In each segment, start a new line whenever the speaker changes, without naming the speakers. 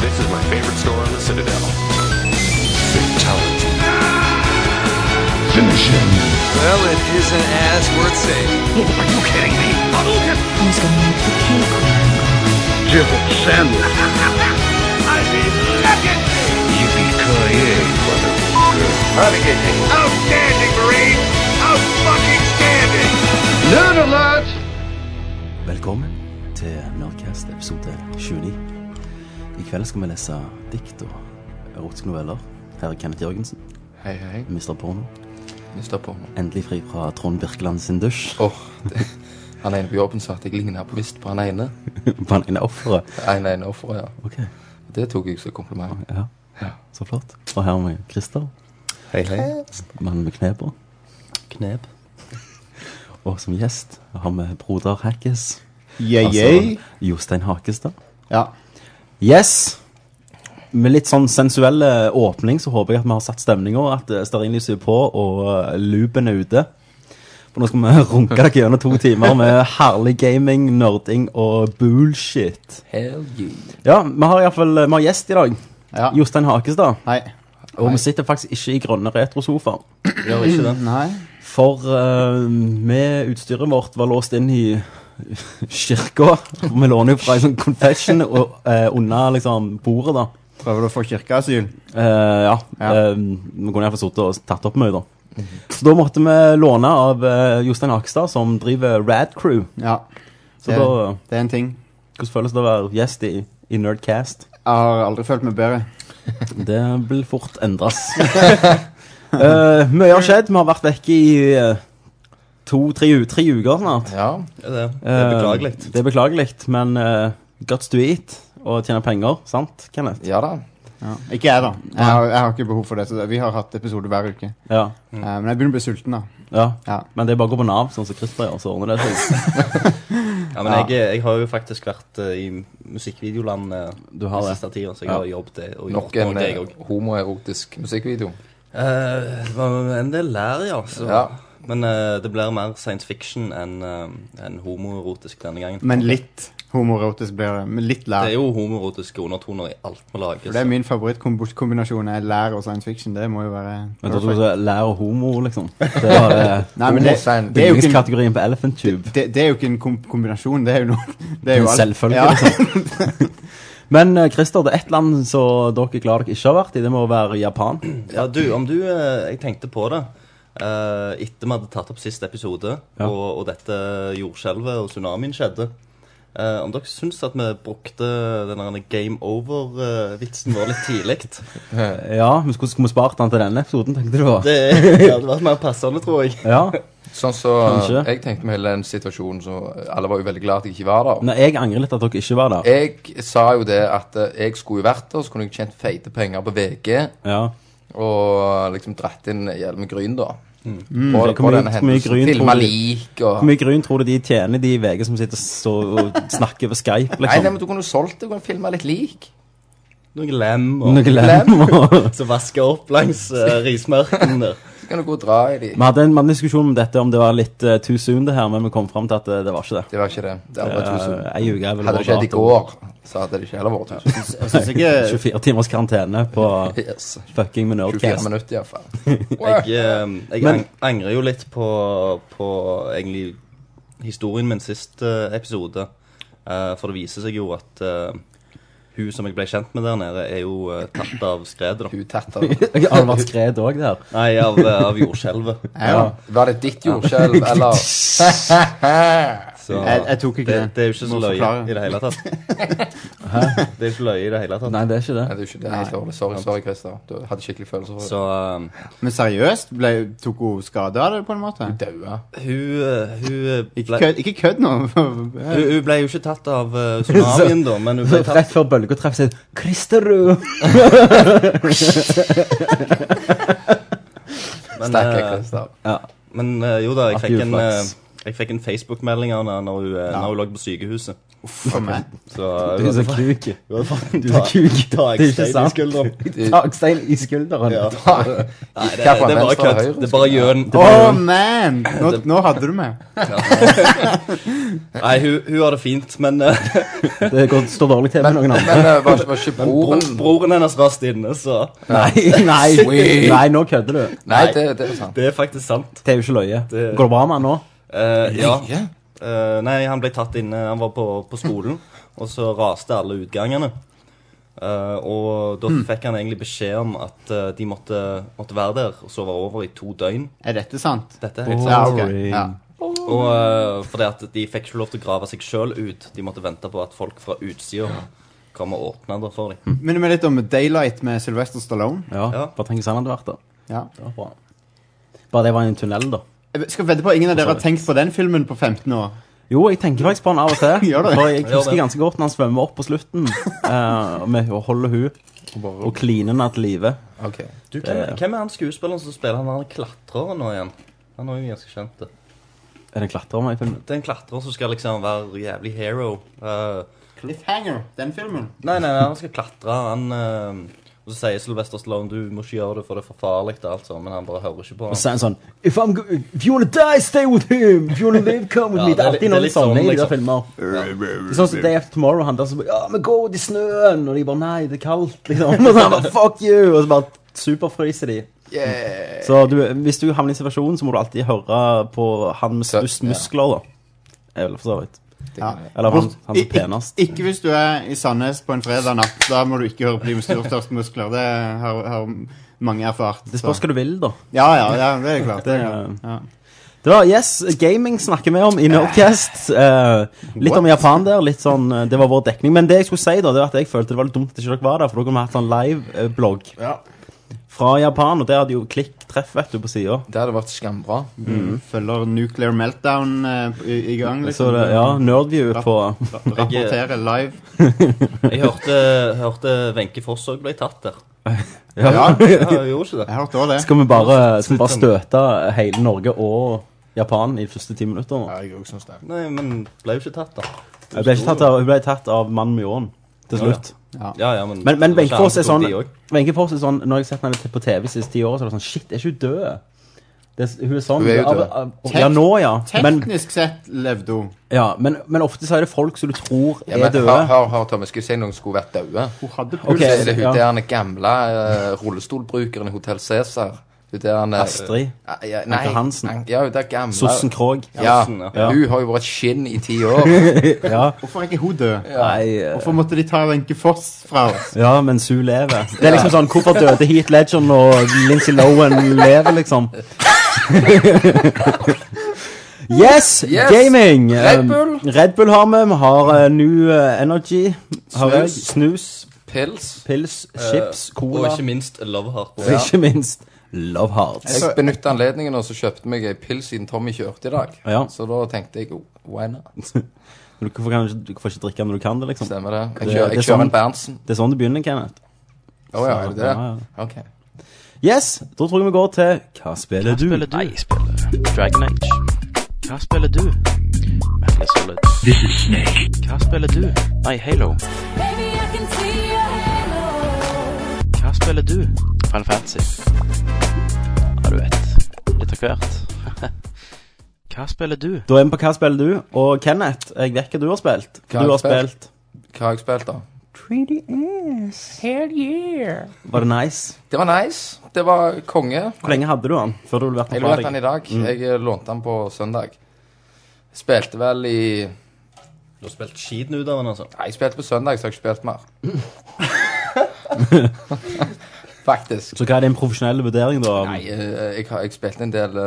This is my favorite store on the Citadel. Fatality.
Finish him.
Well, it isn't as worth saying.
Are you kidding me?
Who's gonna make the cake work?
Jibble sandwich. Yippee-ki-yay, motherfucker.
Outstanding, Marine! Out fucking standing!
Noon alert!
Velkommen til Nerdcast episode 29. I kveld skal vi lese dikt og erotiske noveller. Her er Kenneth Jørgensen,
Hei, hei.
Mr. Porno.
Mista på nå.
Endelig fri fra Trond Birkeland sin dusj.
Åh, det- han ene på jobben sa at jeg ligner på visst på han ene.
På en offeret.
En ene offeret, ja.
Ok,
Det tok jeg som kompliment.
ja. Så flott. Og her har vi Christer,
Hei, hei.
mannen med kneber. Knep. Og som gjest har vi broder Hackes.
Yeah,
Altså Jostein Hakestad.
Ja.
Yes! Med litt sånn sensuell eh, åpning så håper jeg at vi har satt stemninga. At eh, stearinlyset er på og eh, loopen er ute. For nå skal vi runke dere gjennom to timer med herlig gaming, nerding og bullshit.
Hell yeah.
Ja, vi har iallfall vi har gjest i dag.
Ja.
Jostein Hakestad.
Hei.
Og vi sitter faktisk ikke i grønne retrosofaer.
Gjør ikke det.
Nei.
For eh, vi, utstyret vårt var låst inn i kirka. Vi låner jo fra ei sånn confession og, eh, under liksom bordet, da.
Prøver du å få kirkeasyl?
Eh, ja.
Ja.
Eh, vi kunne iallfall sittet og tatt opp mye, da. Så da måtte vi låne av eh, Jostein Hakstad, som driver Rad Crew.
Ja.
Så
Det-
da,
Det er en ting.
Hvordan føles det å være gjest i, i Nerdcast?
Jeg har aldri følt meg bedre.
Det vil fort endres. Eh, mye har skjedd. Vi har vært vekke i eh, to-tre tre uker snart.
Ja, Eh,
Det er beklagelig. Eh, det er beklagelig, men eh, guts to eat og tjene penger, sant, Kenneth?
ja da.
Ja. Ikke jeg, da. Jeg har, jeg har ikke behov for det. Så det- vi har hatt episode hver uke.
Ja,
Eh, men jeg begynner å bli sulten, da.
ja.
Ja.
Men det er bare å gå på Nav, sånn som Christer gjør, så ordner det seg.
Ja, men jeg, eh, jeg har jo faktisk vært eh, i musikkvideoland uh,
Du har
den
det.
siste tida, så jeg
Ja.
har jobbet eh, og
Nok
gjort
en
noe, jeg òg.
eh, homoerotisk musikkvideo.
Det var en del lær, ja. Så.
Ja.
Men eh, det blir mer science fiction enn eh, enn homoerotisk denne gangen.
Men litt homoerotisk blir det. Men litt lær.
det er jo homoerotiske undertoner i alt vi lager.
For det er
så-
min favorittkombinasjon. er Lær og science fiction. Det må jo være
Men da tror
perfect.
du så lær og homo, liksom. Det var det
Nei, men det,
Homo-fan.
det, er jo ikke en,
yndlingskategorien på Elephant Tube.
det, det er jo ikke en kom kombinasjon. Det er jo noe det er jo alt.
Selvfølgelig,
Ja.
liksom. Men eh, Christer, det er ett land som dere er glad dere ikke har vært i. Det må være Japan.
Ja, du, om du eh, Jeg tenkte på det. eh, etter vi hadde tatt opp sist episode,
Ja.
og, og dette jordskjelvet og tsunamien skjedde. eh, om dere syns at vi brukte den der game over-vitsen vår litt tidlig?
Ja, men Skulle skulle vi spart den til denne episoden, tenkte du? da?
Det, det hadde vært mer passende, tror jeg.
Ja.
Sånn så
Kanskje.
Jeg tenkte med hele den situasjonen så Alle var jo veldig glad at jeg ikke var der.
Nei, jeg angrer litt at dere ikke var der.
Jeg sa jo det at eh, jeg skulle jo vært der, så kunne jeg tjent feite penger på VG.
Ja.
Og liksom dratt inn hjelm med gryn, da. På,
Hvor
på
Mm. mye-
denne
hvor mye
hendelsen.
gryn
Filma
tror du-
lik
Hvor
og
mye grunn tror du de tjener, de i VG som sitter så, og snakker over Skype,
Nei, nei, men
liksom?
du kunne jo solgt det. Du kunne filma litt lik.
Noen lem og
Noe lem og
som vasker opp langs eh, rismarken der.
Så kan du gå og dra i de.
Vi hadde en vi hadde en diskusjon om dette, om det var litt eh, too soon, det her, men vi kom fram til at eh, det var ikke det.
Det var ikke det. Det hadde vært tusen.
Eh, Ei uke er vel
Hadde det skjedd i går, så hadde det ikke heller vært tusen.
Jeg synes ikke
24 timers karantene på
Yes.
fucking
24
med Nerdcast.
minutter, iallfall.
Jeg, eh, jeg
Men-
ang angrer jo litt på, på egentlig historien min sist eh, episode. Eh, for det viser seg jo at eh, hun som jeg ble kjent med der nede, er jo eh, tatt av skredet. da.
Hun tatter.
Jeg har vært skred òg der.
Nei, av, eh, av jordskjelvet.
Ja.
Var det ditt jordskjelv, eller?
Så
Jeg, jeg tok ikke
det,
den.
det er jo ikke så
Må
løye
forklare.
i det hele tatt. Det er jo ikke løye i det hele tatt.
Nei, det er ikke det.
Nei, det er jo ikke det. er Helt dårlig. Sorry, sorry, Christer. Du hadde skikkelig følelser for det.
Så eh,
Men seriøst? Ble, tok hun skade av det, på en måte?
Daua.
hun, eh, hun eh,
Ikke kødd, ikke kødd nå.
Hun, hun ble jo ikke tatt av eh, tsunamien, da, men hun ble tatt
Rett før bølga treffer, sier hun, 'Kristerud'.
Men,
Sterkere,
eh,
Christer.
men eh, jo da, jeg
At
fikk en, eh,
uflaks.
Jeg fikk en Facebook-melding av henne når hun, eh, når hun lå på sykehuset.
For meg.
Så
Du er så Altså, kuk.
Du hadde fått
Du er kuk.
ta
Det er ikke
ekstein i
sant.
skulderen.
Takstein i skulderen.
Ja. Nei, det, det,
Hva for
er bare
venstre og
kødd.
høyre?
Det er bare gjøn.
Oh, man! Nå, nå hadde du meg.
Nei, hun, hun har det fint, men eh,
Det går, står dårlig til med noen andre.
Men eh, var, var ikke
bro,
broren
broren hennes rast inne, så
Nei, nei,
Sweet.
nei, nå kødder du.
Nei, det, det er sant.
det er faktisk sant.
Det er jo ikke løye.
Det-
Går det bra med han nå?
Eh, ja.
Ja.
Eh, nei, han ble tatt inne. Han var på, på skolen, og så raste alle utgangene. Eh, og da fikk han egentlig beskjed om at eh, de måtte, måtte være der og sove over i to døgn.
Er dette sant?
Dette er helt
Ja,
sant.
ok.
Boring.
Ja.
Og eh, fordi at de fikk ikke lov til å grave seg sjøl ut. De måtte vente på at folk fra utsida kom og åpna det for dem.
Minner meg litt om Daylight med Sylvester Stallone.
Ja,
Ja.
bare tenk hvis han hadde vært der.
Ja.
Det var bra. Bare det var i en tunnel, da.
Jeg skal vedde på at ingen av dere har tenkt på den filmen på 15 år.
Jo, jeg tenker faktisk på han av og til.
Gjør det.
For jeg
Gjør
husker
det.
ganske godt når han svømmer opp på slutten. eh, med å holde hun og kline henne til live.
Ok.
Du, hvem, hvem er han skuespilleren som spiller han der klatreren nå igjen? Han er jo ganske kjent. det.
Er det en klatrer med i filmen?
Det er en klatrer som skal liksom være jævlig hero. Eh,
Cliffhanger, den filmen.
nei, nei, nei, han skal klatre. Han, eh, og så sier Sylvester Stallone du må ikke gjøre det, for det er for farlig. og alt sånt, Men han bare hører ikke på.
Og
Han.
så er han sånn If, I'm go- if you wanna die, stay with him! If you wanna live, come with
Ja,
me! Det
det
er
er
alltid
litt-
noen
det er litt
sånne i
sånn,
de der
liksom.
filmene. Det er Sånn som Day After Tomorrow, han der som bare, Ja, men gå ut i snøen! Og de bare Nei, det er kaldt, liksom. Og så han bare Fuck you! Og så bare superfryser de. Så du, hvis du havner i en situasjon, så må du alltid høre på han med
Så-
størst
ja.
muskler, da. Er vel for så vidt.
Ja.
Eller han, han som
Ik-
er penest.
Ikke hvis du er i Sandnes på en fredag natt. Da må du ikke høre på de med stor- størst muskler. Det har, har mange erfart.
Det
så.
spørs hva du vil, da.
Ja, ja, ja, det er klart. Det er
Det
klart. Ja.
Det var, yes, Gaming snakker vi om i Nerdcast. Eh, litt om Japan der. litt sånn, eh, Det var vår dekning. Men det jeg skulle si da, det var at jeg følte det var litt dumt at ikke dere var der, for dere kunne hatt sånn live-blogg fra Japan. Og der hadde jo klikk-treff vet du, på sida.
Det hadde vært skambra.
Følger Nuclear Meltdown eh, i, i gang, liksom.
Mm. Så det, ja, Nerdview på
Rapporterer live.
Jeg hørte, hørte Wenche Foss òg ble tatt der.
Ja,
Ja, hun gjorde ikke det.
jeg hørte òg det.
Skal vi bare, skal vi bare støte hele Norge og Japan i de første ti minutter? nå?
jeg òg syns det.
Nei, men ble jo ikke tatt, da.
Jeg ble ikke tatt av, jeg ble tatt av mannen med ljåen til
Ja, ja.
slutt.
Ja, ja, men
Men, men
det var ikke
Wenche Foss er
han som
sånn
tok de også.
Wenche Foss er sånn Når jeg har sett henne på TV de siste ti årene, så er det sånn Shit, er ikke hun død? Det, er- hun er sånn
Hun er jo
av-
død.
av- Ja, nå, ja. Men,
Teknisk sett levde hun.
ja men, men ofte så er det folk som du tror
Ja,
er
men hør,
døde.
hør, hør, Tommy. Skal jeg si noen skulle vært døde?
Hun hadde
Ok,
puls.
Så er det hun
ja.
der den gamle eh, rullestolbrukeren i Hotell Cæsar. Hun der den, eh,
Astrid.
eh, ja, Nei,
Anker Hansen.
An- Ja, hun der gamle.
Sossen Krog.
Ja.
Hansen, ja.
Ja.
Hun har jo vært skinn i ti år.
Ja.
Hvorfor er ikke hun død?
Nei eh,
Hvorfor måtte de ta Wenche Foss fra oss?
Ja, mens hun lever. Det er liksom sånn Hvorfor døde Heat Legend og Lincy Lohan lever, liksom? Yes,
Yes!
gaming!
Red Bull!
Eh, Red Bull har vi. Vi har eh, New eh, Energy. Har jeg.
Snus.
Snus.
Pils.
Pils, chips,
Og
cola
ikke minst Love Heart.
og ikke minst Love Hearts.
Jeg benytta anledningen, og så kjøpte meg ei pils siden Tommy kjørte i dag.
Ja.
Så da tenkte jeg oh, why not?
Men Du får, kan, ikke- du får ikke drikke når du kan det, liksom.
Stemmer det. Jeg
Det-
kjører,
det er
jeg kjører
sånn-
en Berntsen.
Det er sånn det begynner, Kenneth.
Å ja, er det det?
Ja, ja.
Ok.
Yes, da tror jeg vi går til Hva spiller du?
spiller du? Nei, jeg spiller Dragon Age. Hva spiller du? Metal Gear Solid. This is Snake. Hva spiller du? Nei, Halo. Hva spiller du? Final Fantasy. Ja, du vet. Litt av hvert. Hva spiller du?
Da er vi på Hva spiller du? Og Kenneth, jeg vet hva du har spilt.
Hva
du har
jeg spilt?
spilt
Hva har jeg spilt, da?
Var det nice?
Det var nice. Det var konge.
Hvor lenge hadde du den før du leverte
Jeg
den fra
lånte den i
deg?
dag. Jeg eh, lånte den på søndag. Spilte vel i
Du har spilt skiten ut av den, altså.
Nei, jeg spilte på søndag, så har jeg ikke spilt mer. Faktisk.
Så hva er din profesjonelle vurdering, da?
Nei, eh, jeg, har- jeg spilte en del eh,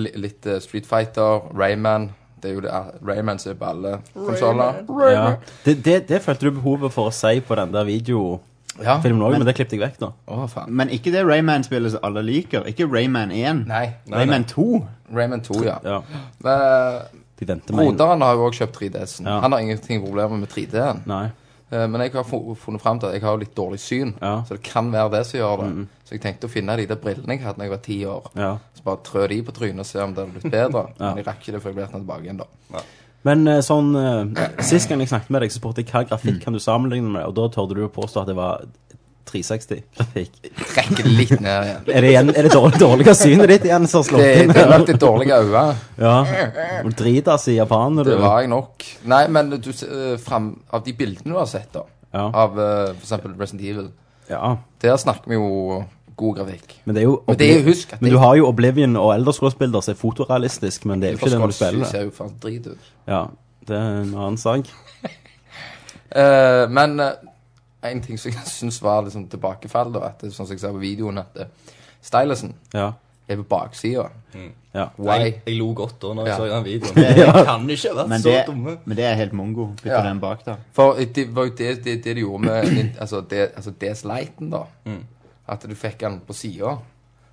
li- Litt eh, Street Fighter, Rayman Det er jo det Rayman som er på alle konsoller.
ja. det, det, det følte du behovet for å si på den der videofilmen
Ja. Å,
òg, men det klippet jeg vekk, da.
faen.
Men ikke det Rayman-spillet som alle liker. Ikke Rayman 1.
Nei.
Rayman 2.
Rayman 2, ja.
Ja,
Men, eh,
De venter med en.
Broderen har jo også kjøpt 3DS-en.
Ja.
Han har ingenting problemer med 3D-en.
Nei.
Eh, Men jeg har fu- funnet frem til at jeg har jo litt dårlig syn,
Ja.
så det kan være det som gjør det. Så jeg tenkte å finne de der brillene jeg hadde da jeg var ti år.
Ja.
Så bare trø de på trynet og se om det hadde blitt bedre.
Ja.
Men jeg rakk ikke det før jeg ble tatt tilbake igjen, da.
Men eh, sånn eh, Sist gang jeg snakket med deg, så spurte jeg hva grafikk
Mm.
kan du sammenligne med, og da tørde du å påstå at det var 360-grafikk.
Rekke det litt ned igjen.
Er det, igjen, er det dårlig, dårlig av synet ditt igjen som har
Det,
slått inn?
det er nok litt dårlige øyne.
Ja. Og Dritas i Japan. når
Det
du-
var jeg nok. Nei, men du, s- eh, frem, av de bildene du har sett, da,
Ja.
av eh, for eksempel Resident Evil,
ja.
der snakker vi jo god grafikk.
Men det er jo
Men det er jo- husk at
men
det-
du har jo Oblivion og Elderscrolls-bilder som er fotorealistisk, men det er jo ikke det når du spiller det.
ser jo faen drit ut.
Ja, det er en annen sak.
Eh, men eh, en ting som jeg syns var liksom tilbakefall, da, at det, sånn som jeg sa på videoen, at eh, stylusen
Ja.
er på baksida.
ja.
Why?
Jeg, jeg lo godt da når jeg
Ja.
så den videoen. Jeg kan ikke ha vært
Men
så
det,
dumme.
men det er helt mongo. Bytte
Ja.
den bak, da.
For det var jo det, det, det de gjorde med nin- altså, det, altså DS-lighten, da.
Mm.
At du fikk den på sida.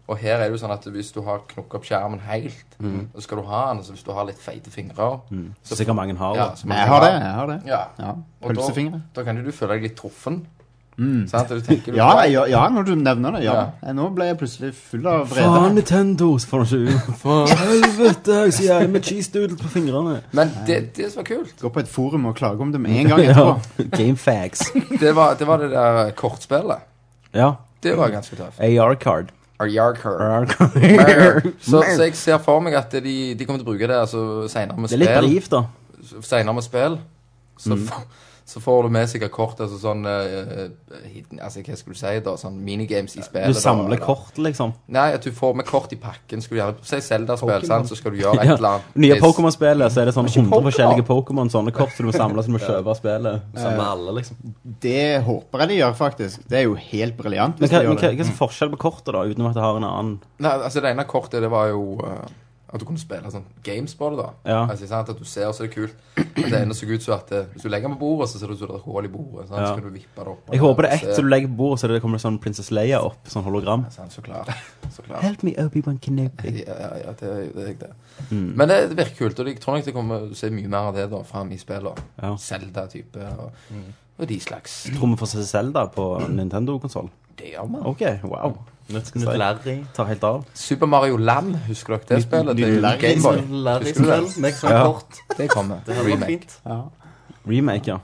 Og her er det jo sånn at hvis du har knukket opp skjermen helt,
Mm.
så skal du ha den. Altså hvis du har litt feite fingre
Så sikkert mange har det.
så
Men
må
Mm. jeg
du ha
har det.
den.
jeg har det.
Ja.
Ja,
Og da-
Pølsefingre. Mm.
Da kan jo du føle deg litt truffen. Sant? Og du tenker du
Ja, ja, ja, når du nevner det. Ja.
Ja.
Jeg- Nå ble jeg plutselig full av
Faen,
vrede.
Nintendo! så får du ikke ut. Faen, helvete! Jeg er så jævlig med cheese doodle på fingrene.
Men det, det som var kult,
Gå på et forum og klage om det med en gang etterpå.
Gamefags.
det var det, var det der kortspillet.
Ja.
Det
Mm.
var ganske tøft.
AR-card.
Arjarker.
AR-card.
Så, så jeg ser for meg at de, de kommer til å bruke det altså, senere med
Det er litt
spill.
brivt, da.
senere med spill, så,
Mm.
f- så får du med sikkert kort, altså sånn eh, eh, hidden, Altså, hva skulle du si, da? Sånn minigames i spillet.
Du
da,
samler
eller-
kort, liksom.
Nei, at du får med kort i pakken. Skulle du gjerne Si Zelda-spill, sant, så skal du gjøre et
Ja.
eller annet.
Nye
Hvis-
Pokémon-spillet, så er det sånn
Ikke
100
Pokémon.
forskjellige Pokémon, sånne kort som du må samle som du må kjøpe av spillet.
Sammen med alle, liksom.
Det håper jeg de gjør, faktisk. Det er jo helt
Men
briljant. hvis
hva,
de gjør
men hva,
det.
hva er forskjell på kortet, da, utenom at det har en annen
Nei, altså, det ene kortet, det var jo eh, at du kunne spille sånn games på det, da.
Ja.
Altså, sant? At du ser, så er det kult. Men det ene så ut som at eh, hvis du legger den på bordet, så ser det ut som det er et hull i bordet. Sant?
Ja.
Så kan du vippe det opp.
Jeg håper det er ett
Så-
som du legger på bordet, så det kommer sånn Prinsesse Leia opp, sånn hologram.
Sant, Så klart. Så klart.
Help me, Obi-Wan Kenobi.
Ja, ja, ja, det, er- det er jeg det.
Mm.
Men det, det virker kult, og jeg tror nok det kommer å se mye mer av det da fram i spillet.
Ja.
Zelda-type og,
Mm.
og de slags.
Tror vi får se Zelda på Nintendo-konsoll?
Det gjør man.
OK, wow.
Nytt
si.
Larry.
Tar helt av.
Super Mario Land, husker dere det spillet? Det er jo
Larry.
Gameboy.
Larry
Husker du det?
med sånn kort.
Det kommer.
Det hadde vært
Remake.
fint.
Remake, ja.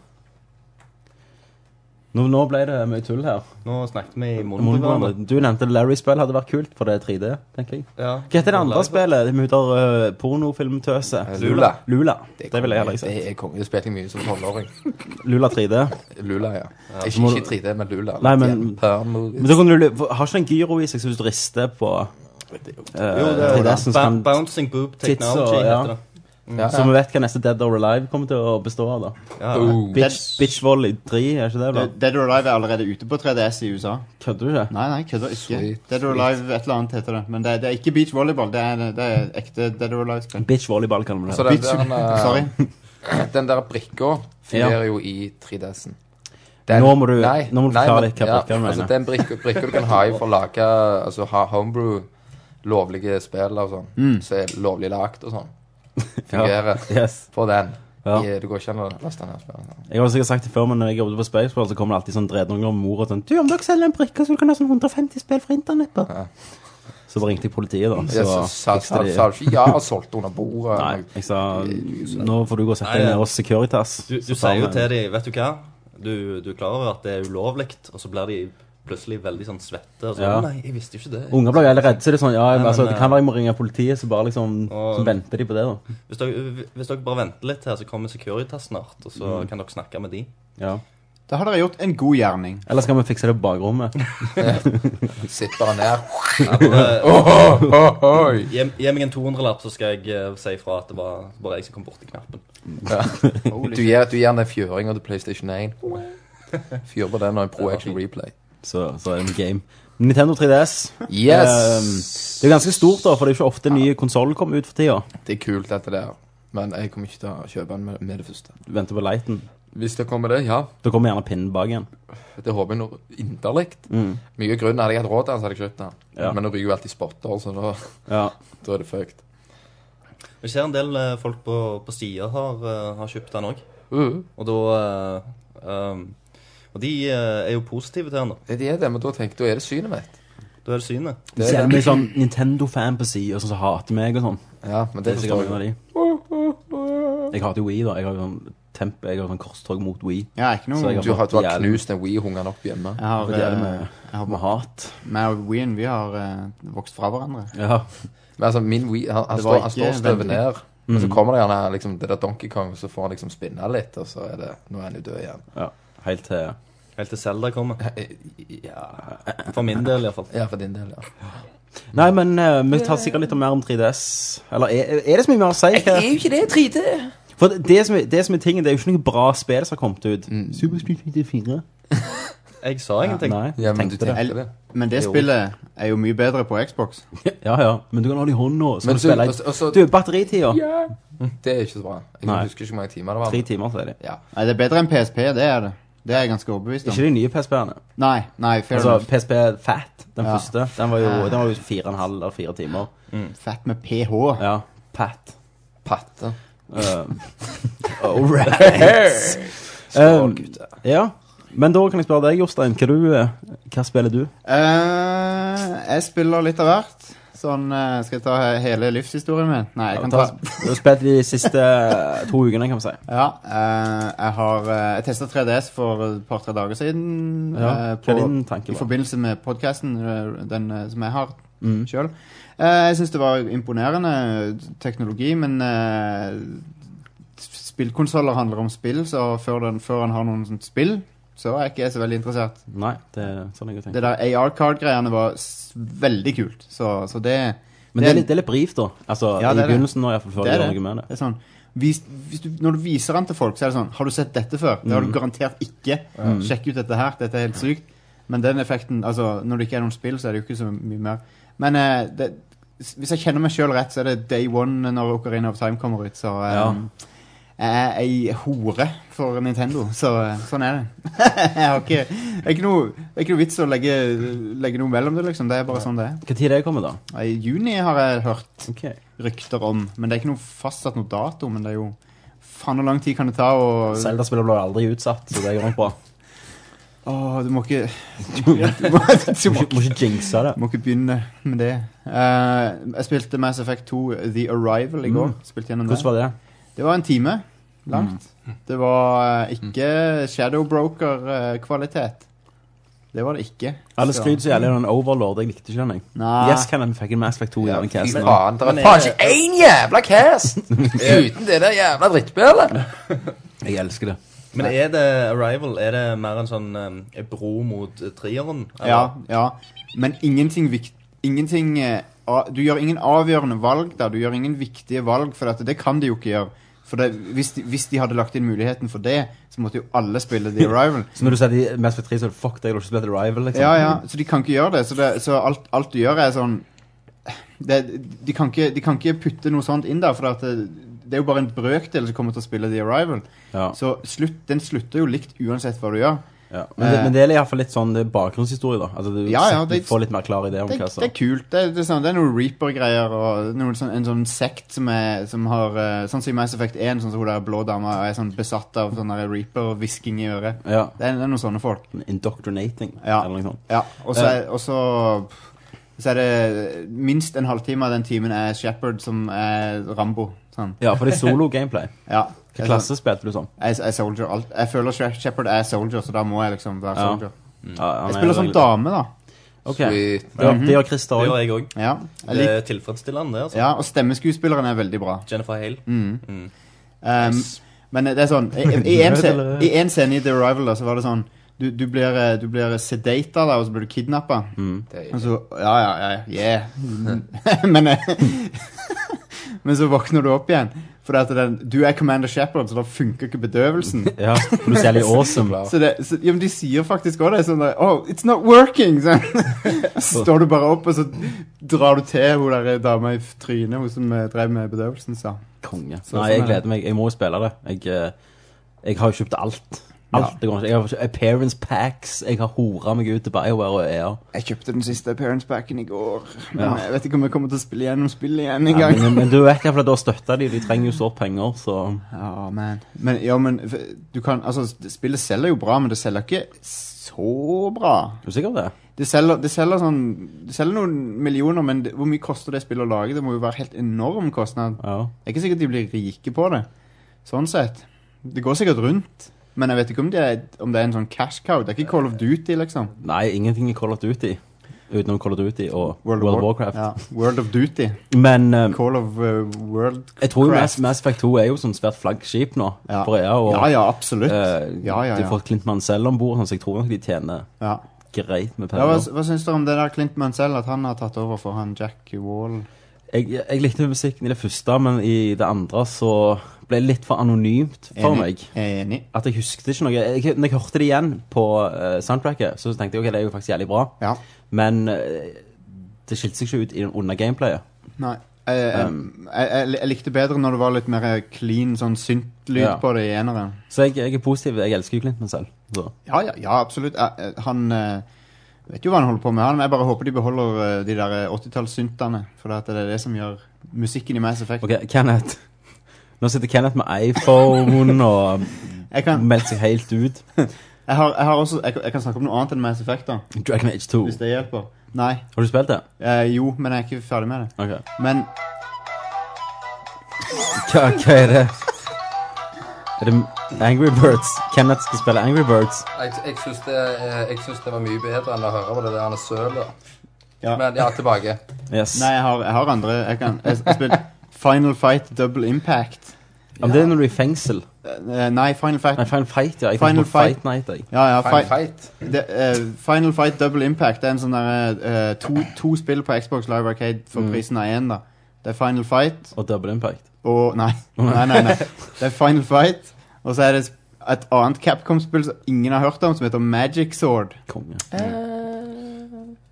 Nå, nå ble det mye tull her.
Nå snakket vi i munnen på hverandre.
Du nevnte Larry-spill hadde vært kult, for det er 3D, tenker jeg.
Ja.
Hva heter det andre spillet? Det med hun der uh, pornofilmtøse?
Lula.
Lula.
er
Det vil jeg heller
konge.
ikke se.
Det er konge. Det spilte jeg mye som tolvåring.
Lula 3D.
Lula, ja. Ikke,
må du-
ikke 3D, men Lula.
Nei, men- Men da
Permovies.
kan du, lu- Har ikke den gyro i seg som hvis du rister på eh,
Jo, det er
3D-en, så
ba
kan
Bouncing Boob Technology
og- ja.
heter det.
Ja,
Så vi
ja.
vet hva neste Dead or Alive kommer til å bestå av, da.
Ja.
Boom.
Bitch, bitch Volley 3, er ikke det? da?
Dead- Dead or Alive er allerede ute på 3DS i USA.
Kødder du ikke?
Nei, nei, kødder ikke.
Sweet,
Dead or Alive et eller annet heter det. Men det, det er ikke beach volleyball. Det er, det er ekte Dead or Alive-spill.
Bitch Volleyball kaller vi
Så den
det.
Bitch,
der, eh,
sorry.
den der brikka fungerer jo i 3DS-en.
Nå må du- nå må du forklare litt hva brikker du mener.
Altså, den brikka brikka du kan ha i for å lage altså, ha homebrew, lovlige spill og sånn, som er lovlig lagd og sånn, fungerer
Yes.
på den.
Ja.
I- Det går ikke an å laste ned spillet.
Jeg har sikkert sagt det før, men når jeg jobbet på Spaceball, så kommer det alltid sånn dredunger om mor og sånn 'Du, om dere selger en brikke, så du kan ha sånn 150 spill fra internett på.' Så da ringte jeg politiet, da.
Jeg sa-
Så
sa sa-
fikste de
sa ikke ja og solgte under bordet.
Nei, jeg sa 'Nå får du gå og sette
Nei,
deg ned
ja.
hos Securitas'.
Du, du sier jo til dem Vet du hva? Du, du er klar over at det er ulovlig, og så blir de plutselig veldig sånn svette. Og så,
Ja.
Nei, jeg visste jo ikke det.
Unger blir jo helt redde, så det er sånn Ja,
Nei,
altså,
men, eh,
det kan være jeg må ringe politiet, så bare liksom
Og-
Så venter de på det, da.
Hvis dere, hvis dere bare venter litt her, så kommer Securitas snart, og så
Mm.
kan dere snakke med de.
Ja.
Da har dere gjort en god gjerning.
Eller skal vi fikse det på bakrommet?
Sitt bare ned.
Ja, bare,
Oi.
gi, gi meg en 200-lapp, så skal jeg eh, si ifra at det var bare jeg som kom borti knappen.
Du gir, du gir den en fjøring til PlayStation 1. Fyr på den og en Pro Action Replay.
Så, så er det en game. Nintendo 3DS.
Yes!
Det er ganske stort, da, for det er jo ikke ofte nye konsoller kommer ut for tida.
Um, Det er kult, dette der. Men jeg kommer ikke til å kjøpe den med, med det første.
Du venter på lighten.
Hvis det kommer det, ja.
Da kommer gjerne pinnen bak igjen.
Det håper jeg nå inderlig. Mye grunn. Hadde jeg hatt råd til den, så hadde jeg kjøpt den.
Ja.
Men nå ryker jo alltid spotter, så da,
Ja.
da er det fucked.
Jeg ser en del eh, folk på, på sida har, eh, har kjøpt den òg.
Uh,
Og da eh, um, Og de eh, er jo positive til han da.
Det er det, men da tenker jeg, da er det synet mitt.
Da er det synet.
Det
Så
er
er
det.
vi sånn Nintendo-fan på sida som så hater meg og sånn.
Ja, men
Det
det
er sikkert
forstår
mange
jeg.
av de. Jeg hater jo Wii, da. Jeg har jo sånn temp, jeg har sånn korstog mot Wii.
Jeg er ikke
Så
noe
jeg
Du har, du har
Jævlig.
knust en Wii-hungeren opp hjemme.
Jeg har,
Det er det med,
eh, jeg har
med hat.
Meg og Wien, vi har eh, vokst fra hverandre.
Ja.
Men altså, min Wii, han, han,
Det
står,
var
han
ikke
står og støver
vennlig.
ned. Og så kommer det gjerne liksom, det der Donkey Kong, og så får han liksom spinne litt, og så er det Nå er han jo død igjen.
ja. Helt til
Helt til Zelda kommer.
Ja,
For min del i hvert fall.
ja for din del, ja.
Nei, men eh, vi tar sikkert litt om mer om 3DS. Eller er, er det så mye mer å si? Det er jo ikke det, 3D. For det som, er- det som er tingen, det er jo ikke noe bra spill som har kommet ut. Mm. Super Speed 4.
Jeg sa ingenting.
Nei,
ja men du
tenkte det.
tenker det.
Men det spillet er jo mye bedre på Xbox.
Ja, ja. Men du kan ha det i hånda. så
Men
kan du
så- altså-
spille i-
og så- og så-
Du, batteritida.
Det er ikke så bra. Jeg
Nei.
husker ikke hvor mange timer det var.
Tre timer, så er det.
Ja.
Nei, det er bedre enn PSP, det er det. Det er jeg ganske overbevist om.
Ikke de nye PSP-ene.
Nei, nei, fair
Altså
enough.
PSP Fat, den
Ja.
første. Den var jo, den var jo fire og en halv eller fire timer.
Fett med ph.
Ja. Pat.
Patte.
Uh, all right. Um, ja. Men da kan jeg spørre deg, Jostein. Hva, du, eh, hva spiller du?
Eh, jeg spiller litt av hvert. Sånn, eh, Skal jeg ta he- hele livshistorien min? Nei, jeg kan ta
Du har spilt de siste eh, to ukene, kan vi si.
Ja, eh, jeg har eh, Jeg testa 3DS for et par-tre dager siden.
Ja,
eh,
hva er din tanke,
I
da?
forbindelse med podkasten den eh, som jeg har
Mm.
selv sjøl. jeg syns det var imponerende teknologi, men uh, spillkonsoller handler om spill, så før, den, før han har noen sånt spill, så er ikke jeg så veldig interessert.
Nei, det er sånn jeg
Det
tenker.
der AR-card-greiene var s veldig kult. Så, så det
Men det er litt, det er litt brief, da. Altså,
Ja, det
I
er det.
begynnelsen nå, i hvert fall, før
det
du
er
gjør
det.
noe med det.
er sånn, hvis, hvis du, når du viser den til folk, så er det sånn Har du sett dette før? Det har du garantert ikke. Sjekk ut dette her. Dette er helt sykt. Men den effekten altså, Når det ikke er noen spill, så er det jo ikke så mye mer. Men eh, det, s- hvis jeg kjenner meg sjøl rett, så er det day one når Ocarina of Time kommer ut. Så eh,
Ja.
jeg er ei hore for Nintendo. Så eh, sånn er det. jeg har ikke, det, er ikke noe, det er ikke noe vits å legge, legge noe mellom det, liksom. Det er bare sånn det er.
Hva tid er det kommer, da?
I juni har jeg hørt
Ok.
rykter om. Men det er ikke noe fastsatt noe dato, men det er jo Faen, hvor lang tid kan det ta å
Zelda-spillet blir aldri utsatt, så det går nok bra.
Åh, du må ikke
Du må
Du må, du må,
ikke, må ikke jinxe det.
du må ikke begynne med det. Eh, jeg spilte Mass Effect 2 The Arrival i går.
Mm.
Spilte gjennom det.
Hvordan var det? Mm.
Det var en time langt. Det var eh, ikke Shadow Broker-kvalitet. Det var det ikke.
Alle
Så- Ah.
skryter så jævlig av den Overlord. Jeg likte ikke den, jeg.
Nei.
Yes, kan den fikk en Mass Effect 2 i den
Fy
casten. også.
faen, det er
Men
faen
eh,
er-
ikke én jævla cast uten det der jævla drittspillet!
Jeg elsker det.
Men er det Arrival? Er det mer en sånn eh, en bro mot eh, treeren? eller?
Ja, ja. Men ingenting vikt... Ingenting eh, a- Du gjør ingen avgjørende valg der. Du gjør ingen viktige valg, for at det kan de jo ikke gjøre. For det, hvis, de, hvis de hadde lagt inn muligheten for det, så måtte jo alle spille The Arrival.
Så når du sier de Mass Effect 3, så er det fuck deg, du har ikke spilt Arrival, liksom.
Ja, ja, Så de kan ikke gjøre det. Så, det, så alt, alt du gjør, er sånn det, de, kan ikke, de kan ikke putte noe sånt inn der, for at det, det er jo bare en brøkdel som kommer til å spille The Arrival.
Ja.
Så slutt, den slutter jo likt uansett hva du gjør.
Ja. Men, det, men det er i hvert fall litt sånn det er bakgrunnshistorie, da. Altså, du,
Eh. Ja, ja,
du
det-
får litt mer klar idé om
det,
hva
det
som
er kult. Det, det, er sånn, det er noen Reaper-greier og noen sånn, en sånn sekt som, er, som har eh, Sånn som i Mass Effect 1, sånn som hun der blå dama er sånn besatt av sånn der Reaper-hvisking i øret.
Ja.
Det er, det er noen sånne folk.
Indoctrinating,
Ja.
eller noe sånt.
Ja, og så er- og så- så er det minst en halvtime av den timen er Shepherd som er Rambo. Sånn.
Ja, for det er solo gameplay.
Ja.
Hva
Jeg er
klasse spilte du som?
sånn- Jeg, jeg er soldier. Alt. Jeg føler Shep- Shepherd er soldier, så da må jeg liksom være
Ja.
soldier.
Ja, han
Jeg
er
spiller
jo
som
egentlig-
dame, da.
Ok.
Sweet.
Det gjør- Det gjør Christer
Mhm. Det
òg.
gjør jeg òg.
Ja, jeg
Det
lik,
er tilfredsstillende, det. altså.
ja og stemmeskuespilleren er veldig bra.
Jennifer Hale. Mm.
Um, Men det er sånn I i- i en scene, i en scene i The Arrival da, så var det sånn Du, du blir, eh, du blir sedata, da, og så blir du kidnappa. Og så Ja, ja, ja. Yeah. men, eh, men så våkner du opp igjen. For at den, du er Commander Shepherd, så da funker ikke bedøvelsen.
Ja, for du ser litt awesome.
Så det, så, ja, men de sier faktisk òg det. Sånn der, oh, it's not working! Sånn. Så står du bare opp, og så drar du til hun der dama i trynet, hun som eh, drev med bedøvelsen, sa.
Konge. Nei, jeg gleder meg. Jeg må jo spille det. Jeg, eh, jeg har jo kjøpt alt. Alt det går ikke. Jeg har appearance packs, jeg har hora meg ut til BioWare og EA.
Jeg kjøpte den siste Parents Backen i går. Men
Ja.
jeg vet ikke om jeg kommer til å spille gjennom spillet igjen en
Ja,
gang.
men, men du vet iallfall at du har støtta de, de trenger jo sårt penger, så
Ja, men, men, ja, men f- du kan, altså, Spillet selger jo bra, men det selger ikke så bra.
Er du sikker på det?
Det selger, det selger, sånn, det selger noen millioner, men det, hvor mye koster det spillet å lage? Det må jo være helt enorm kostnad.
Ja.
Det er ikke sikkert de blir rike på det. Sånn sett. Det går sikkert rundt, men jeg vet ikke om det er, om det er en sånn cash cow. Det er ikke Call of Duty, liksom.
Nei, ingenting i Call of Duty. Utenom Call of Duty og World,
War-
of Warcraft.
Ja, World of Duty.
Men eh,
Call of uh, World
jeg tror jo Mass,
Craft.
Mass Effect 2 er jo sånn svært flaggskip nå
Ja.
for EA. Og
Ja, ja, absolutt.
eh,
ja, ja,
de
ja.
får Clint Mansell om bord, sånn, så jeg tror nok de tjener
ja.
greit med
Ja, hva,
penger.
hva syns dere om det der Clint Mansell, at han har tatt over for han Jack Wall?
Jeg, jeg likte musikken i det første, men i det andre så ble det litt for anonymt for meg.
Enig.
At jeg husket ikke noe. Jeg, når jeg hørte det igjen på eh, soundtracket, så tenkte jeg ok, det er jo faktisk jævlig bra.
Ja.
Men eh, det skilte seg ikke ut i- under gameplayet.
Nei. Jeg, jeg,
Um.
jeg, jeg, jeg likte bedre når det var litt mer clean sånn synt-lyd
Ja.
på det i eneren.
Så jeg, jeg er positiv. Jeg elsker jo Clinton selv. Så.
Ja, ja, ja absolutt. Jeg- jeg- han eh, vet jo hva han holder på med, han. men Jeg bare håper de beholder eh, de der 80-tallssyntene. For det at det er det som gjør musikken i Mass Effect.
Ok, Kenneth. Nå sitter Kenneth med iPhone og
Jeg, kan,
meldt seg helt ut.
jeg, har, jeg, har også, jeg, kan- jeg kan snakke om noe annet enn Mass Effect, da.
Dragon Age 2.
Hvis det hjelper. Nei.
Har du spilt det?
Eh, jo, men jeg er ikke ferdig med det.
Ok.
Men
Hva, hva er det? Er det Angry Birds? Kenneth skal spille Angry Birds.
Jeg, jeg, syns det, eh, jeg syns det var mye bedre enn å høre på det der sølet.
Ja.
Men ja, tilbake.
Yes.
Nei, jeg har, jeg har andre. Jeg, kan, jeg, jeg spilte Final Fight Double Impact.
Om det er når du er i fengsel.
Eh, nei, Final Fight
Nei, Final Fight, ja. Jeg Final
Final
Fight.
Fight.
Fight Night, jeg.
Ja, ja,
Final
fi-
fight.
det, eh, Final Fight Double Impact Det er en sånn der eh, to, to spill på Xbox Live Arcade
Mm.
for prisen av én, da. Det er Final Fight
Og Double Impact.
og Nei, nei, nei. nei. Det er Final Fight, og så er det et annet Capcom-spill som ingen har hørt om, som heter Magic Sword.
Konge.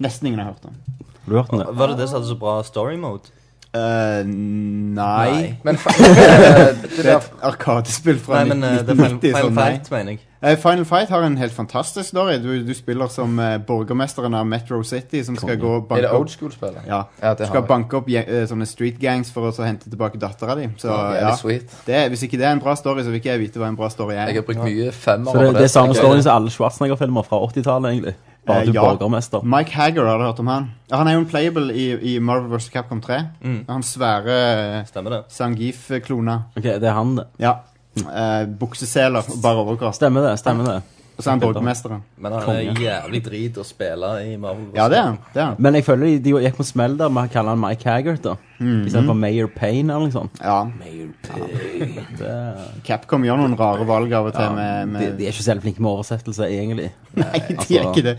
Nesten ingen har hørt om.
Har du hørt om det?
Var det det som hadde så bra story mode?
Eh, nei.
Men fa- eh, det
Det er
der
et arkadespill fra
Nei, men eh, det er Final,
1990.
Final
sånn, nei.
Fight, mener jeg.
Eh, Final Fight har en helt fantastisk story. Du, du spiller som eh, borgermesteren av Metro City, som skal gå og
Er
banke
det
opp
old school-spillet?
ja.
Ja, det har
Skal
jeg.
banke opp gje- eh, sånne street gangs for å så hente tilbake dattera di. Så
Ja, det er
ja,
sweet.
det, er- hvis ikke det er en bra story, så vil ikke jeg vite hva en bra story er.
Jeg har brukt mye femmer
Så det, det er samme
Jeg-
storyen som alle Schwarzenegger-filmer fra 80-tallet, egentlig. Bare
Eh,
at du er
ja.
borgermester.
Mike Hagger, har du hørt om han? Ja, Han er jo en playable i, i Marvel vs. Capcom 3.
Mm.
Han svære eh,
Stemmer det?
Sangif-klona.
Ok, det er han, det.
Ja. Eh, bukseseler og bare overkropp.
Stemmer det. stemmer det.
Og så er han borgermesteren.
Men han
Konge.
er jævlig drit å spille i Marvel.
Ja, det er han. Det er han.
Men jeg føler de, de gikk på smell der med å kalle han Mike Haggart, da. Istedenfor Mayor Payne eller noe sånt.
Ja. Capcom gjør noen rare valg av og til med,
De,
med
de er ikke så veldig flinke med oversettelse, egentlig.
Nei, de er
altså-
ikke det.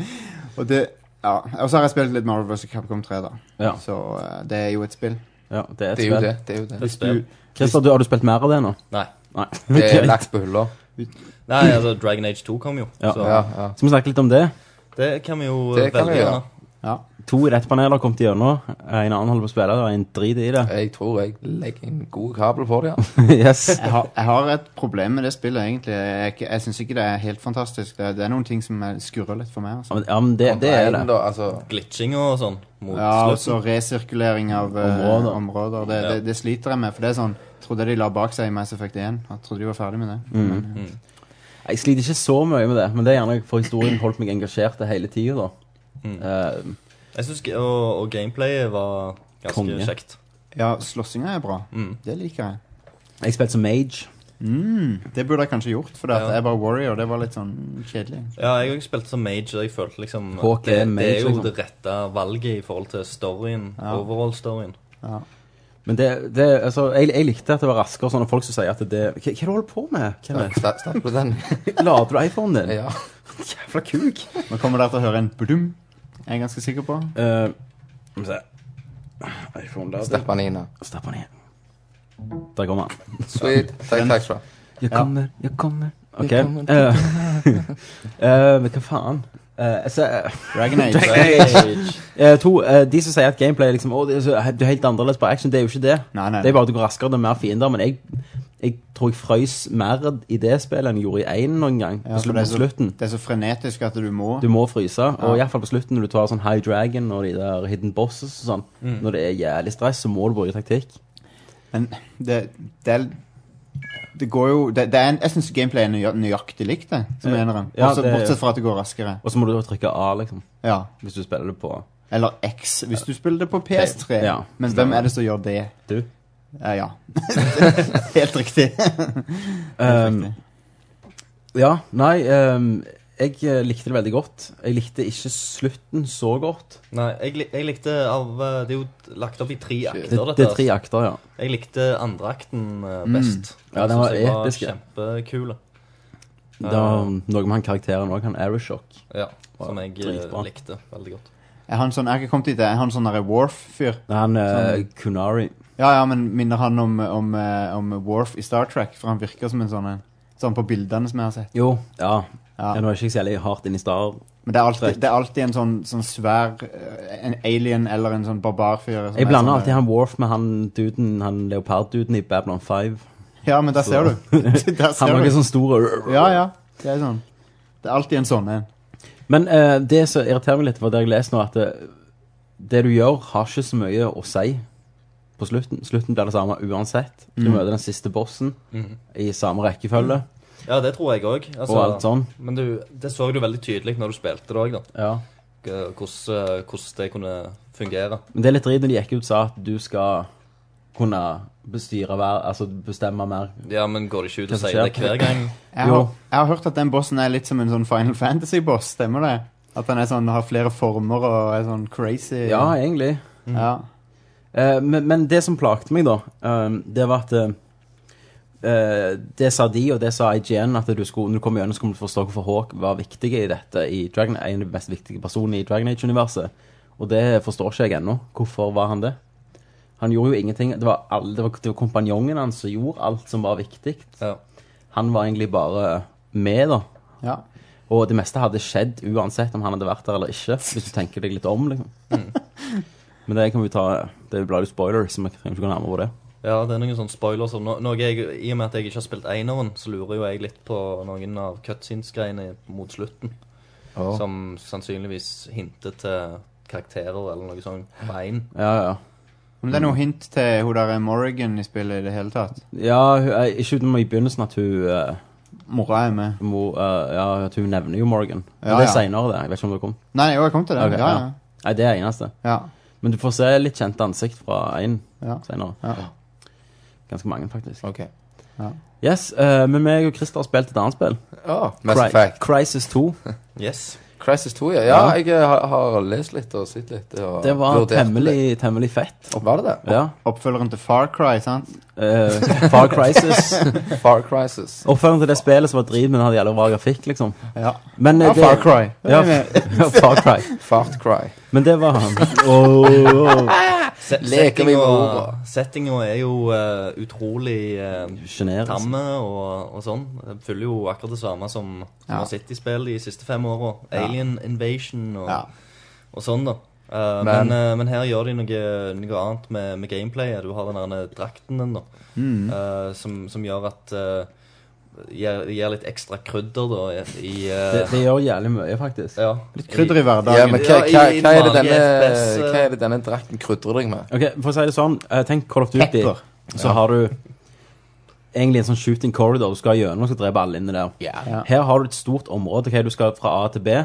Og det ja. Og så har jeg spilt litt Marvel vs. Capcom 3, da.
Ja.
Så eh, det er jo et spill.
Ja, det er et
Det er jo
spill.
det. det, er jo det.
Hvis du-
Christer, du, har du spilt mer av det nå?
Nei.
Nei.
Det er
Ok.
lagt på hylla.
Nei, altså, Dragon Age 2 kom jo.
Ja.
Så
Ja, ja.
Skal vi snakke litt om det?
det kan vi jo
Det kan
veldig
vi gjøre.
gjerne.
To rettpaneler har kommet gjennom. En annen holder på å spille, det er en drit i det.
Jeg tror jeg legger en god kabel på det. ja.
yes.
Jeg har, jeg har et problem med det spillet, egentlig. Jeg, er ikke- jeg syns ikke det er helt fantastisk. Det, det er noen ting som eh, skurrer litt for meg.
Ja,
Altså.
men- Ja, men det, det er
Regn
det.
Da, altså,
Glitching og sånn mot
Ja, og så
slutten.
resirkulering av eh,
Områder.
områder. Det, det, det sliter jeg med. For det er sånn Trodde de la bak seg i Mass Effect 1. Jeg trodde de var ferdig med det. Men,
Jeg sliter ikke så mye med det, men det er gjerne for historien holdt meg engasjert det hele tida, da.
Mm.
Eh,
Jeg synes, g- og, og gameplayet var ganske
Konge.
kjekt.
eh, ja, slåssinga er bra. Det liker jeg.
jeg spilte som mage.
Det burde jeg kanskje gjort, for
Ja.
jeg var warrior. Det var litt sånn kjedelig.
Ja, jeg også spilte som mage, og jeg følte liksom at
Hawk
det,
er mage,
det er jo
liksom.
det rette valget i forhold til storyen. Overall-storyen.
Men det, det altså, jeg, jeg likte at det var raskere sånne folk som sier at det Hva, hva er det du holder på med? Kenneth?
sta- Stapp på den.
Lader du iPhonen din?
Ja.
Jævla kuk.
Nå kommer dere til å høre en budum. Jeg er ganske sikker på.
Eh, Skal vi se iPhone-lader.
Stapp den inn. ja.
Stapp den i. Der kommer han.
Sweet. Takk, takk skal du ha.
Jeg kommer, jeg kommer. Ok.
kommer.
eh, eh, Men hva faen? Eh, så, eh,
Dragon Age.
eh, to, eh, de som sier at gameplay er liksom, «Å, det er så, du er helt annerledes på action, det er jo ikke det.
Nei, nei.
Det er bare at du går raskere, det er mer fiender. Men jeg, Jeg tror jeg frøys mer i det spillet enn jeg gjorde i én noen gang.
Ja,
på
for
slu-
det, er
på
så,
slutten.
det er så frenetisk at du må.
Du må fryse, og i hvert fall på slutten når du tar sånn High Dragon og de der Hidden Bosses og sånn,
Mm.
når det er jævlig stress, så må du bruke taktikk.
Men det, det er det går jo det, det er en, Jeg syns gameplay er nøya- nøyaktig likt, det, som eneren.
Eh, Ja,
Bortsett,
det er-
bortsett fra at det går raskere.
Og så må du trykke A, liksom,
Ja.
hvis du spiller det på
Eller X, hvis du spiller det på PS3.
Ja.
Men hvem er det som gjør det?
Du.
Eh, ja. Helt riktig.
Um, ja, nei, ehm, jeg eh, likte det veldig godt. Jeg likte ikke slutten så godt.
Nei, jeg, lik- jeg likte av eh, Det er jo lagt opp i tre
Det,
akter, dette.
det er tre
altså.
akter, ja.
Jeg likte andre akten eh, best.
Ja, den
synes
var
jeg
episk, ja.
Kjempekul.
Det var noe med han karakteren òg, han Aeroshock.
Ja, som jeg eh,
Dritbra.
likte veldig godt.
Er han sånn, jeg har ikke kommet dit, er han sånn der Worf-fyr?
Han eh,
Sånn.
Kunari.
Ja, ja, men minner han om, om, eh, om Worf i Star Trek? For han virker som en sånn en. Sånn på bildene som jeg har sett.
Jo, ja.
Ja.
ja. Nå er jeg ikke så jævlig hardt inne i Star.
Men det er alltid,
Trek.
det er alltid en sånn, sånn svær eh, En alien eller en sånn barbarfyr. som
Jeg
er
blander
sånn,
alltid han Worf med han duden, han leopardduden i Babylon 5.
Ja, men der ser du. der
Han
ser
var
du.
ikke sånn stor
Ja, ja. Det er sånn. Det er alltid en sånn en.
Men eh, det som irriterer meg litt, var det jeg leste nå, at det, det du gjør, har ikke så mye å si på slutten. Slutten blir det samme uansett. Du
Mm.
møter den siste bossen i samme rekkefølge
Ja, det tror jeg òg.
og alt sånn.
Men du, det så du veldig tydelig når du spilte det òg, da.
Ja.
Eh, Hvordan, eh, hvordan det kunne fungere.
Men det er litt dritt når de gikk ut og sa at du skal kunne bestyre hver, altså bestemme mer.
Ja, men går det ikke ut
Hva
og
som
sier det
skjer?
hver gang?
Jeg
Jo.
har, jeg har hørt at den bossen er litt som en sånn Final Fantasy-boss. Stemmer det? At han er sånn, har flere former og er sånn crazy. Mm.
Ja, egentlig.
ja.
Eh, men, men det som plagte meg, da, ehm, det var at eh, Det sa de, og det sa IGN, at du skulle, når du kom gjennom, så skulle du forstå hvorfor Hawk var viktig i dette. I Dragon, en av de mest viktige personene i Dragon Age-universet. Og det forstår ikke jeg ennå. Hvorfor var han det? Han gjorde jo ingenting. Det var, alle, det var, det var kompanjongen hans som gjorde alt som var viktig.
Ja.
Han var egentlig bare med, da.
ja.
Og det meste hadde skjedd uansett om han hadde vært der eller ikke. Hvis du tenker deg litt om, liksom.
Mm.
Men det kan vi ta Det blir jo spoiler, så vi trenger ikke gå nærmere på det.
Ja, det er noen sånne spoilers. og No noe jeg, I og med at jeg ikke har spilt eineren, så lurer jo jeg litt på noen av cutscenes-greiene mot slutten. Som sannsynligvis hinter til karakterer eller noe sånt på én.
Ja, ja.
Men det er noe hint til hun der Morrigan i spillet i det hele tatt.
ja hun, eh, ikke utenom i begynnelsen at hun eh,
Mora er med.
må, eh, Ja, at hun nevner jo Morgan. Men
Ja,
det
ja.
er senere det. Jeg vet ikke om det kom.
Nei, jo, jeg kom til det.
Ok,
ja,
ja. Nei, det er eneste.
ja.
Men du får se litt kjente ansikt fra én
Ja.
senere.
Ja.
Ganske mange, faktisk.
Ok.
Yes, eh, men meg og Christer har spilt et annet spill.
Ja, Ah, Mass
Cry-
Effect.
Crisis 2.
Yes.
Crisis 2, ja. Ja, jeg eh, har, har lest litt og sett litt. Og
Det var
vurdert
temmelig, temmelig fett.
litt. Var det det?
Ja.
Oppfølgeren til Far Cry, sant?
eh, Far Crisis.
Far Crisis.
Oppfølgeren til det spillet som var drit, men hadde jævla bra grafikk, liksom.
Ja.
Men, eh,
Ja,
det-
Far Cry.
Ja, ja, Far Cry.
Fart Cry.
Men det var han. Åh,
Se
Leker vi med
settinga-
ordet.
Settinga er jo eh, utrolig uh,
Sjenerende.
tamme og, og sånn. Det følger jo akkurat det samme som som
Ja.
har sittet i spill de siste fem åra.
Ja.
Alien Invasion og,
Ja.
og sånn, da. Eh, men,
Men-
eh, men her gjør de noe, noe annet med, med gameplayet. Du har den der drakten din, da, eh, som, som gjør at eh, Gir, gir litt ekstra krydder, da, i i, eh,
Det, det gjør jævlig mye, faktisk.
ja,
Litt krydder i
Ja,
hverdagen.
men hva, hva,
i- i
hva, er det
vanlig
denne,
FPS, eh.
hva er det denne drakten krydrer deg med?
Ok, For å si det sånn, eh, tenk Call of Duty.
Pepper.
Så har du egentlig en sånn shooting corridor. Du skal gjennom og skal drepe alle inni der.
Ja.
Her har du et stort område. ok, Du skal fra A til B.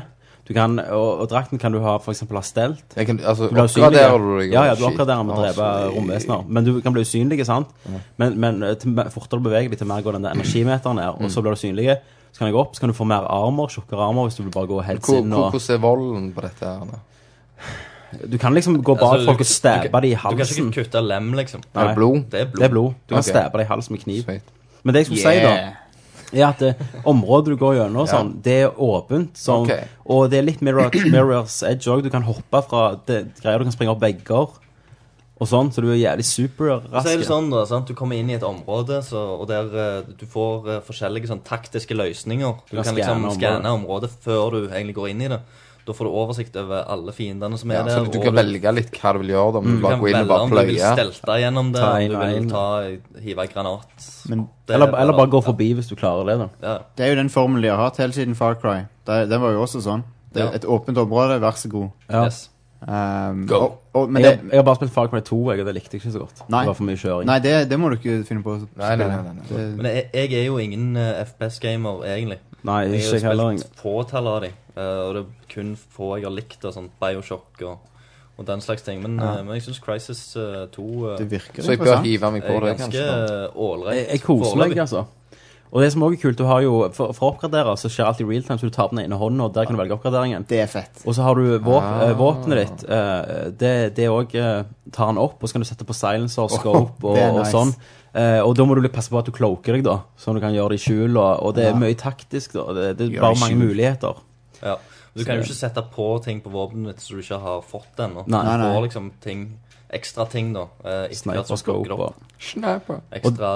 Du kan, og, og drakten kan du ha for eksempel ha stelt.
Jeg Kan, altså,
Du blir usynlig.
oppgraderer du deg?
Ja, ja,
og
du
shit.
oppgraderer med å drepe
Altså,
romvesener. Men du kan bli usynlig, sant? Men, men eh, til mer- fortere du beveger deg, til mer går den der energimeteren ned,
Mm.
og så blir du synlig. Så kan jeg gå opp, så kan du få mer armer, tjukkere armer, hvis du vil bare gå helt
Hvor,
inn
hvor,
og
hvordan er volden på dette her? da?
Du kan liksom gå bak
altså, du-
folk og
du
stabbe
kan-
dem i
Du kan
halsen.
ikke kutte lem, liksom.
Nei.
Er det blod?
Det er blod.
Det er blod. Du kan
Ok.
stabbe dem i halsen med kniv.
Sweet.
Men det jeg skulle si, da, er at eh, området du går gjennom, og sånn, det er åpent. Sånn,
Ok.
Og det er litt mirror, Mirror's Edge òg. Du kan hoppe fra det, greier, du kan springe opp vegger og sånn, så du er jævlig
Så er
superrask.
det sånn da, sant? Du kommer inn i et område, så, og der eh, du får eh, forskjellige sånn, taktiske løsninger. Du
Ja,
kan liksom
skanne området.
skanne området før du egentlig går inn i det. Da får du oversikt over alle fiendene som er
Ja,
der.
så du
og
kan velge litt hva du vil gjøre. da, Om du
Mm. du
bare
kan
går inn og
velge
bare
om du vil
pløye.
stelte gjennom det,
Ta
om
en
du
og en.
vil ta, hive en granat.
Men-
Det er
Eller, eller bare gå forbi hvis du klarer det, da.
Ja,
Det er jo den formelen de har hatt helt siden Far Cry. Det, den var jo også sånn. Det
Ja.
er Et åpent område, vær så god.
Ja.
Yes.
Um,
Go.
Og, og, men
Jeg,
det,
har- jeg har bare spilt Far Cry 2, jeg, og det likte jeg ikke så godt.
Nei.
Det var for mye kjøring.
nei, det, det må du ikke finne på å
Nei, nei, nei, nei, nei.
spille. Det-
Men jeg, jeg er jo ingen eh, FPS-gamer, egentlig.
Nei,
Jeg
ikke jeg
har
heller.
jo spilt fåtall av de, eh, og det er kun få jeg har likt, og sånn Bioshock og, og den slags ting. Men, eh, men jeg syns Crisis eh, 2 eh,
Det virker
Så jeg bør
interessant.
hive meg på
er
det,
ganske
kanskje. da.
eh, ålreit.
Jeg, jeg koser meg,
foreløpig.
altså. Og det som også er kult, du har jo For, for å oppgradere så skjer alltid realtime, så du tar på den ene hånden, og der kan du velge oppgraderingen.
Det er fett.
Og så har du våp, eh, våpenet ditt. eh, det det òg tar han opp, og så kan du sette på silencer, scope og,
det er
og
nice.
sånn. Eh, og da må du litt passe på at du cloaker deg, da, sånn du kan gjøre det i skjul. Og, og det er
Ja.
mye taktisk. da Det, det
Gjør
er bare
det i
mange
skjul.
muligheter.
Ja. Du kan jo ikke sette på ting på våpenet ditt som du ikke har fått ennå.
Nei.
Nei,
Du
nei.
får liksom ting, ekstra ting, da. eh, etter hvert
Sniper,
som du plukker
scope og
opp
Sniper.
Ekstra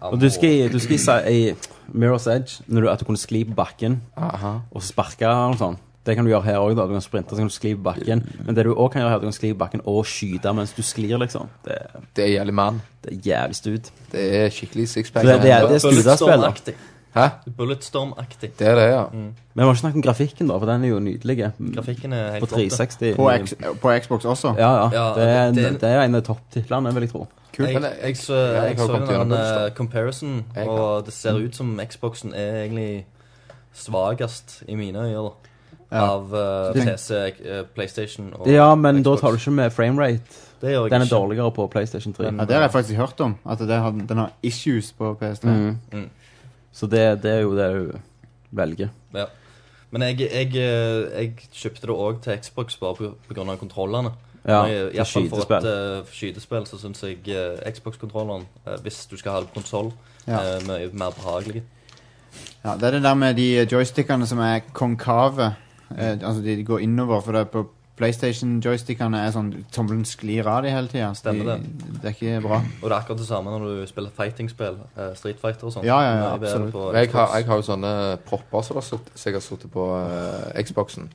ammo.
Og du skal, i- du skal i, si- i Mirror's Edge når du, at du kunne skli på bakken
Aha.
og sparke og sånn. Det kan du gjøre her òg. Du kan sprinte så kan du skli på bakken. Men det du òg kan gjøre her, er at du kan skli på bakken og skyte mens du sklir, liksom. Det,
Det er jævlig mann.
det er jævlig stut.
Det er skikkelig sixpack.
Så det, det, er- det er skudespill, da.
Bulletstorm-aktig.
Hæ?
Bulletstorm-aktig.
Det er det, ja.
Men vi har ikke snakket om grafikken, da, for den er jo nydelig.
Grafikken er
På
helt topp,
360.
det.
På, X, på Xbox også.
Ja, ja.
Ja,
Det er, en,
det er en-
det er en av topptitlene, vil jeg tro.
Men
Jeg,
jeg-
jeg, så,
ja, jeg har
jeg så
kommet
jo
gjennom
den
Bulletstorm.
eh, comparison,
Jeg
og det ser ut som Xboxen er egentlig svakest i mine øyne da, av eh,
tenk-
PC, eh, PlayStation og
Ja, men da
Xbox.
tar du ikke med framerate.
Det gjør jeg
Den er
ikke.
dårligere på PlayStation 3.
Ja, Det har jeg faktisk hørt om. At det har, den har issues på PS3.
Mm.
Så det, det er jo det du velger.
Ja. Men jeg, jeg, eh, jeg kjøpte det òg til Xbox bare på, på grunn av kontrollene.
Ja,
Men jeg-
for
i hvert fall For et
skytespill.
eh, for skytespill så syns jeg eh, Xbox-kontrolleren, eh, hvis du skal ha det på konsoll, eh,
Ja.
er mye mer behagelig.
Ja, det er det der med de joystickene som er konkave. Eh, altså de går innover, for det er på PlayStation-joystickene er sånn Tommelen sklir av de hele tida. så
Stemmer
de- Det er ikke bra.
Og det er akkurat det samme når du spiller fighting-spill. eh, Street Fighter og sånn.
Ja, ja, ja,
Mye bedre
absolutt.
på
Men jeg har,
Xbox.
jeg har jo sånne propper som det har sutt- som jeg har sittet på eh, Xboxen.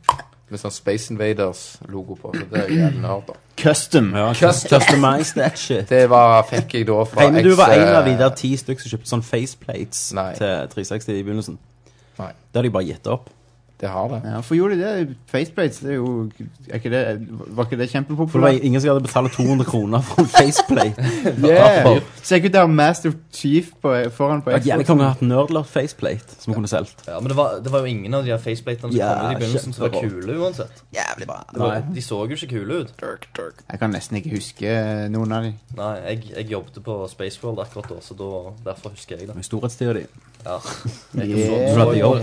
Med sånn Space Invaders-logo på. Så det er jævlig nerd, da.
Custom!
Customize that shit.
Det var, fikk jeg da fra
Regner du var
eh,
en av de der ti stykker som kjøpte sånn faceplates
Nei.
til 360 i begynnelsen?
Nei.
Det har de bare gitt opp.
Det har det.
Ja, for gjorde de det? Faceplates, det er jo er ikke det, Var ikke det
For det
kjempepopulært?
var ingen som hadde betalt 200 kroner for en faceplate.
Yeah. Sjekk ut der Master Chief på, foran på
Jeg
Xbox.
kunne ha hatt nerdlert faceplate som vi kunne solgt.
Ja, men det var, det var jo ingen av de her faceplatene som
Ja,
kom ut i begynnelsen som var
kjemperått.
kule uansett.
Jævlig bra.
Det var, de så jo ikke kule ut.
Jeg kan nesten ikke huske eh, noen av de.
Nei, jeg, jeg jobbet på Spaceworld akkurat da, så da, derfor husker jeg det.
Storhetstida di.
Ja. Jeg,
Yeah.
og
Du hadde
så,
jobb.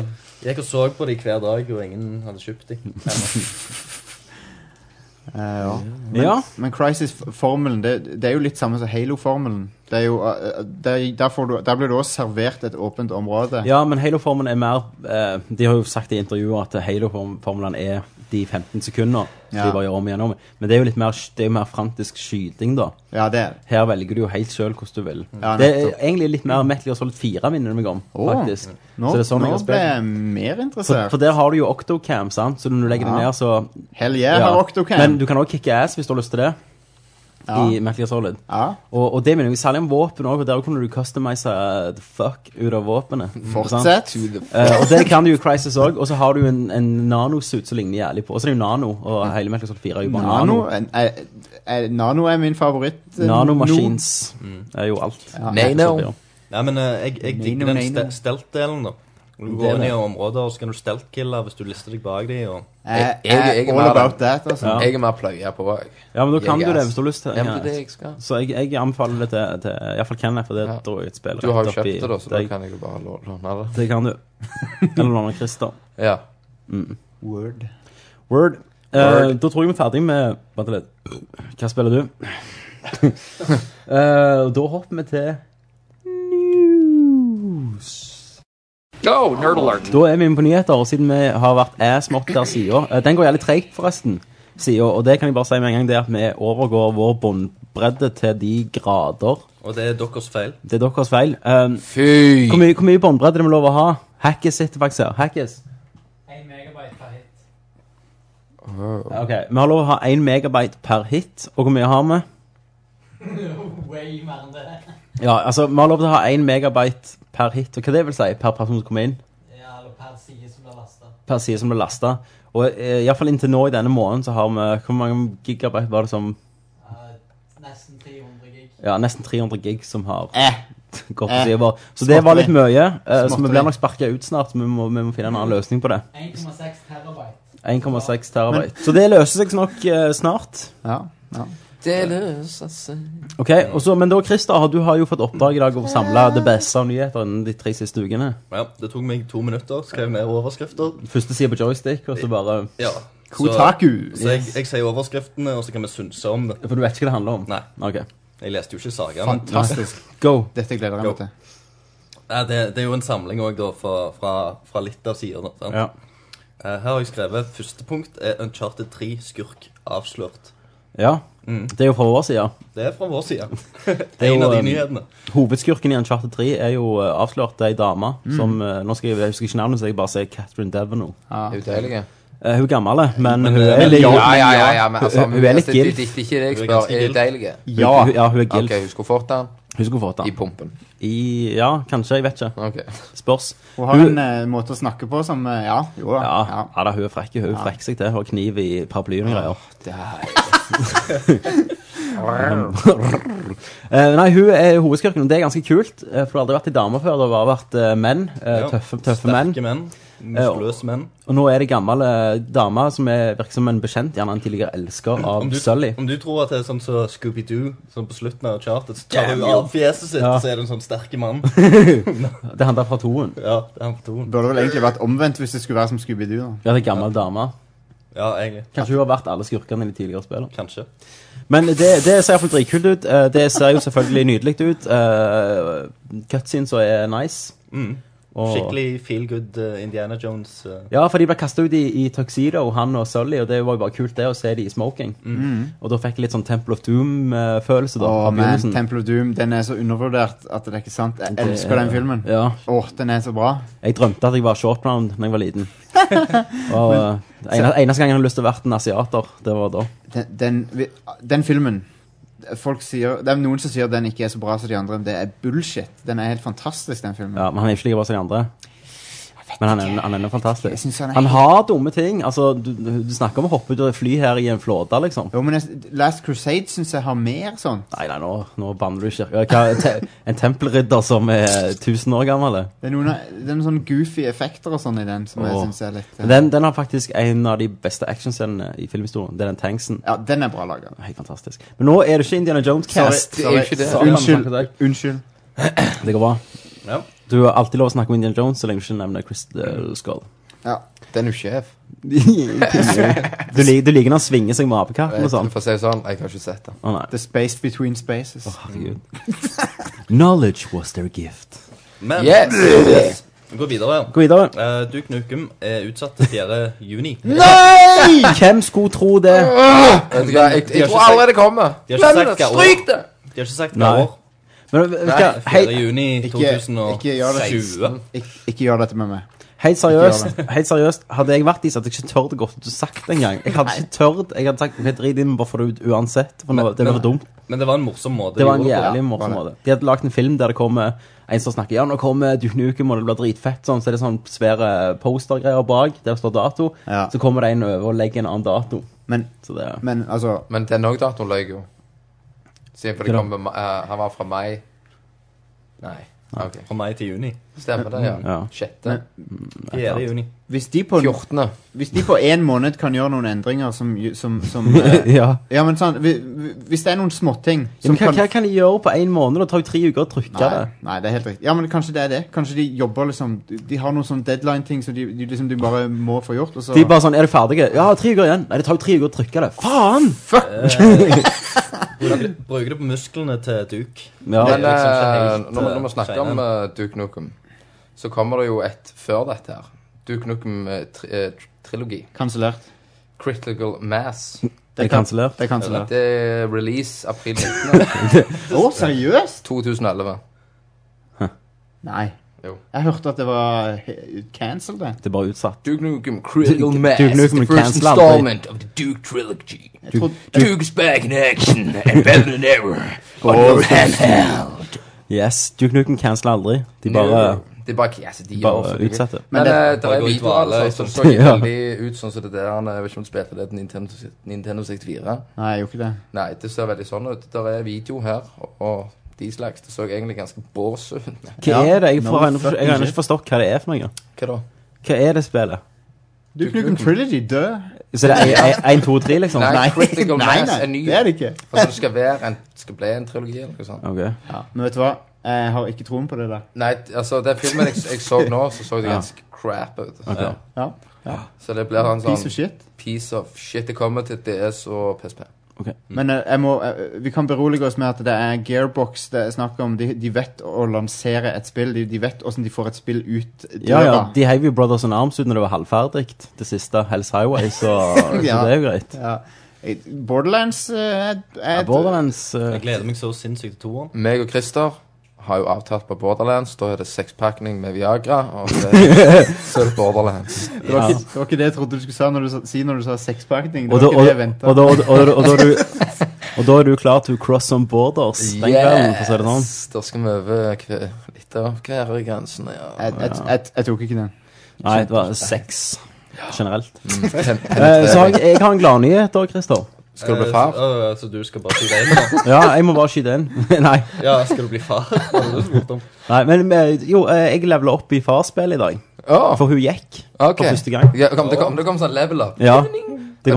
jeg gikk og så på de hver dag, og ingen hadde kjøpt de.
Eh, ja.
Ja.
Men Crisis-formelen, det, det er jo litt samme som Halo-formelen. Det er jo, eh, eh, det- Der, får du- der blir du også servert et åpent område.
ja, men Halo-formelen er mer eh, De har jo sagt i intervjuer at Halo-formelen er de 15 sekundene. Så
Ja.
de bare gjør om igjen om. Men det er jo litt mer, det er jo mer frantisk skyting, da.
Ja, det er det.
Her velger du jo helt sjøl hvordan du vil.
Mm. Ja,
det er
nettopp.
egentlig litt mer Metal Gear Solid 4, minner det meg om.
Åh.
faktisk.
Nå,
Så det er sånn jeg
nå
har
ble
spilt.
jeg mer
For,
interessert.
for der har du jo Octocam, sant? så når du legger det
Ja.
ned, så
Hell yeah,
Ja.
har Octocam.
Men du kan også kicke ass hvis du har lyst til det.
Ja.
I Metal Gear Solid.
Ja.
Og, og det mener jeg særlig om våpen òg, og der kunne du customize uh, the fuck ut av våpenet. sant?
Mm. Fortsett.
Eh, og det kan du jo i Crisis òg. Og så har du en, en nanosuit som ligner jævlig på. Og så er det jo Nano, og hele Metal Gear Solid 4 er jo bare Nano.
Mm. Nano, en- eh, eh, nano er min favoritt. eh,
Nanomaskins er jo alt.
Mm. Ja.
Metal Gear Solid 4.
Nei, men eh, jeg, jeg
Nino,
digger den
Nino.
ste- stelt-delen, da. Du
Det er
går inn i
det.
områder, og så kan du stelt-kille hvis du lister deg bak de, og
nå. Eh,
Jeg- jeg- jeg er
eh, all
med
about that, altså.
Ja.
Jeg er mer pløye på jeg.
Ja, men da kan
Jeg
du
er
det
ass.
hvis du har lyst til
Ja, men det er det
Ja.
jeg skal.
Så jeg, jeg anbefaler det til, til iallfall Kenneth, for det
Ja.
tror jeg er et spill
Du har jo
rett opp
kjøpt
i
det, da, så da
deg.
kan jeg jo bare lå- låne det.
Det kan du. Eller noen av Christer.
Ja.
Word.
Word. Eh,
Word.
da tror jeg vi er ferdig med Vent litt. Hva spiller du? Eh, og da hopper vi til
Go, Oh, nerd alert.
Da er vi inne på nyheter, og siden vi har vært ass-mott der sida eh, Den går jævlig treigt, forresten. Siden, og det kan jeg bare si med en gang, det er at vi overgår vår båndbredde til de grader.
Og det er deres feil.
Det er deres feil. Eh,
Fy!
hvor, mye, hvor mye båndbredde er det vi lov å ha? Hackis sitter faktisk her. Hackis. Ok, Vi har lov å ha 1 megabyte per hit. Og hvor mye har vi?
Way mer enn det.
Ja, altså, Vi har lov til å ha 1 megabyte per hit. Og hva det vil si? Per person som kommer inn?
Ja, eller per side som blir lasta.
Per side som blir lasta. Og eh, iallfall inntil nå i denne måneden så har vi Hvor mange gigabyte var det som
nesten 300 gig.
Ja, nesten 300 gig som har
Eh,
gått på
Eh,
siden vår. Så det var litt mye. eh, så vi
Småtteri.
blir nok sparka ut snart. Vi må, vi må finne en annen løsning på det.
1,6 terabyte.
1,6 terabyte. Så det løser seg nok eh, snart.
ja, ja.
Det løser seg
Ok, og så- Men da, Christer, har- du har jo fått oppdrag i dag å samle det beste av nyheter innen de tre siste ukene.
Ja, det tok meg to minutter, skrev ned overskrifter.
Første side på joystick, og så bare
Ja.
Kotaku.
Så jeg, jeg sier overskriftene, og så kan vi synse om det.
For du vet ikke hva det handler om?
Nei,
Ok,
jeg leste jo ikke sagaen.
Fantastisk.
go.
Dette gleder jeg
Jo.
meg til.
Nei, det, det er jo en samling òg, da, fra, fra, fra litt av sidene. sant?
Ja.
Eh, Her har jeg skrevet første punkt er Uncharted 3 skurk avslørt.
ja. Det er jo fra vår side.
Det er fra vår side.
er
Det er en
jo,
av de
um,
nyhetene.
Hovedskurken i Uncharted 3 er jo eh, avslørt ei dame som eh, Nå skal jeg, jeg husker ikke navnet, så jeg bare sier Catherine Deveno.
Er du deilig?
Eh, hun er gammel, men,
Men,
hun
eh,
er
men
litt
Ja, ja, ja, ja, men altså
Hun- hun er litt
det- det-
gild.
Det det er ikke det jeg
Hun er
spør.
ganske
Er du
gild.
deilig?
Ja, hun, ja, hun er gild.
Ok, hun skulle fått den
Hun skulle fått
i
den.
pumpen.
I, ja, kanskje. Jeg vet ikke.
Ok.
Spørs.
Hun har en eh, måte å snakke på som eh, Ja, jo da.
Ja,
Ja.
ja da, hun er frekk. Hun frekker seg til. Hun har kniv i paraplyen og greier.
Det er
Eh, nei, hun er hovedskurken, og det er ganske kult. eh, for det har aldri vært ei dame før. Det har bare vært eh, menn. eh,
Ja,
Tøffe, tøffe menn. Eh,
Sterke menn. Muskuløse menn.
Og nå er det gammel eh, dame som er, virker som en bekjent, gjerne en tidligere elsker av
Om du,
Sully.
om du tror at det er sånn som Scooby-Doo, som på slutten av Uncharted, så tar du av fjeset sitt,
Ja.
så er du en sånn sterke mann.
Det er han der fra toen.
Ja, det er han på toen.
Burde vel egentlig vært omvendt hvis det skulle være som Scooby-Doo. da.
Ja, det er gammel dame.
Ja, egentlig.
Kanskje hun har vært alle skurkene i de tidligere spillene.
Kanskje.
Men det, det ser iallfall dritkult ut. Eh, Det ser jo selvfølgelig nydelig ut. Uh, Cutscenes og er nice.
Mm.
Og,
Skikkelig feel good eh, Indiana Jones. eh.
Ja, for de ble kasta ut i, i tuxedo, han og Sully, og det var jo bare kult det å se de i smoking. Og da fikk jeg litt sånn Temple of Doom-følelse, da.
Åh,
av
man,
begynnelsen.
Temple of Doom, den er så undervurdert at det er ikke sant. Jeg elsker den filmen.
Ja.
Åh, den er så bra.
Jeg drømte at jeg var short round da jeg var liten. Og eh, ene- Eneste gang jeg hadde lyst til å være en asiater, det var da.
Den, den, vi- den filmen Folk sier, Det er noen som sier den ikke er så bra som de andre. men Det er bullshit. Den er helt fantastisk, den filmen.
Ja, men han er ikke like bra som de andre. Men han er, han er noe
Jeg
fantastisk.
synes han er
Han
helt-
har dumme ting. Altså, du, du du snakker om å hoppe ut av et fly her i en flåte, liksom.
Jo, men jeg, Last Crusade syns jeg har mer sånn.
Nei, nei, nå, nå banner du ikke. Ja, Hva, te, en tempelridder som er 1000 år gammel. det.
Det er noen, det er noen sånne goofy effekter og sånn i den som jeg
Åh.
syns er litt eh,
Men Den, den har faktisk en av de beste actionscenene i filmhistorien. Det er den tanksen.
Ja, den er bra laga.
Helt fantastisk. Men nå er det ikke Indiana Jones-cast.
Det er jo ikke det.
Sorry.
Unnskyld.
Takk, takk.
Unnskyld.
Det går bra.
Ja. Mm.
Du har alltid lov å snakke om Indiana Jones så lenge du ikke nevner Crystal Skull.
Ja.
Den er jo sjef.
Du, lik- du liker når han svinger seg med apekatten og sånn.
For å si det sånn, jeg har ikke sett den.
Å nei.
The Space Between Spaces.
Herregud. Knowledge was their gift.
Men
Yes!
yes. vi går videre.
Gå videre.
Uh, Duke Nukem er utsatt til 4. juni.
Hvem skulle tro det?
Vet du hva, jeg,
De har
jeg tror
ikke
aldri det kommer.
de har ikke
Glem
sagt
det,
hva år.
Stryk det!
De har ikke sagt hva
Nei.
år.
Men, vet du
Nei,
hva,
4.
helt,
juni
Ikke-
2020.
ikke gjør det. Ik ikke gjør dette med meg.
helt,
Ikke
seriøst, helt seriøst, hadde jeg vært i, så hadde jeg ikke tørt å gå ut og sagt det engang. Jeg hadde ikke tørt. Jeg hadde sagt ok, drit i det, men bare få det ut uansett. For nå, det blir for dumt.
Men det var en morsom måte
Det var en
de gjorde det på.
jævlig morsom måte. De hadde lagd en film der det kommer en som snakker Ja, nå kommer Duke Nukem, og det blir dritfett. Sånn, så er det sånn svære postergreier bak. Der står dato.
Ja.
Så kommer det en over og legger en annen dato.
Men,
Så det er
men altså
Men den òg datoen løy jo. Siden for det kom med, ma- eh, han var fra mai Nei. Ok.
Fra mai til juni.
Stemmer det, ja.
Ja.
Sjette.
4. juni.
Hvis de på,
14.
hvis de på en måned kan gjøre noen endringer som, ju- som, som eh,
Ja.
Ja, men sånn vi- vi- Hvis det er noen småting
Men
som
hva,
kan
hva kan de gjøre på én måned? Det tar jo tre uker å trykke
nei,
det.
nei, det er helt riktig. Ja, men kanskje det er det. Kanskje de jobber liksom De, de har noen sånn deadline-ting som de, de liksom de bare må få gjort. Og så
De er bare sånn Er du ferdige? Ja, tre uker igjen. Nei, det tar jo tre uker å trykke det. Faen!
Bruker det- Eh, Bruker det på musklene til Duke.
Ja,
Det er
Men
liksom ikke
eh,
helt,
når vi-
eh,
når vi snakker
Steinar.
om eh, Duke Nukem, så kommer det jo et før dette her. Duke eh, Nukem-trilogi.
Kansellert.
Critical Mass.
det er kansellert.
Det er kansellert.
Det er release eh, april 19.
Å, seriøst?
2011.
Nei.
Jo.
Jeg hørte at det var cancelled, det.
Det er bare utsatt.
Duke Nukem Critical
Duke
Mass,
Nukem
the first
cancel aldri.
installment of the Duke trilogy.
Jeg trodde,
Duke's back in action, and better than ever. On your handheld.
Yes, Duke Nukem canceler aldri. De bare,
Det er bare ikke, altså, de
bare
gjør selvfølgelig.
utsetter.
Men,
Men det-
eh, det
Bare
er
gå i
videoer
dvale,
altså, som
liksom.
så
Ja.
veldig ut sånn som det der eh, Jeg vet ikke om du spilte det til Nintendo, Nintendo 64.
nei, jeg gjorde ikke det.
Nei, det ser veldig sånn ut. Der er video her, og, og de slags. Det så egentlig ganske bås ut.
Hva
Ja.
er det? Jeg, får,
No
jeg, har- jeg har
fucking
ikke forstått hva det er for noe.
Hva da?
Hva er det spillet?
Duke Nukem Trilogy død?
Så det er 1, 2, 3, liksom?
Nei. Critical
nei,
Mass
nei,
er ny.
det er det ikke.
Altså, det skal være en, skal bli en trilogi eller noe sånt.
Ok.
Men vet du hva? Jeg har ikke troen på det der.
Nei, t- altså, den filmen jeg, jeg så nå, så så det ganske crap ut.
Ok.
Ja,
Altså, Så det blir en sånn
Piece of shit.
piece of shit. Det kommer til DS og PSP. Mm.
Men eh, jeg må, eh, vi kan berolige oss med at det er Gearbox det er snakk om. De, de vet å lansere et spill. De, de vet åssen de får et spill ut døra.
Ja, ja, de heiv jo Brothers in Arms ut når det var halvferdig. Det siste, Hells Highway, så,
Ja.
så det er jo greit.
Ja. Eh, Borderlands eh, er et- er
Ja,
et-
Borderlands eh,
Jeg gleder meg så sinnssykt til toeren.
Meg og Christer har jo avtalt på Borderlands. Da er det sekspakning med Viagra, og det, så er det Borderlands.
Det var, ikke, det var ikke det jeg trodde du skulle sa når du sa, si når du sa sekspakning. Det
Og
var
da,
ikke
og,
det jeg ventet.
og, da, og, da- og, da er du, og da er du klar til å cross some borders den kvelden, for å si det sånn.
Yes! Da skal vi over kve- litt av hver i grensene,
Eh,
ja.
jeg, jeg, jeg, jeg tok ikke den.
Nei, det var sex generelt.
Mm. Pen-
Eh, så har
penetrering.
jeg, jeg har en gladnyhet da, Christer.
Skal du bli
Eh,
far?
Så, øh, så du skal bare si deg nå?
Ja, jeg må bare skyte inn. Nei,
Ja, skal du bli far? Det var det du spurte om.
nei, men eh, jo, eh, jeg levela opp i farsspill i dag.
Åh,
For hun gikk
ok.
for første gang.
Ja, kom, det, kom, det kom sånn level up.
Ja. Det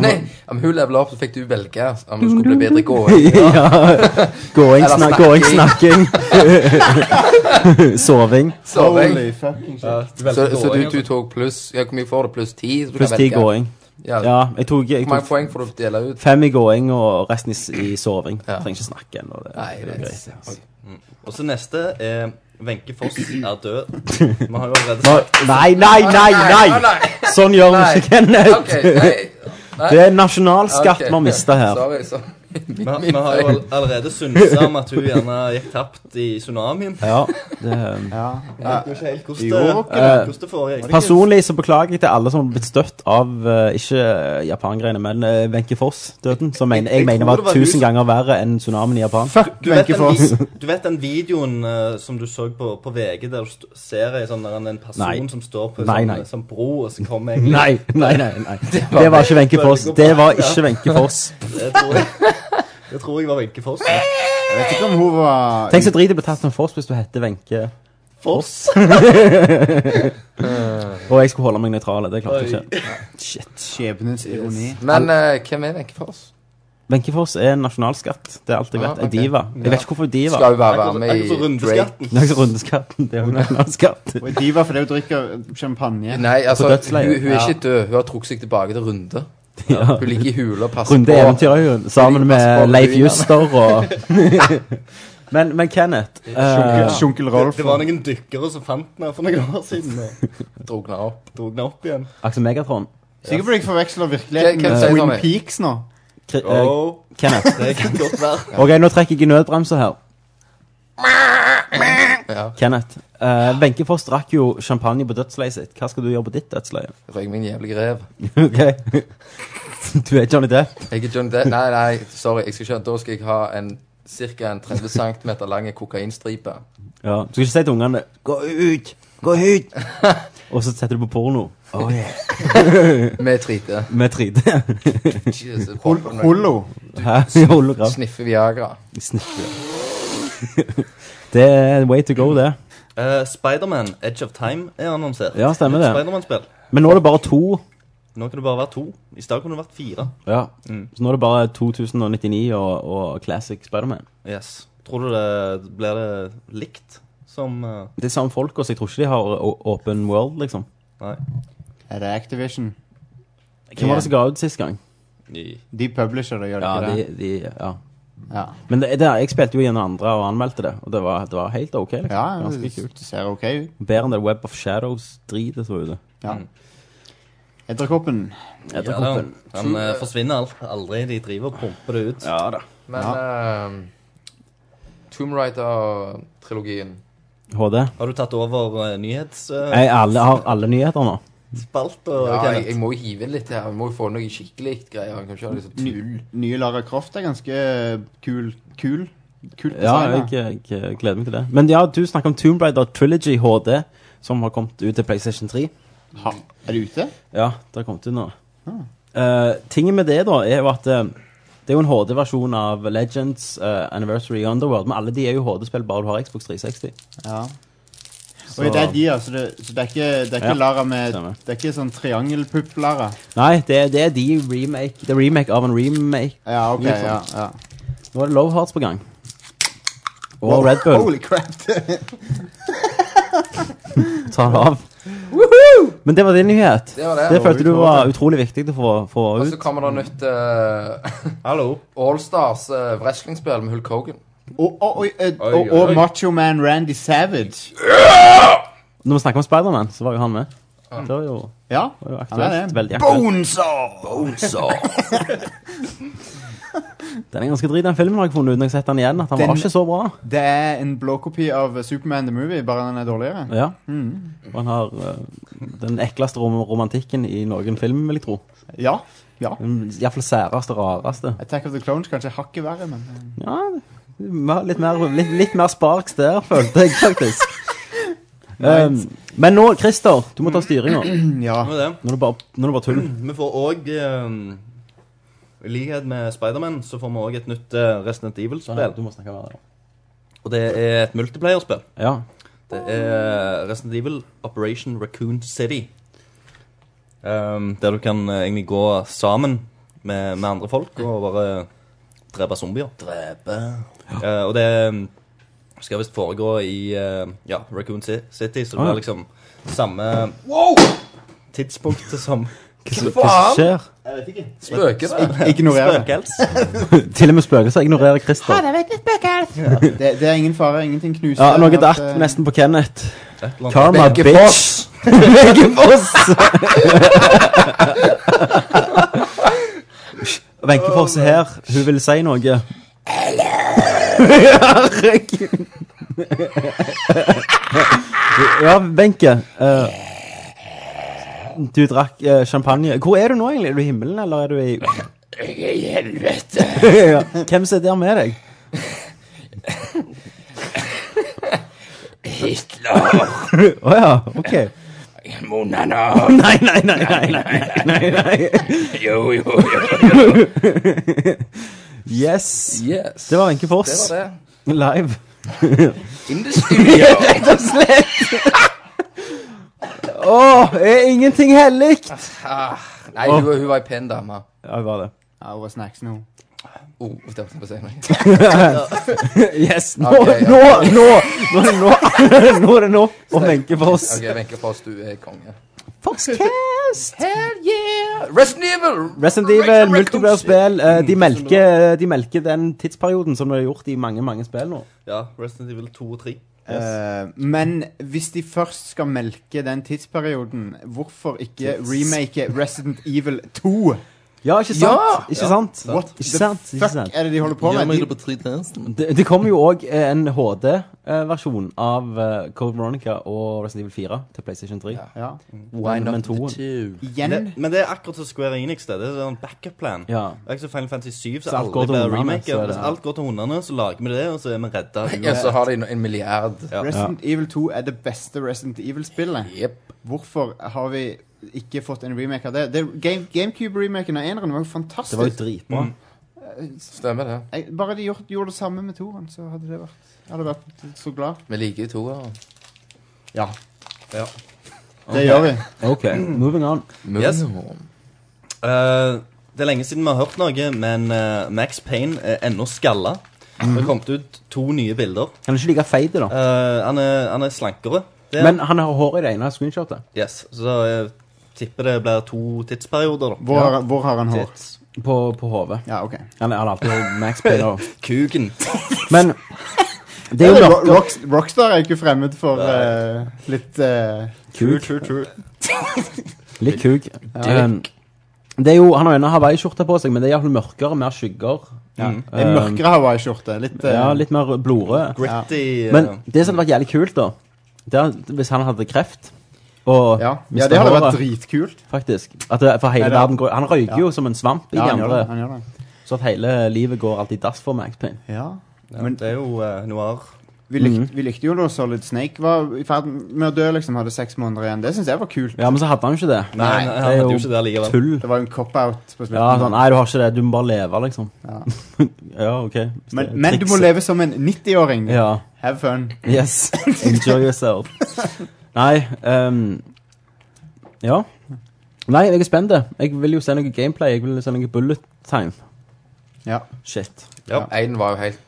Nei,
kommer,
om hun leveler opp, så fikk du velge om du skulle bli bedre i gåing.
ja. Gåing,
Eller
snak, gåing, snakking. Soving.
Så,
Holy fucking shit.
Ja,
så, så du,
altså.
du tok pluss ja, Hvor mye får du? Pluss ti? så du kan
Pluss ti
velge.
gåing.
Ja.
Ja, jeg tok, jeg
Hvor mange
tok
poeng får du dele ut?
fem i gåing og resten i, s- i soving.
Ja.
Trenger ikke snakke ennå. det-
Nei,
det er
det-
greit.
Oi.
Og så neste er Wenche Foss er død. Vi har jo allerede
Nå- Nei, nei, nei!
Å,
nei Sånn gjør vi ikke, Kenneth.
Ok, nei. Nei.
Det er nasjonalskatt
Ok.
vi har mista her.
Sorry, sorry.
vi, har- vi har jo all- allerede synsa om at hun gjerne gikk tapt i tsunamien.
Ja, det, um,
Ja.
Jeg vet jo ikke helt hvordan
Jo,
det-
ok.
hvordan det foregikk.
personlig så beklager jeg til alle som har blitt støtt av eh, ikke eh, japangreiene, men eh, Wenche Foss-døden. Som mener, jeg
Jeg
mener var
tror det var
tusen
hun-
ganger verre enn tsunamien i Japan.
Fuck
Du vet,
Wenche
den,
Foss.
vi- du vet den videoen eh, som du så på, på VG, der du st ser ei sånn, der en- en person
Nei.
som står på en
Nei,
sånn,
nei.
sånn bro, og så kommer egentlig
Nei, nei, nei. nei Det var ikke Wenche Foss. Det var ikke Wenche Foss.
Det tror jeg, det tror jeg var Wenche Foss.
Jeg vet ikke om hun var
Tenk så drit det blir tatt som Foss hvis du heter Wenche.
Foss?
Og jeg skulle holde meg nøytral. Det klarte jeg ikke.
Skjebnens ironi.
Men eh, hvem er Wenche Foss?
Wenche Foss er en nasjonalskatt. Det er alt jeg vet.
Ah, ok.
En diva. Jeg vet ikke hvorfor diva.
Skal hun bare være
Akkurat
med
akkurat som
i Drake?
rundeskatten.
Det er ikke rundeskatten. Det er jo en nasjonalskatt.
Og diva fordi hun drikker champagne.
Nei, altså, hun,
dødsleiet.
hun er ikke død. Hun har trukket seg tilbake til Runde.
Ja.
Hun ligger i hule og passer
Runde eventyrhund sammen med
Passer på
Leif
ruinene.
Juster og men, men Kenneth eh,
Sjunkel- Sjunkel
Det,
Rolf.
det var noen dykkere som fant den her for noen år siden og
drukna opp.
dro den opp igjen.
Aksel Megatron
Sikkert fordi jeg forveksler virkeligheten
Hvem- hvem sier Tommy?
med Twin Peaks nå.
Kri- eh,
Oh,
Kenneth.
det kan godt være.
Ok, nå trekker jeg i nødbremsa her.
Ja.
Kenneth. eh, Wenche Foss drakk jo champagne på dødsleiet sitt. Hva skal du gjøre på ditt dødsleie?
Røyk min jævlige rev.
ok Du er Johnny Depp.
Jeg er Johnny Depp. Nei, nei, sorry. Jeg skal ikke, da skal jeg ha en ca. en 30 cm lang kokainstripe.
Ja. Du skal ikke si til ungene 'Gå ut! Gå ut!' Og så setter du på porno. Oh, yeah.
Med trite.
Med 3D.
Jesus,
Hollo.
Hæ? Hologram.
Sniffe Viagra.
Sniffer. det er en way to go, det.
Uh, Spiderman Edge of Time er annonsert.
Ja, stemmer det.
Spiderman-spill.
Men nå er det bare to.
Nå kan det bare være to. I stedet kunne det vært fire.
Ja. Så nå er det bare 2099 og, og Classic Spiderman.
Yes. Tror du det blir det likt som eh,
Det er samme folk, så jeg tror ikke de har å- open world, liksom.
Nei.
Er det Activision?
Hvem var det som ga ut sist gang?
I-
De publisher det, gjør de
Ja,
ikke
de,
det?
de, ja.
Ja.
Men det, det, jeg spilte jo gjennom andre og anmeldte det, og det var, det var helt ok. liksom.
ja,
Ganske
det
kult.
ser ok ut.
Bedre enn det Web of Shadows-dritet, tror jeg det.
Ja. Edderkoppen.
Jeg
Ja,
tok
da.
opp en-
Den eh, forsvinner alt. aldri. De driver og pumper det ut.
Ja da.
Men eh, Tomb Raider-trilogien
HD.
Har du tatt over uh, nyhetsspalt?
Jeg alle, har alle nyheter nå.
og
Ja, jeg,
Kenneth?
jeg må jo hive inn litt her. Jeg må jo få noe skikkelig greier. Jeg kan ikke ha det så tull.
Nye Lara Croft er ganske eh, kul. kul. Kult
Ja,
design.
jeg, jeg, jeg gleder meg til det. Men ja, du snakker om Tomb Raider Trilogy HD, som har kommet ut til PlayStation 3.
Er det ute?
Ja, det har kommet ut nå.
Ah.
Eh, tingen med det, da, er jo at eh, det er jo en HD-versjon av Legends, eh, Anniversary Underworld, men alle de er jo HD-spill, bare du har Xbox 360.
Ja.
Så-
Og det er de, altså. Det, så det er ikke, det er ikke
Ja,
Lara med
stemmer.
Det er ikke sånn triangelpupp-Lara.
Nei, det, er- det er de remake, det er remake av en remake.
Ja, ok.
Litt
Ja,
sånn.
ja.
Nå er det Love Hearts på gang. Og Red Bull.
Holy crap!
Ta det av. Men det var din nyhet.
Det var det.
følte du var utrolig viktig å få, få
Og
Altså,
så
ut.
kommer det nytt uh,
Hallo?
Allstars uh, wrestlingspill med Hulk Hogan.
og, og, og, og,
Oi,
og,
oi.
Macho Man Randy Savage.
Når vi snakker om Spiderman, så var jo han med. Det var jo,
Ja,
var jo
han er
aktuelt.
det.
Veldig aktuelt.
Så
Den er ganske drit, den filmen har jeg funnet ut når jeg har sett den igjen, at han
Den-
var ikke så bra.
Det er en blåkopi av Superman the Movie, bare den er dårligere.
Ja. Mm. Og han har eh, den ekleste rom romantikken i noen film, vil jeg tro.
Ja. ja.
Den Iallfall særeste og rareste.
Attack of the Clones kanskje hakket verre, men eh,
Ja, mer- litt mer, litt, litt mer sparks der, følte jeg faktisk. Um, men nå, Christer, du må ta styringa.
ja.
Hva er det?
Nå er det bare, nå er det bare tull.
Vi får òg I likhet med Spiderman så får vi òg et nytt eh, Resident Evil-spill.
Du må snakke mer.
Og det er et multiplayer-spill.
Ja.
Det er eh, Resident Evil Operation Raccoon City. Ehm, der du kan eh, egentlig gå sammen med, med andre folk og bare drepe zombier. Drepe. og det mm, skal visst foregå i eh, ja, Raccoon Ci- City, så det
Ah, ja.
blir liksom samme tidspunktet som
Hva som hva som skjer?
spøker det.
Ignorer det.
Spøkels.
Til og med spøkelser ignorerer Christer.
det. Det er ingen fare. Ingenting knuser.
Ja, noe
At,
datt
eh,
nesten på Kenneth.
Et eller annet.
Karma,
Begge
bitch! Begge foss! Wenche Foss er her. Hun vil si noe. Herregud. Ja, Wenche. eh, du drakk eh, champagne. Hvor er du nå, egentlig? Er du i himmelen, eller er du i
Jeg er i helvete.
ja. Hvem sitter der med deg?
Hitler.
Å ja, OK.
Monana.
Nei, nei, nei, nei, nei, nei, nei.
Jo, jo, jo.
Yes.
Yes.
Det var Wenche
Det
Foss.
var det.
Live.
In the studio.
Rett og slett. Å, er ingenting hellig?
Ah, nei, hun, hun var ei pen dame.
Ja, det var det.
Ja, over snacks nå.
Oh, det var på scenen.
Yes, nå,
Ok, ja.
nå, nå, nå, er det nå, nå er det nå å menke for oss.
Ok, Wenche Foss, du er konge.
Foxcast!
Hell yeah! Resident Evil!
Resident Evil, multiplayer-spill, eh,
Mm.
de, melker- de melker den tidsperioden som de har gjort i mange, mange spill nå.
Ja, Resident Evil 2 og 3.
Eh, men hvis de først skal melke den tidsperioden, hvorfor ikke remake Resident Evil 2?
Ja, ikke
Ja!
sant? Ikke sant?
What
Ikke
the
sant? Ikke
fuck
sant?
er det de holder på med? De,
på 3000.
Det, det kommer jo òg en HD-versjon av eh, Code Veronica og Resident Evil 4 til PlayStation 3.
ja.
Why
Men
not the
toen.
two?
Igjen?
Det, men det er akkurat som Square Enix. Det, det er sånn backup-plan.
Ja.
Det er ikke som Final Fantasy 7, så,
Så alt
aldri
går til
blir
hundene,
remake.
så er det-
Hvis alt går til hundene, så lager vi det, og så er vi redda.
Ja, så har de en milliard.
Resident Evil 2 er det beste Resident Evil-spillet.
Jep.
Hvorfor har vi ikke fått en remake av det? det Game, GameCube-remaken av eneren var jo fantastisk.
Det var jo dritbra.
Stemmer det.
Jeg, bare de gjort, gjorde det samme med toeren, så hadde det vært Jeg hadde vært så glad.
Vi liker jo toeren.
Ja.
Ja.
Det gjør vi.
OK, moving on.
Yes. Eh, det er lenge siden vi har hørt noe, men eh, Max Payne er ennå skalla.
Mhm.
Det har kommet ut to nye bilder.
Han er ikke like feit, da.
Eh, han, er, han er slankere. Det er-
Men han har hår i det ene screenshotet.
yes, Så jeg tipper det blir to tidsperioder, da.
Hvor, har- hvor har han hår?
Tids.
På, på hodet.
Ja, OK.
Han han har alltid hatt Max Payne. og-
Kuken.
Men det er jo
Ro-
mørkt.
Rocks- Rockstar er ikke fremmed for eh, litt eh,
True, true, true.
Litt kuk. Um, det er jo, han har jo en hawaiiskjorte på seg, men det er iallfall mørkere, mer skygger.
ja.
Mm.
En mørkere hawaiiskjorte. Um, Litt, eh,
Ja, litt mer blodrød.
Gritty. eh,
Men det som hadde vært jævlig kult, da Det er, hvis han hadde kreft og
Ja, ja
mistet
det hadde
håret,
vært dritkult.
Faktisk. At det, for hele
Nei, det-
verden går Han røyker
Ja.
jo som en svamp i
Ja,
de
han gjør det.
andre.
Han gjør det.
Så at hele livet går alltid i dass for Max Payne.
Ja. Mm.
Ja,
Men-
det er jo eh, noir.
Vi, likte, vi likte jo da Solid Snake var i ferd med å dø, liksom. Hadde seks måneder igjen. Det syns jeg var kult.
Ja, men så hadde han jo ikke det.
Nei,
Nei,
han
det er
hadde
jo
jo ikke det likevel.
Tull.
Det var jo en cop-out på slutten.
Ja, sånn, Nei, du har ikke det. Du må bare leve, liksom.
Ja.
ja, OK. Hvis
men,
det er
men du må
triks.
leve som en 90-åring.
Ja.
Have fun.
Yes. Enjoy yourself. Nei ehm, Ja. Nei, jeg er spent. Jeg vil jo se noe gameplay. Jeg vil se noe bullet time.
Ja.
Shit.
Ja.
Én var jo helt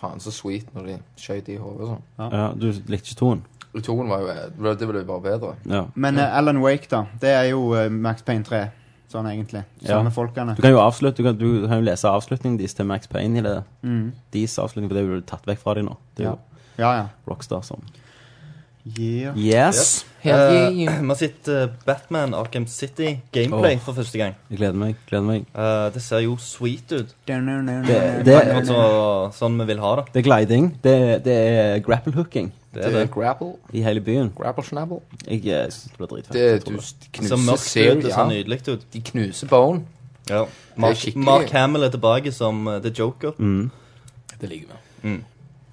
faen så sweet når de skjøt i hodet og sånn.
Ja, du likte ikke toen?
Og Toen var jo eh, Det ble jo bare bedre.
Ja.
Men eh, Alan Wake, da. Det er jo eh, Max Payne 3, sånn egentlig.
Ja.
Samme folkene.
Du kan jo avslutte, du kan, du kan jo lese avslutningen deres til Max Payne i det. Deres avslutning, for det er jo tatt vekk fra dem nå. Det er jo
Mm. Ja, ja.
Rockstar som
Yeah.
Yes!
Eh, Vi har sett eh, Batman Arkham City gameplay
Åh.
for første gang.
Jeg gleder meg. gleder meg
Eh, det ser jo sweet ut.
Det,
Det,
det,
Akkurat så, sånn vi vil ha det.
det er gliding. Det, det er grapple hooking
Det
Det
er
er
det.
grapple.
i hele byen.
Grapple snabble.
Jeg, eh, synes det blir dritfett.
Det er
jeg
du
tror det.
Det ser
knuser
mørkt ut.
serier.
Det ser nydelig ut.
De knuser bone.
Ja. Mark,
skikkelig-
Mark Hamill er tilbake som eh, The Joker.
Mm.
Det liker vi.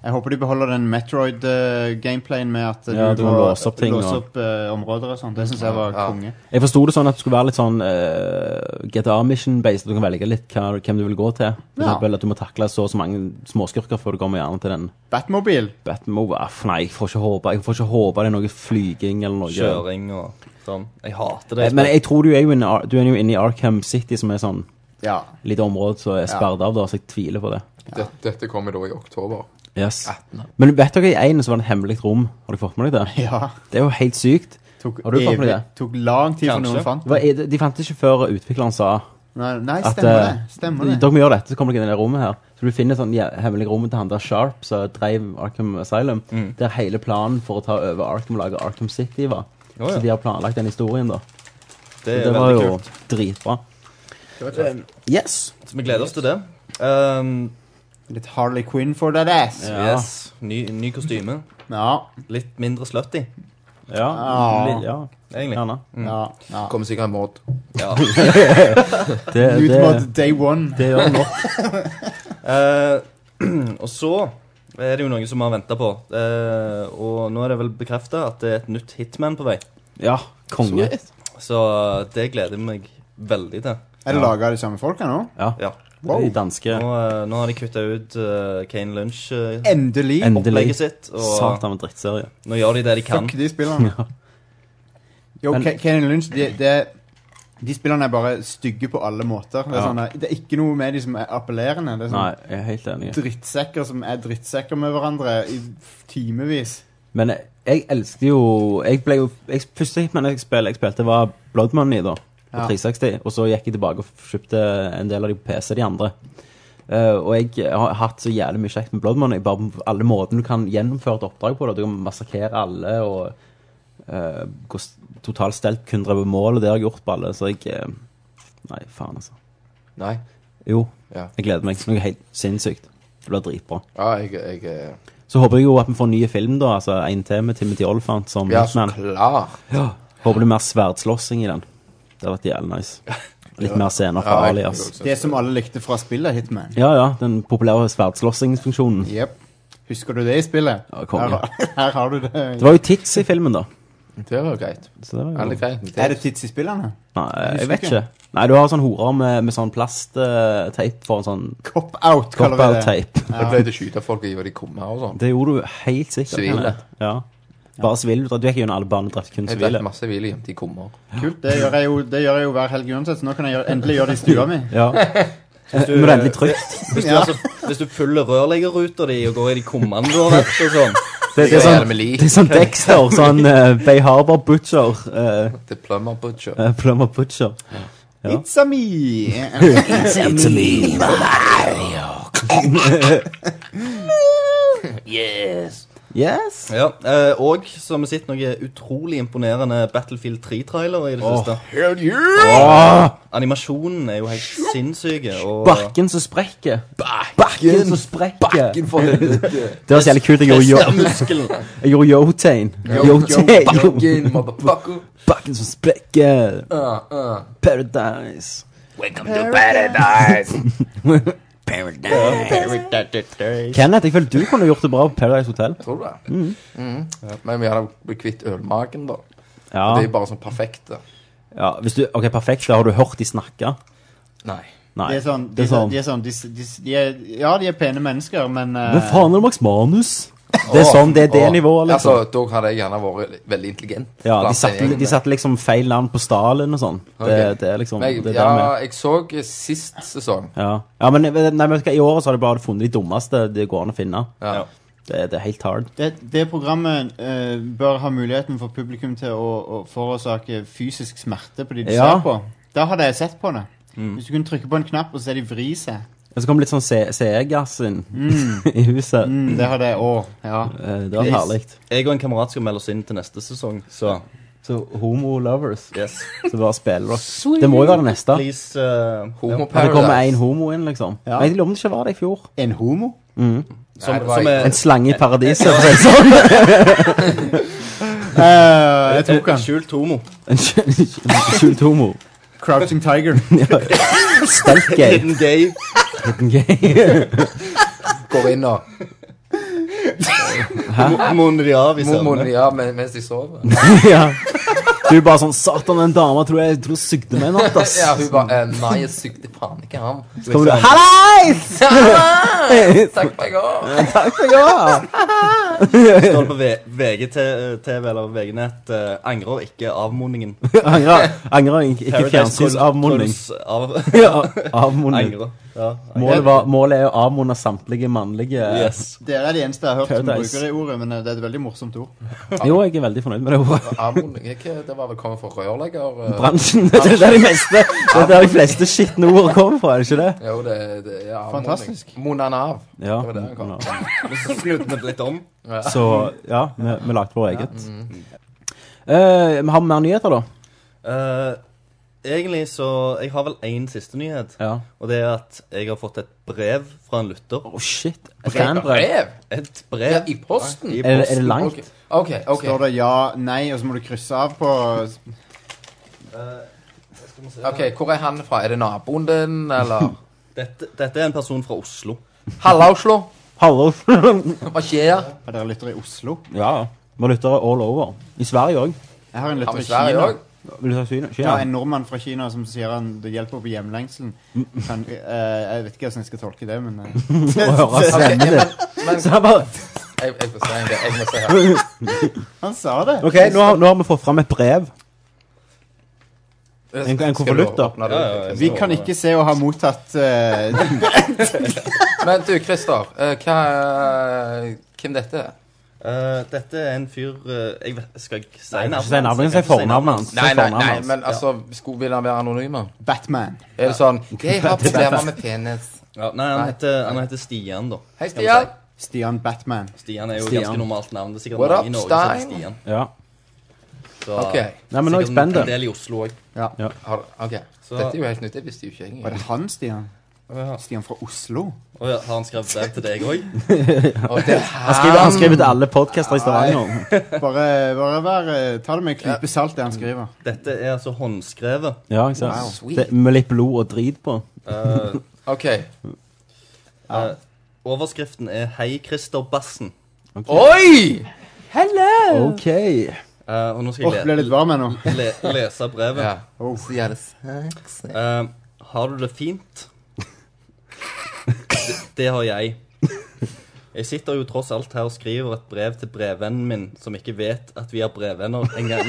jeg håper de beholder den Metroid-gameplayen med at eh,
Ja, du må
må
låse opp ting
låse
og-
opp, eh, områder og sånn. Det syns jeg var
Ja.
konge.
Jeg forsto det sånn at det skulle være litt sånn eh, GTA mission-based. at Du kan velge litt hva, hvem du vil gå til. For
Ja.
eksempel at du må takle så og så mange småskurker før du kommer gjerne til den
Batmobil.
Batmove. Aff, Nei, jeg får ikke håpe Jeg får ikke håpe det er noe flyging eller noe.
Kjøring og sånn. Jeg hater det.
Eh, Men jeg tror du er jo inne, i Ar- du er jo inne i Arkham City, som er sånn
Ja.
lite område som er sperret av, da, så jeg tviler på det.
Dette, dette kommer da i oktober.
Yes. Men vet dere, i én så var det et hemmelig rom. Har dere fått med dere det?
ja.
Det er jo helt sykt.
Tok,
Har du fått med
evig-
det?
tok lang tid før
Kanskje.
noen fant
Det var, de fant det ikke før utvikleren sa
Nei, nei
at
stemmer
eh,
det. Stemmer det.
dere må gjøre dette, så kommer dere inn i det rommet her. Så du finner sånn ja, hemmelig rom til han der Sharp, som drev Arkham Asylum, der hele planen for å ta over Arkham og lage Arkham City var.
Mm. Å, ja.
Så de har planlagt den historien, da.
det
Det,
er
var
veldig
jo
kult.
dritbra. Eh, yes.
Så vi gleder oss til det. Um,
Litt Harley Quinn for that ass. Ja.
Ja.
Yes. Ny, ny kostyme.
Ja.
Litt mindre slutty,
Ja.
Ah.
Litt, ja.
egentlig.
Gjerne.
ja.
Kommer sikkert en mod.
Ja.
Det, det,
Nudemod day one.
det gjør det nok.
Eh, og så er det jo noe som vi har venta på. Eh, og nå er det vel bekrefta at det er et nytt Hitman på vei.
Ja. Konge.
Så det gleder jeg meg veldig til.
Er det laga av de samme folka nå?
Ja.
Ja.
Wow.
De danske
Nå, eh, nå har de kutta ut eh, Kane Lunch-opplegget
Endelig.
Endelig.
sitt. Og
Satan, en drittserie.
nå gjør de det de kan.
Fuck de spillerne.
Ja.
Jo,
Men-
Ke- Kenny Lynch, de, de, de spillerne er bare stygge på alle måter. Det er,
Ja.
sånn, der- det er ikke noe med de som er appellerende. Det er
Nei,
sånn
jeg er helt enig.
drittsekker som er drittsekker med hverandre i timevis.
Men jeg, jeg elsker jo Jeg ble jo jeg, Første hitman jeg spilte, jeg spilte var Blood Money, da. På
Ja.
360. Og så gikk jeg tilbake og kjøpte en del av de på PC, de andre. Eh, og jeg har hatt så jævlig mye kjekt med Blood Money. Bare på alle måtene du kan gjennomføre et oppdrag på. Da. Du kan massakre alle og uh, gå s- totalt stelt, kun drepe mål, og det har jeg gjort på alle. Så jeg eh, Nei, faen, altså.
Nei.
Jo,
Ja.
jeg gleder meg. Noe helt sinnssykt. Det blir dritbra.
Ja, jeg, jeg eh,
Så håper jeg jo at vi får nye film, da. Altså en til med Timothy Olyphant som
Ja, så
Hitman.
klar.
Ja. Håper det er mer sverdslåssing i den. Det hadde vært jævlig nice. Litt mer scener fra
jeg-
Alias.
Det som alle likte fra spillet Hitman.
Ja ja, den populære sverdslåssingsfunksjonen.
Jep. Husker du det i spillet?
Ja, konge.
her, her har du det.
Det var jo tits i filmen, da.
Det var jo greit.
Så det var
Alle
jo...
greit. med
Er det
det.
tids i spillene?
Nei, jeg
husker
vet
ikke.
ikke. Nei, du har sånn horer med, med sånn plastteip for en sånn
Cop-out, kaller vi det.
cop-out-teip.
Da ble det skyte folk og gi de kummer og sånn.
Det gjorde du helt sikkert.
Sivile.
Kenneth. Ja. Bare sivile. Du gikk gjennom alle baner og drepte kun
Jeg
sivile.
drept masse hvile gjemt i kummer.
Kult. Det gjør jeg jo, det gjør jeg jo hver helg uansett, så nå kan jeg gjøre, endelig gjøre det i stua mi.
Ja. Eh, Men det er endelig trygt.
Hvis du, altså, hvis du følger rørleggerruta di og går i de kummene du har vært og sånn
Det, det er
Hva er
sånn
det med lik?
Det er sånn Dexter, sånn eh, Bay Harbor Butcher. Uh,
Det er Plumber Butcher.
Plumber Butcher. Ja.
It's a me!
Yes.
Yes.
Ja, eh, Og så har vi sett noe utrolig imponerende Battlefield 3-trailere i det siste. Animasjonen er jo helt sinnssyk. Og
Bakken som sprekker. Bakken som sprekker.
Bakken for helvete.
Det var så jævlig kult. Jeg gjorde
Press av
yo-
muskelen.
jeg gjorde yo-tain. Yo-tain.
Bakken, motherfucker.
Bakken som sprekker.
Uh, uh.
Paradise. Kenneth, jeg føler du kunne gjort det bra på Paradise Hotel.
Tror du det?
Mm.
Mm. Ja, men vi hadde blitt kvitt ølmagen, da.
Ja,
Det er jo bare sånn perfekte.
ja hvis du, ok, perfekt. Da har du hørt de snakke.
Nei.
Nei.
De er sånn, de,
det er sånn.
de er sånn de, de, de er, Ja, de er pene mennesker, men eh,
Men faen, er det Max Manus? Det er sånn, det er det
Åh,
nivået,
Altså,
liksom.
Da hadde jeg gjerne vært li- veldig intelligent.
Ja, de
blant
satte,
gjengene.
de satte liksom feil navn på Stalin og sånn. Det,
Ok.
det er liksom
Men jeg,
det er
ja,
dermed-
jeg så sist sesong.
Ja. ja, men eh, nei, men vet du hva, i året så har de bare funnet de dummeste det går an å finne.
Ja.
Ja.
Det, det er helt hard.
det, det programmet eh, bør ha muligheten for publikum til å, å forårsake fysisk smerte på de de
Ja.
ser på. Da hadde jeg sett på det. Hvis du kunne trykke på en knapp, og så er de vri seg.
Og så kom litt sånn C- CE-gass inn i huset.
Mm, det hadde jeg òg. Ja.
Eh, Det var
Yes.
herlig.
Jeg og en kamerat skal melde oss inn til neste sesong, så
Så homo lovers
yes.
som bare spiller rock. Det må jo være det neste.
Please eh,
Homo
At det kommer én
Paradise.
homo inn, liksom.
Ja.
Men Jeg lurer om det ikke var det i fjor.
En homo?
Som,
det var
som
ikke-
er
En slange i paradiset. for å si det sånn.
Eh, jeg tok
en
han.
skjult homo.
En skjult- en skjult homo.
Crouching Tiger.
Stealth gay.
Hidden gay.
Går inn og
Mo- Monner de av i
mormoner
søvne.
ja, men- mens de sover.
ja. Du er bare sånn Satan, den dama tror jeg, tror jeg sugde meg i natt, ass.
Ja, hun bare eh, Nei, jeg sugde faen ikke ham.
Så kommer du Hallais!
Takk for i går.
Takk for i går!
Står det på V- VGTV eller VG-nett eh, angrer ikke avmoningen.
Angrer. Angrer ikke, ikke
Paradise
fjernsynsavmodning.
Trolls av,
Ja, avmodning.
angrer. Ja,
Målet, var, målet er å avmunne samtlige mannlige
Yes.
Det er de eneste jeg har hørt som
Paradise.
bruker det ordet, men eh, det er et veldig morsomt ord.
Jo, jeg er veldig fornøyd med det ordet.
Avmodning er ikke Det var vel kommet fra rørlegger? eh,
Bransjen. Det er der de, meste, det er der de fleste skitne ord kommer fra, er det ikke det?
Jo, det, det ja, avmodning.
Fantastisk.
Monan av.
Ja.
Det var det han kom.
Så snudde vi litt om.
Så ja, vi, vi lagde vår eget.
Mm.
Eh, vi har mer nyheter, da.
Eh, egentlig så Jeg har vel én siste nyhet.
Ja.
Og det er at jeg har fått et brev fra en lytter.
Å, shit. Fanbrev.
Brev?
Et
Ja,
brev
I posten?
i
Er, det- er det
posten.
langt?
Ok, OK. ok.
Står det ja, nei, og så må du krysse av på
Ok, Hvor er han fra? Er det naboen din, eller?
Dette, dette er en person fra Oslo.
Halla, Oslo.
Hallo.
Hva skjer?
Er dere lyttere i Oslo?
ja. Vi lytter all over. I Sverige òg.
Jeg har en
Har vi
lytter i
Sverige
Kina.
òg?
Vil du ta Kina?
Ja,
Kina?
en nordmann fra Kina som sier han det hjelper på hjemlengselen. Kan, eh, jeg vet ikke hvordan jeg skal tolke det, men
Må høre
eh,
stemmen din.
men-
Så jeg bare
Jeg, jeg får se en gang. Jeg må se her.
Han sa det.
OK, nå har, nå har vi fått fram et brev. En- en
Skal du
konvolutt, da.
åpne det?
Vi kan ikke se å ha mottatt eh,
Men du, Christer. eh, Hva Hvem dette er?
Eh, dette er en fyr eh, Jeg vet, skal jeg si
Nei,
navnet
du skal ikke si navnet, du skal
Jeg kan
si
ikke
fornavnet hans.
Nei, nei, nei,
Fornavnet hans.
men altså, skulle vil han være anonym? da?
Batman.
Er det sånn Jeg har problemer med penis.
Ja, nei, han
Nei.
heter, han heter Stian, da.
Hei, Stian.
Stian Batman.
Stian er jo
Stian.
ganske normalt navn. Det er sikkert
What
mange i
up,
Norge som heter
Stein?
Stian.
Ja.
Så,
Ok.
Nei, men nå er jeg
sikkert
spent.
en del i Oslo òg.
Har, ok. Dette er jo helt nytt. Det visste jo ikke
Var det
jeg.
han, Stian? Stian fra Oslo?
Å ja, har han skrevet brev til deg òg?
Og det
Han skriver, han skriver til alle podkaster i Stavanger.
Bare, bare vær, eh, ta det med en klype salt, det han skriver.
Dette er altså håndskrevet.
Ja, ikke sant?
Wow.
Det, med litt blod og drit på.
Eh,
OK.
eh, overskriften er 'Hei, Christer Bassen'.
Oi!
OK.
Eh, og nå skal
Åh,
jeg
ble
le
litt varm ennå.
le lese brevet.
Ja.
Oh.
Så gjør det sexy.
Eh, har du det fint? Det, det har jeg. Jeg sitter jo tross alt her og skriver et brev til brevvennen min, som ikke vet at vi er brevvenner engang.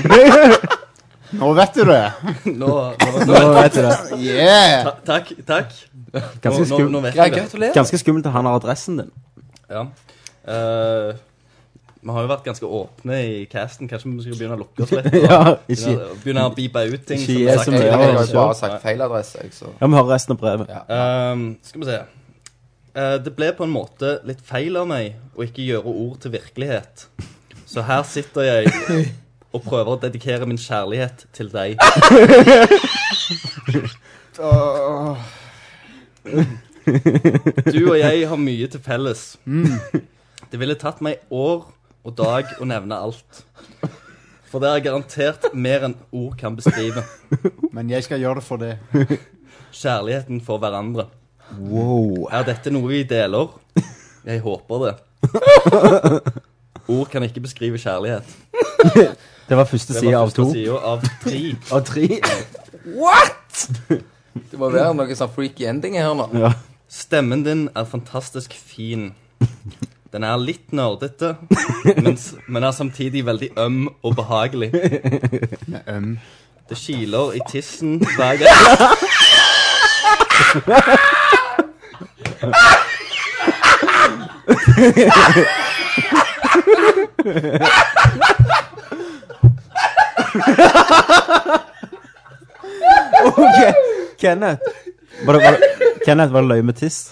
Nå vet du det.
Nå, nå,
Nå vet du det.
Yeah!
ta, takk. takk. Nå,
Ganske,
nå,
skum,
nå vet
Ja,
jeg det.
gratulerer.
ganske skummelt at han har adressen din.
Ja. Eh, vi har jo vært ganske åpne i casten. Kanskje vi skal begynne å lukke oss litt? Og,
Ja, ikke
begynne, begynne å beepe ut ting.
Ikke
vi
jeg
har
som
sagt.
Jeg jeg
er altså.
har jo
Ja.
bare sagt feil adresse, jeg, så
Ja, vi hører resten av brevet.
Ja.
Ehm, skal vi se. Eh, det ble på en måte litt feil av meg å ikke gjøre ord til virkelighet. Så her sitter jeg og prøver å dedikere min kjærlighet til deg. Du og jeg har mye til felles. Det ville tatt meg år og dag å nevne alt. For det er garantert mer enn ord kan beskrive.
Men jeg skal gjøre det for det.
Kjærligheten for hverandre.
Wow.
Er dette noe vi deler? Jeg håper det. Ord kan ikke beskrive kjærlighet.
Det var første
Det
side
var
av to.
første sida av tre.
Av tre.
Det må være noe sånn freaky ending her nå.
Ja.
Stemmen din er fantastisk fin. Den er litt nerdete, mens- men er samtidig veldig øm og behagelig.
Um,
Det kiler i tissen hver gang
Ok, Kenneth. Var det, var det, Kenneth, var det løye med tiss?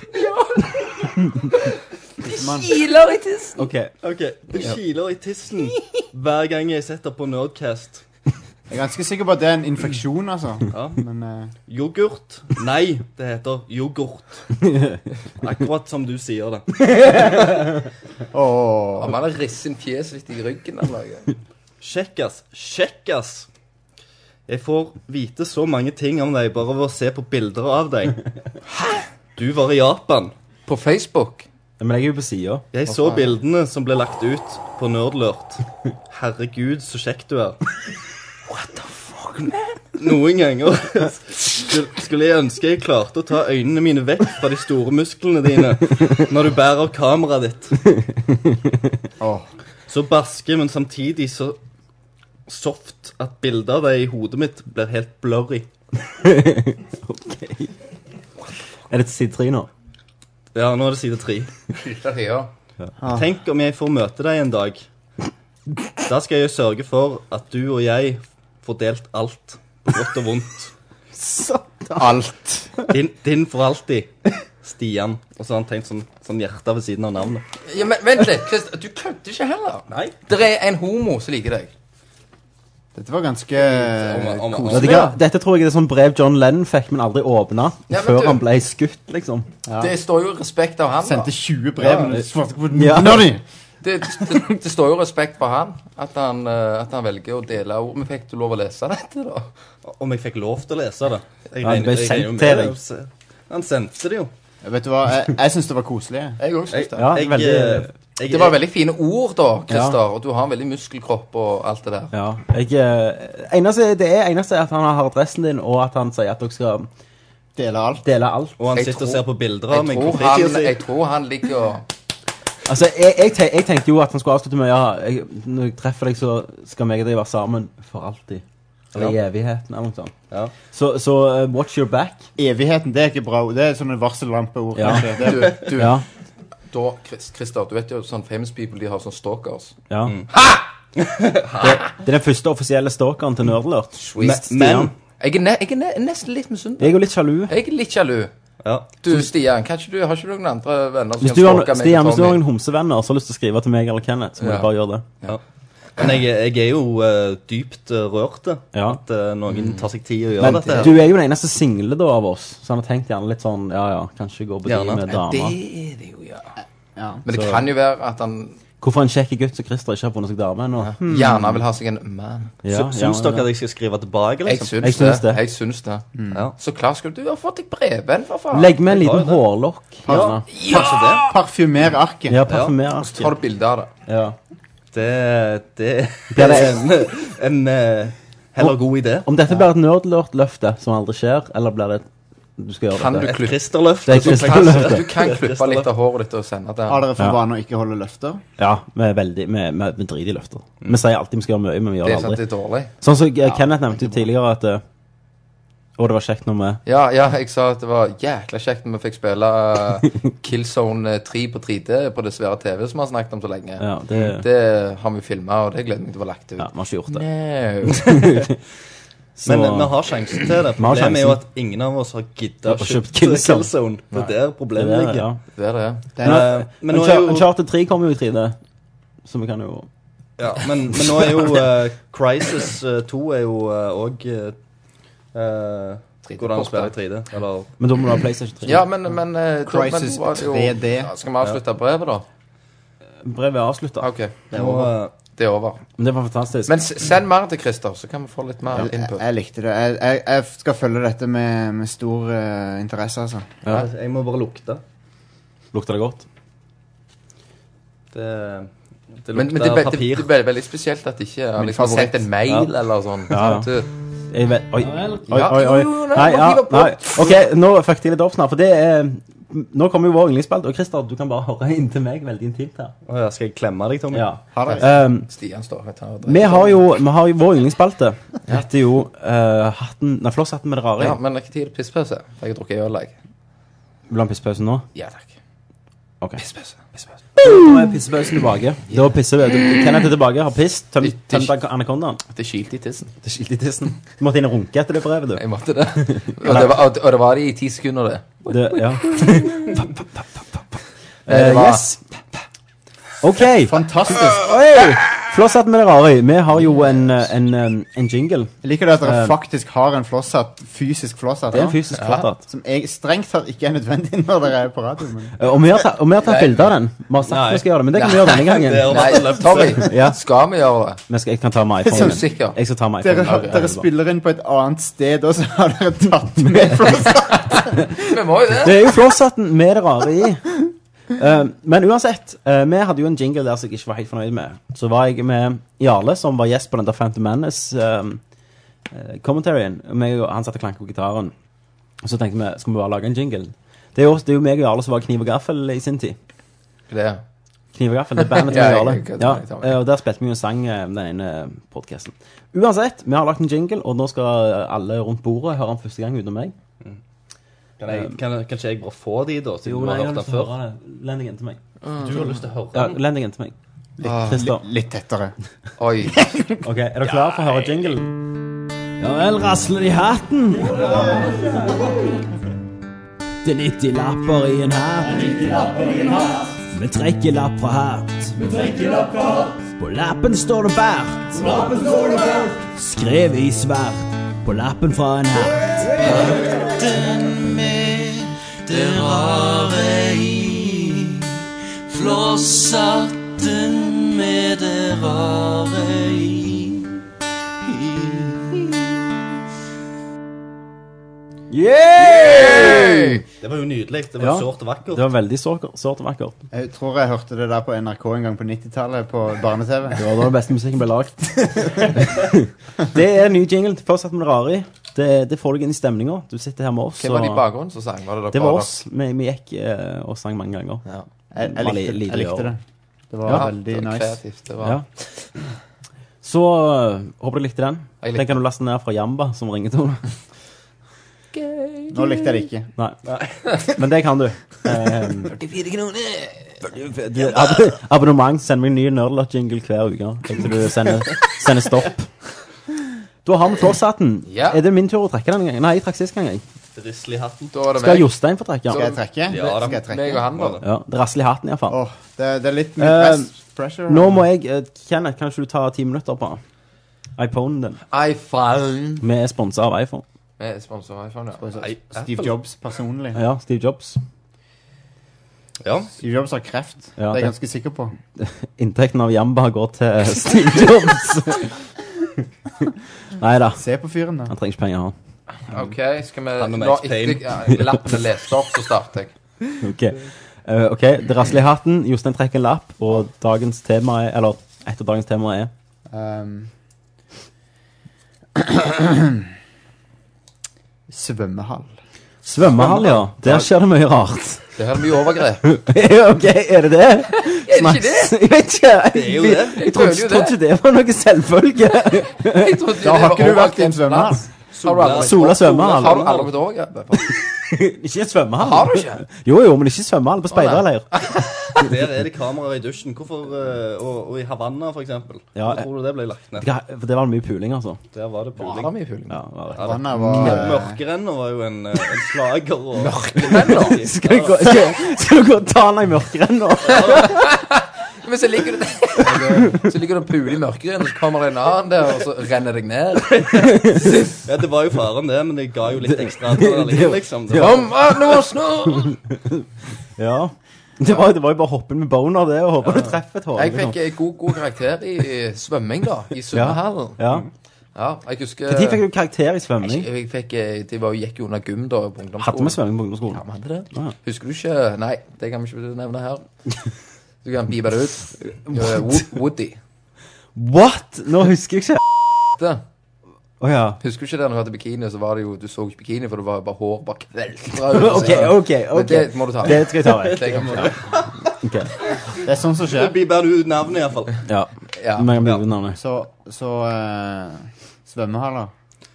Kiler i tissen!
Ok.
Ok, Det kiler i tissen hver gang jeg setter på Nerdcast.
jeg er ganske sikker på at det er en infeksjon, altså.
Ja.
Men eh,
Yoghurt? Nei, det heter yoghurt. Akkurat som du sier det.
åh.
Om han har risset fjeset litt i ryggen eller noe.
Sjekkas, sjekkas. Jeg får vite så mange ting om deg bare ved å se på bilder av deg. Du var i Japan.
På Facebook?
Men jeg er jo på sida.
Jeg så bildene som ble lagt ut på Nerdlurt. Herregud, så kjekk du er. What the fuck, man? Noen ganger skulle skulle jeg ønske jeg klarte å ta øynene mine vekk fra de store musklene dine når du bærer kameraet ditt.
Åh.
Så barske, men samtidig så soft at bildet av deg i hodet mitt blir helt blurry.
Er det side tre nå?
Ja, nå er det side tre.
Ja.
Tenk om jeg får møte deg en dag. Da skal jeg sørge for at du og jeg får delt alt, på godt og vondt.
Alt.
Din, din for alltid, Stian. Og så har han tenkt sånn, sånn hjerte ved siden av navnet.
ja men vent litt, Chris, du kødder ikke heller.
Nei.
Det er en homo som liker deg.
Dette var ganske
Om, om, om,
Vet du hva? Dette tror jeg er sånn brev John Lennon fikk, men aldri åpna.
Ja, men
før
du-
han ble skutt, liksom.
Det står jo respekt av han. da.
Sendte 20 brev, men du svarte ikke på
Ja.
noen av de.
Det, det, det står jo respekt på han, at han, eh, at han velger å dele ord. Men fikk du lov å lese dette, da?
om jeg fikk lov til å lese det. Jeg
Ja, det ble
regner- jeg
sendt
regner jo med
til
det,
deg.
så- Han sendte det jo.
Vet du hva, jeg, jeg syns det var koselig.
Jeg også synes det.
Ja,
Jeg,
veldig...
eh, jeg-
Det var veldig fine ord, da, Christer.
Ja.
Og du har en veldig muskelkropp og alt det der.
Ja, jeg, eh, eneste, det er eneste er at han har adressen din, og at han sier at dere skal
Dele alt.
dele alt.
Og han
Jeg
sitter og
tror-
ser på bilder av
Jeg
meg. på
tror han,
fritiden sin.
jeg tror han ligger og
Altså, jeg, jeg, te- jeg tenkte jo at han skulle avslutte med ja, jeg, når jeg treffer deg, så skal meg og deg være sammen for alltid. Eller i evigheten, eller noe sånt.
Ja.
Så, så eh, watch your back.
Evigheten, det er ikke bra. Det er sånne varsellampeord.
Ja.
kanskje. Det
Du,
er-
du
Ja.
da, Chris, Christer, du vet jo sånn famous people, de har sånn stalkers.
ja. Det, det er den første offisielle stalkeren til Nerdlert.
Sweet.
Men
Jeg er, ne, jeg er ne, nesten litt
Jeg
misunnelig.
er jo litt sjalu.
Jeg er litt sjalu.
ja.
Du, Stian, kan ikke du, har ikke du noen andre venner som
Hvis
kan
du har,
stalke meg
Stian,
og
hvis du har
Tommy?
noen homsevenner som har lyst til å skrive til meg eller Kenneth, så må
Ja.
du bare gjøre det.
Men jeg, jeg er jo eh, dypt eh, rørt det,
Ja.
at eh, noen tar seg tid å gjøre
Men
dette. her.
du er jo den eneste single da av oss, så han har tenkt gjerne litt sånn Ja ja, kanskje gå på de
Gjerne.
med
Ja, Det
damer.
er det jo, ja.
Ja.
Men det kan jo være at han
Hvorfor en kjekk gutt som Christer ikke har funnet seg dame ennå? Hmm.
gjerne vil ha seg en man.
Ja,
Sy-
ja,
Syns dere at jeg skal skrive tilbake,
Jeg
liksom?
syns,
Jeg syns
det.
det. Mm.
Jeg syns det.
Ja.
Så klart skulle du ha fått deg brevvenn, for faen.
Legg med en
Jeg har
liten
jo det.
hårlokk. gjerne.
Kanskje det?
Parfymer arket.
Ja, parfymer.
Så tar du bilde av det.
Ja.
Det, det
Blir det
er en, en eh, heller god idé.
Om dette blir et nerdlert-løfte som aldri skjer, eller blir det Du skal gjøre
Kan du
det.
klippe
Kristerløft. Altså,
Det
du
er
kan,
Krister-løftet.
du kan klippe litt av håret ditt og sende det.
Har dere for
Ja.
vane å ikke holde løfter?
Ja, vi er veldig Vi, vi, vi driter i løfter. Vi sier alltid vi skal gjøre mye, men vi gjør
Det
det
er sant,
aldri.
det er dårlig.
Sånn som eh, Kenneth nevnte jo tidligere at eh, Å, det var kjekt når vi
Ja, ja, jeg sa at det var jækla kjekt når vi fikk spille eh, Killzone 3 på 3D på det svære TV som vi har snakket om så lenge.
Ja, det
Det har vi filma, og det gleder jeg meg til å få lagt ut.
Ja, vi har ikke gjort det.
No.
Så-
Men eh, vi har sjansen til det.
Vi har
Problemet er jo
sjansen.
at ingen av oss har gidda
Ja,
å
og
kjøpe
kjøpt Killzone.
Killzone. Det er der
Det
problemet
er det,
ligger.
ja.
Det er det.
Det er,
Eh, men nå er
Unchar-
jo
Uncharted 3 kommer jo i 3D, så vi kan jo
Ja, men, men nå er jo eh, Crisis eh, 2 er jo òg Går det an å spille i 3D? Eller
Men da må du ha PlayStation 3.
Ja, men, men eh, da-
Crisis
men, var det jo-
3D.
Ja, Skal vi avslutte brevet, da?
Brevet er avslutta.
OK,
det er over.
det er over.
Men det var fantastisk.
Men s- send mer til Christer, så kan vi få litt mer
jeg,
input.
jeg likte det. Jeg, jeg, jeg skal følge dette med, med stor eh, interesse, altså.
Ja.
Jeg må bare lukte.
Lukter det godt?
Det, det
Men, men det,
lukter
er ve- det,
papir.
det er veldig spesielt at ikke har liksom,
favoritt.
sendt en mail eller sånn.
Ja, ja.
Til-
Jeg vet Oi,
vel.
oi, oi. oi. Nei, ja, nei. OK, nå fucket jeg litt opp snart, for det er Nå kommer jo vår yndlingsspilt, og Christer, du kan bare høre inn til meg veldig intimt her.
Å ja, skal jeg klemme deg, Tommy?
Ja.
Ha det.
Um,
Stian står her og tar og
vi
drikker.
har jo vi har jo Vår yndlingsspalte heter jo eh, Hatten Nei, Flosshatten med det rare.
Ja,
i.
men det er ikke tid til pisspause. for Jeg har drukket øl, jeg.
Vil du ha en pissepause nå?
Ja takk.
Ok.
Pisspause. pisspause.
Nå er pissepausen tilbake. Da pisser vi. Kenneth er tilbake, har piss, tømt
Ikke-
tømt anakondaen.
Det kilte i tissen.
Det skilte i tissen. Du måtte inn og runke etter det brevet, du.
Jeg måtte det. Og det var, og det- og det, var det i ti sekunder, det.
Det, ja.
Eh, det
Eh,
var-
yes. OK.
Fantastisk.
Oi! Flosshatt med det rare i. Vi har jo en, eh, en, eh, en jingle.
Jeg liker det at dere
Eh.
faktisk har en flosshatt, fysisk flosshatt,
Det er en
ja.
fysisk flosshatt.
som jeg strengt tatt ikke er nødvendig når dere er på radio. Men
Eh, Og vi har, ta, og vi har tatt bilde av den. Vi har sagt
Nei.
vi skal gjøre det, men det kan vi gjøre denne
Det er
gangen.
Nei, Tommy,
Ja.
skal vi gjøre det?
Men skal, jeg kan ta med
Er
iPhonen.
du sikker?
Jeg skal ta med
dere,
iPhonen.
har, dere spiller inn på et annet sted, og så har dere tatt med flosshatt.
Vi må jo det.
Det er jo flosshatten med det rare i. Eh, men uansett, eh, vi hadde jo en jingle der som jeg ikke var helt fornøyd med. Så var jeg med Jarle, som var gjest på den der Phantom Menace-commentarien. han satt og klanket på gitaren. Og så tenkte vi skal vi bare lage en jingle. Det er jo, det er jo meg og Jarle som var Kniv og gaffel i sin tid.
det.
Kniv og gaffel, det er bandet til
Ja, jeg-
Jarle.
jeg kødder
Ja,
med deg, Tommy.
eh, og der spilte vi jo en sang eh, den ene podcasten. Uansett, vi har lagt en jingle, og nå skal eh, alle rundt bordet høre den første gang uten meg.
Kan jeg, kan, kan ikke jeg bare få de, da? Siden du har hørt den før?
Lendingen til meg.
Du har lyst til å høre
Ja,
den?
lendingen til meg. Christer.
Litt tettere.
Oi.
Ok, er dere klare for å høre jingle?
Ja vel, rasler det i hatten. Det er 90 lapper i en hatt. Vi trekker lapp fra hatt. På lappen står det bart. Skrevet i svart på lappen fra en hatt.
Det var jo nydelig. Det var
Ja.
sårt og
Det
vakkert.
var veldig sårt sårt og vakkert.
Jeg tror jeg hørte det der på NRK en gang på 90-tallet, på barne-TV.
Det var da den beste musikken ble lagd. det er en ny jingle til Flosshatt med det rare i. Det, det får deg inn i stemninga. Du sitter her med oss.
Hvem var det i
og-
bakgrunnen som sang? Var det dere?
det var oss. Vi, vi gikk eh, og sang mange ganger.
Ja.
Jeg, jeg,
Bare
likte,
lite
jeg likte
gjør.
det. Det var
Ja,
veldig
det var
nice.
kreativt. Det var
Ja. Så eh, håper du likte den.
Jeg likte
Den kan du laste ned fra Jamba som ringetone.
Nå likte jeg det ikke.
Nei. Men det kan du. Um, 44 kroner! Du, ab abonnement. Send meg en ny Nerdlot-jingle hver uke. Inntil du sender, sender stopp. Da har vi flosshatten.
Ja.
Er det min tur å trekke denne gangen? Nei, jeg trakk sist gang. jeg.
Rissel i hatten.
Da var det
Skal
meg.
Jostein få trekke?
Skal jeg trekke?
Ja, da-
Skal jeg trekke?
Meg og han, da.
Ja, det rasler i hatten, iallfall.
Åh, det, det er litt mye
Eh,
press, pressure.
Nå må jeg eh, Kenneth, kan ikke du ta ti minutter på iPhonen din?
iPhone.
Vi er sponsa av iPhone.
Vi er sponset av iPhone, ja.
Altså, Steve Jobs personlig.
Ja, Steve Jobs.
Ja.
Steve Jobs har kreft.
Ja,
det er
det-
jeg ganske sikker på.
Inntekten av Jamba går til Steve Jobs. Nei da.
Se på fyren, da.
Han trenger ikke penger, han.
OK, skal vi
Han
Nå
og Max
etter
Payne.
ja, lappen er lest opp, så starter jeg.
Ok, Eh, ok, det rasler i hatten. Jostein trekker en lapp, og dagens tema er Eller et av dagens temaer er
Um, Svømmehall.
svømmehall, ja. Der skjer det mye rart.
Det her er mye overgrep.
ok, er det det? Er det ikke det? Jeg vet ikke.
Det er jo det.
Jeg trodde
føler jo
trodde ikke det var noe selvfølge.
Jeg trodde jo
Da
det
har
var
ikke du vært i en
overgrepsplass.
svømmehall.
aldri-
Sola svømmehall.
Har du aldri gått over grepet?
Ikke svømmehall.
Har du ikke?
Jo, jo, men ikke svømmehall. På speiderleir.
Der er det kameraer i dusjen. Hvorfor, eh, og, og i Havanna, for eksempel.
Ja,
Hvor tror du det ble lagt ned?
For det var mye puling, altså.
Der var det puling.
Var det mye puling? Ja, var det.
Ja,
Havanna var,
Mør-
eh,
Mørkerenner var jo en, eh, en slager. Og...
Mørkerenner?
Skal du gå, skal, skal du gå og ta den i mørkerenn nå?
Men så ligger du der Så ligger du og puler i mørkeren, og så kommer det en annen der, og så renner deg ned.
Ja, det var jo faren, det, men det ga jo litt ekstra adrenalin, liksom. Det var-
Kom, an og snurr!
Ja. Det var, det var jo bare å hoppe inn med boner, det, og håpe du treffer et hår.
Jeg fikk eh, god, god karakter i i svømming, da. I svømmehallen.
Ja.
Ja, jeg husker
Når fikk du karakter i svømming?
Jeg, jeg fikk, eh, de var, gikk jo under gym da på ungdomsskolen.
Hadde vi svømming på ungdomsskolen?
Ja, vi hadde det. Husker du ikke Nei, det kan vi ikke nevne her. Du kan bipe det ut. Eh, Wo- Woody.
What?! Nå husker jeg ikke.
Det.
Å ja.
Husker du ikke det når du hadde bikini, så var det jo Du så ikke bikini, for det var jo bare hår bare kveltra
Ok, ok,
Men
ok.
det må du ta
Det skal jeg ta vekk.
Det kan du ta vekk.
Ok.
Det er sånn som skjer.
Det blir bare ut navnet, iallfall.
Ja.
Ja.
Men jeg blir navnet.
Så, så eh, svømmehaller.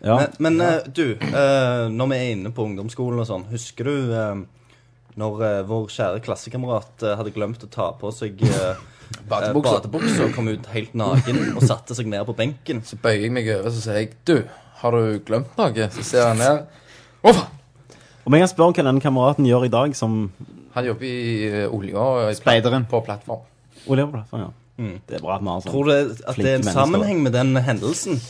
Ja.
Men, men eh, du, eh, når vi er inne på ungdomsskolen og sånn, husker du eh, når eh, vår kjære klassekamerat eh, hadde glemt å ta på seg uh,
Eh,
Badebukser.
badebukser og kom ut helt naken og satte seg ned på benken?
Så bøyer jeg meg over så sier jeg Du, har du glemt noe? Så ser han ned. Å, faen!
Om jeg kan spørre hva den kameraten gjør i dag som
Han jobber i eh, olja og i pla-
Speideren.
på plattform.
Olje på plattform, ja. Det er bra at vi har sånn.
Tror du at det
Flinke
er en
mennesker.
sammenheng med den hendelsen?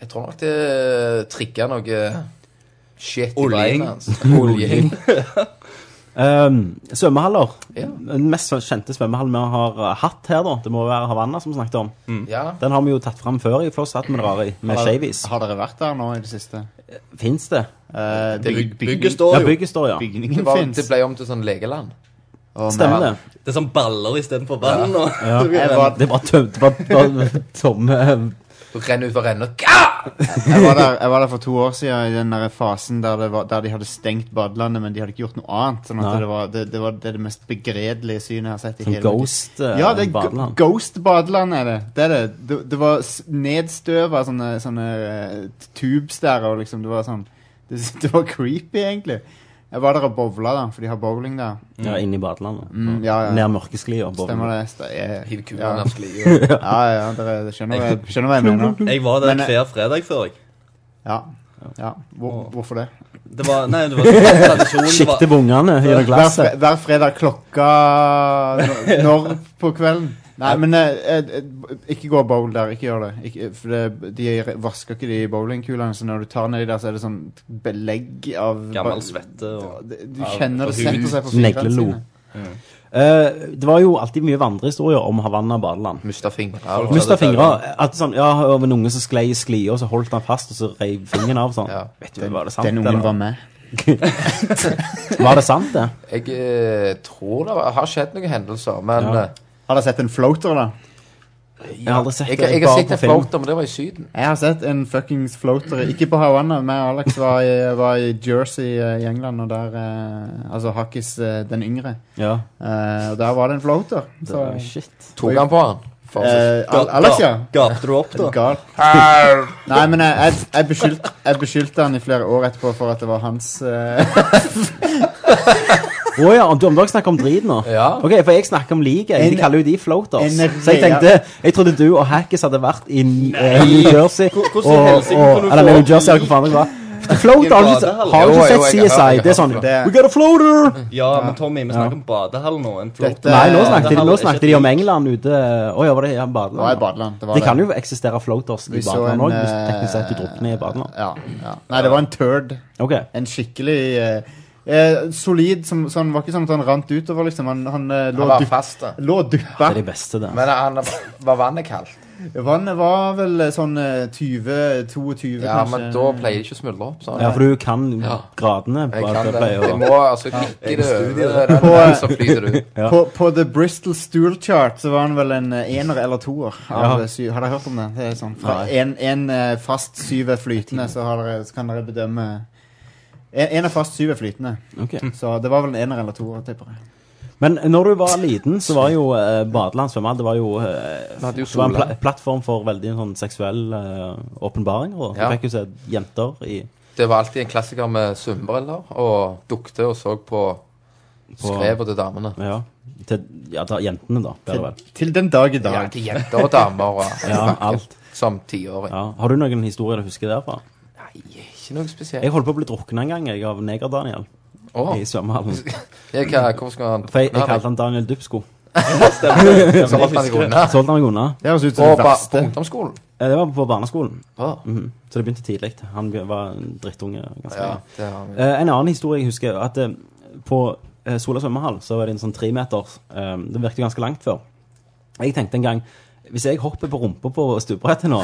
Jeg tror nok det eh, trigger noe shit i
Oljing.
beina hans. Oljing.
Ehm, svømmehaller.
Ja.
Den mest sånn kjente svømmehallen vi har eh, hatt her, da. Det må være Havanna, som vi snakket om.
Ja.
Den har vi jo tatt fram før i Først hatt med det rare i, med
Har-
shavies.
Har dere vært der nå i det siste?
Fins det?
Eh,
Det
byg-
Bygget
Ja,
står jo.
bygget står, ja.
Det,
bygningen
var, det
fins.
ble om til sånn legeland.
Stemmer det.
Det er som baller istedenfor vann. og- Det blir
Jeg
en-
var,
Det var tømt. Det var, var tomme sånn
Du renner ut for renner. Ah!
jeg, var der, jeg var der for to år siden i den der fasen der, det var, der de hadde stengt badelandet, men de hadde ikke gjort noe annet. Sånn
Nei.
at det, var, det, det var det, er det mest begredelige synet jeg har sett i
Som
hele mitt
ghost eh,
Ja, det er go-
badeland.
Ghost-badeland er det. Det er det. Det, det var s- nedstøva sånne, sånne eh, tubes der, og liksom det var sånn Det, det var creepy, egentlig. Jeg var der og bowla, da, for de har bowling der.
Ja, inne i badelandet.
Mm, ja, ja.
Ned mørkesklia. bowling.
Stemmer det. St jeg,
Hiv kula
ja.
ned skliet.
ja, ja, dere skjønner hva jeg, skjønner hva jeg mener.
Jeg var der
Men, eh,
hver fredag før, jeg.
Ja. ja. Hvor, hvorfor det?
Det var, nei, det var tradisjon. det var-
Sikte på ungene gjennom
Hver, fre
glasset.
hver fredag klokka når- Når på kvelden? Nei, men eh, eh, ikke gå og bowl der. Ikke gjør det. Ikke, for det, de vasker ikke de bowlingkulene, så når du tar nedi der, så er det sånn belegg av
Gammel svette og
Du du kjenner det setter seg på fingrene
Neglelo.
sine.
Eh, det var jo alltid mye vandrehistorier om Havanna badeland.
Mista fingrer. og-
Mista fingre. Alltid sånn Ja, det var en unge som sklei i sklia, og så holdt han fast, og så reiv fingeren av. Sånn.
Ja.
Vet du, var det sant?
Den ungen
eller?
var med.
Var det sant, det?
Jeg eh, tror det var- har skjedd noen hendelser, men
Ja.
eh,
Har dere sett en floater, da?
Jeg har aldri sett
jeg,
det.
jeg har
bare
sett
på
en
film.
floater, men det var i Syden.
Jeg har sett en fuckings floater. Ikke på Havanna. Jeg og Alex var i, var i Jersey eh, i England, og der eh, Altså Hakkis eh, den yngre.
Ja.
Eh, og der var det en floater.
Det
Så,
var, shit.
Tok han på han? For
Eh, Al- Alex, ja.
Gapte du opp, da?
Gal. Nei, men eh, jeg, jeg, jeg, beskyldte, jeg beskyldte han i flere år etterpå for at det var hans eh,
Å ja, om, om dere snakker om drit nå?
Ja.
Ok, For jeg snakker om liket. Jeg
En-
kaller jo de floaters.
en
Så jeg
rea-
tenkte Jeg trodde du og Hackis hadde vært i eh, New Jersey.
hvordan
og-
i helsike
og-
kan du
Eller
få
New
opp
Jersey, eller hvor faen det var. Floater, har du ikke
badehall?
har du
Jo,
ikke
jo,
sett
jeg har-
CSI?
jeg har
Det er sånn
hørt
det.
We got a floater!
Ja, men Tommy, vi snakker om badehall nå. En flott
Dette-
Nei, nå
Eh,
snakket,
det
de,
handler
nå
ikke
snakket de om England ute Å ja, var det i badeland?
var i badeland. Det, var
Det kan jo eksistere floaters i
Vi så
badeland
en,
òg, hvis
eh,
teknisk sett du drukner i badeland.
Ja, ja. Nei, det var en turd.
Ok.
En skikkelig eh, eh, solid som, Så han var ikke sånn at han rant utover, liksom. Han, han eh, lå
han var
dupp-
fast, da.
lå og duppa.
Det er de beste, det.
Men eh, han, var vannet kaldt?
Vannet var vel eh, sånn eh, 20 22,
Ja,
kanskje.
men da pleier det ikke å smuldre opp. sånn.
Ja, for du kan
Ja.
gradene.
Jeg
på at
kan
det
det.
pleier
Jeg
å-
må altså klikke det over, den
På-
der, så flyter det ut.
Ja.
På, på The Bristol Stool Chart så var han vel en eh, ener eller toer. Av
Ja.
syv. Har dere hørt om det? det er sånn, fra
Nei. Mm.
en, en eh, fast syv er flytende, så, har dere, så kan dere bedømme en, en er fast syv er flytende.
Ok.
Så det var vel en ener eller toer, tipper jeg.
Men når du var liten, så var jo eh, badeland svømmehall Det var jo, eh,
Vi hadde jo
det var en pla
Sola.
plattform for veldig sånn seksuell eh, åpenbaring. og Du
Ja.
fikk jo se jenter i
Det var alltid en klassiker med svømmebriller og dukte og så på skrevet til damene.
Ja, til ja, da, jentene, da. Bedre vel.
Til den dag i dag.
Ja, til jenter og damer og
Ja, alt.
Som tiåring.
Ja. Har du noen historier du husker derfra?
Ikke noe spesielt.
Jeg holdt på å bli drukna en gang jeg av Neger-Daniel
Åh.
i svømmehallen.
Jeg, hva- hvorfor skal han
For jeg, jeg kalte han Daniel Dubsko.
Så holdt han deg unna.
Så holdt han meg unna.
Det høres ut som
Og
det
ba- på
verste.
ungdomsskolen.
Eh, Det var på barneskolen,
Ah,
Mhm. så det begynte tidlig. Han be- var en drittunge. ganske
ja,
lenge.
det har vi.
Eh, en annen historie jeg husker, at eh, på eh, Sola svømmehall så var det en sånn tremeters. Eh, det virket ganske langt før. Jeg tenkte en gang hvis jeg hopper på rumpa på stupebrettet nå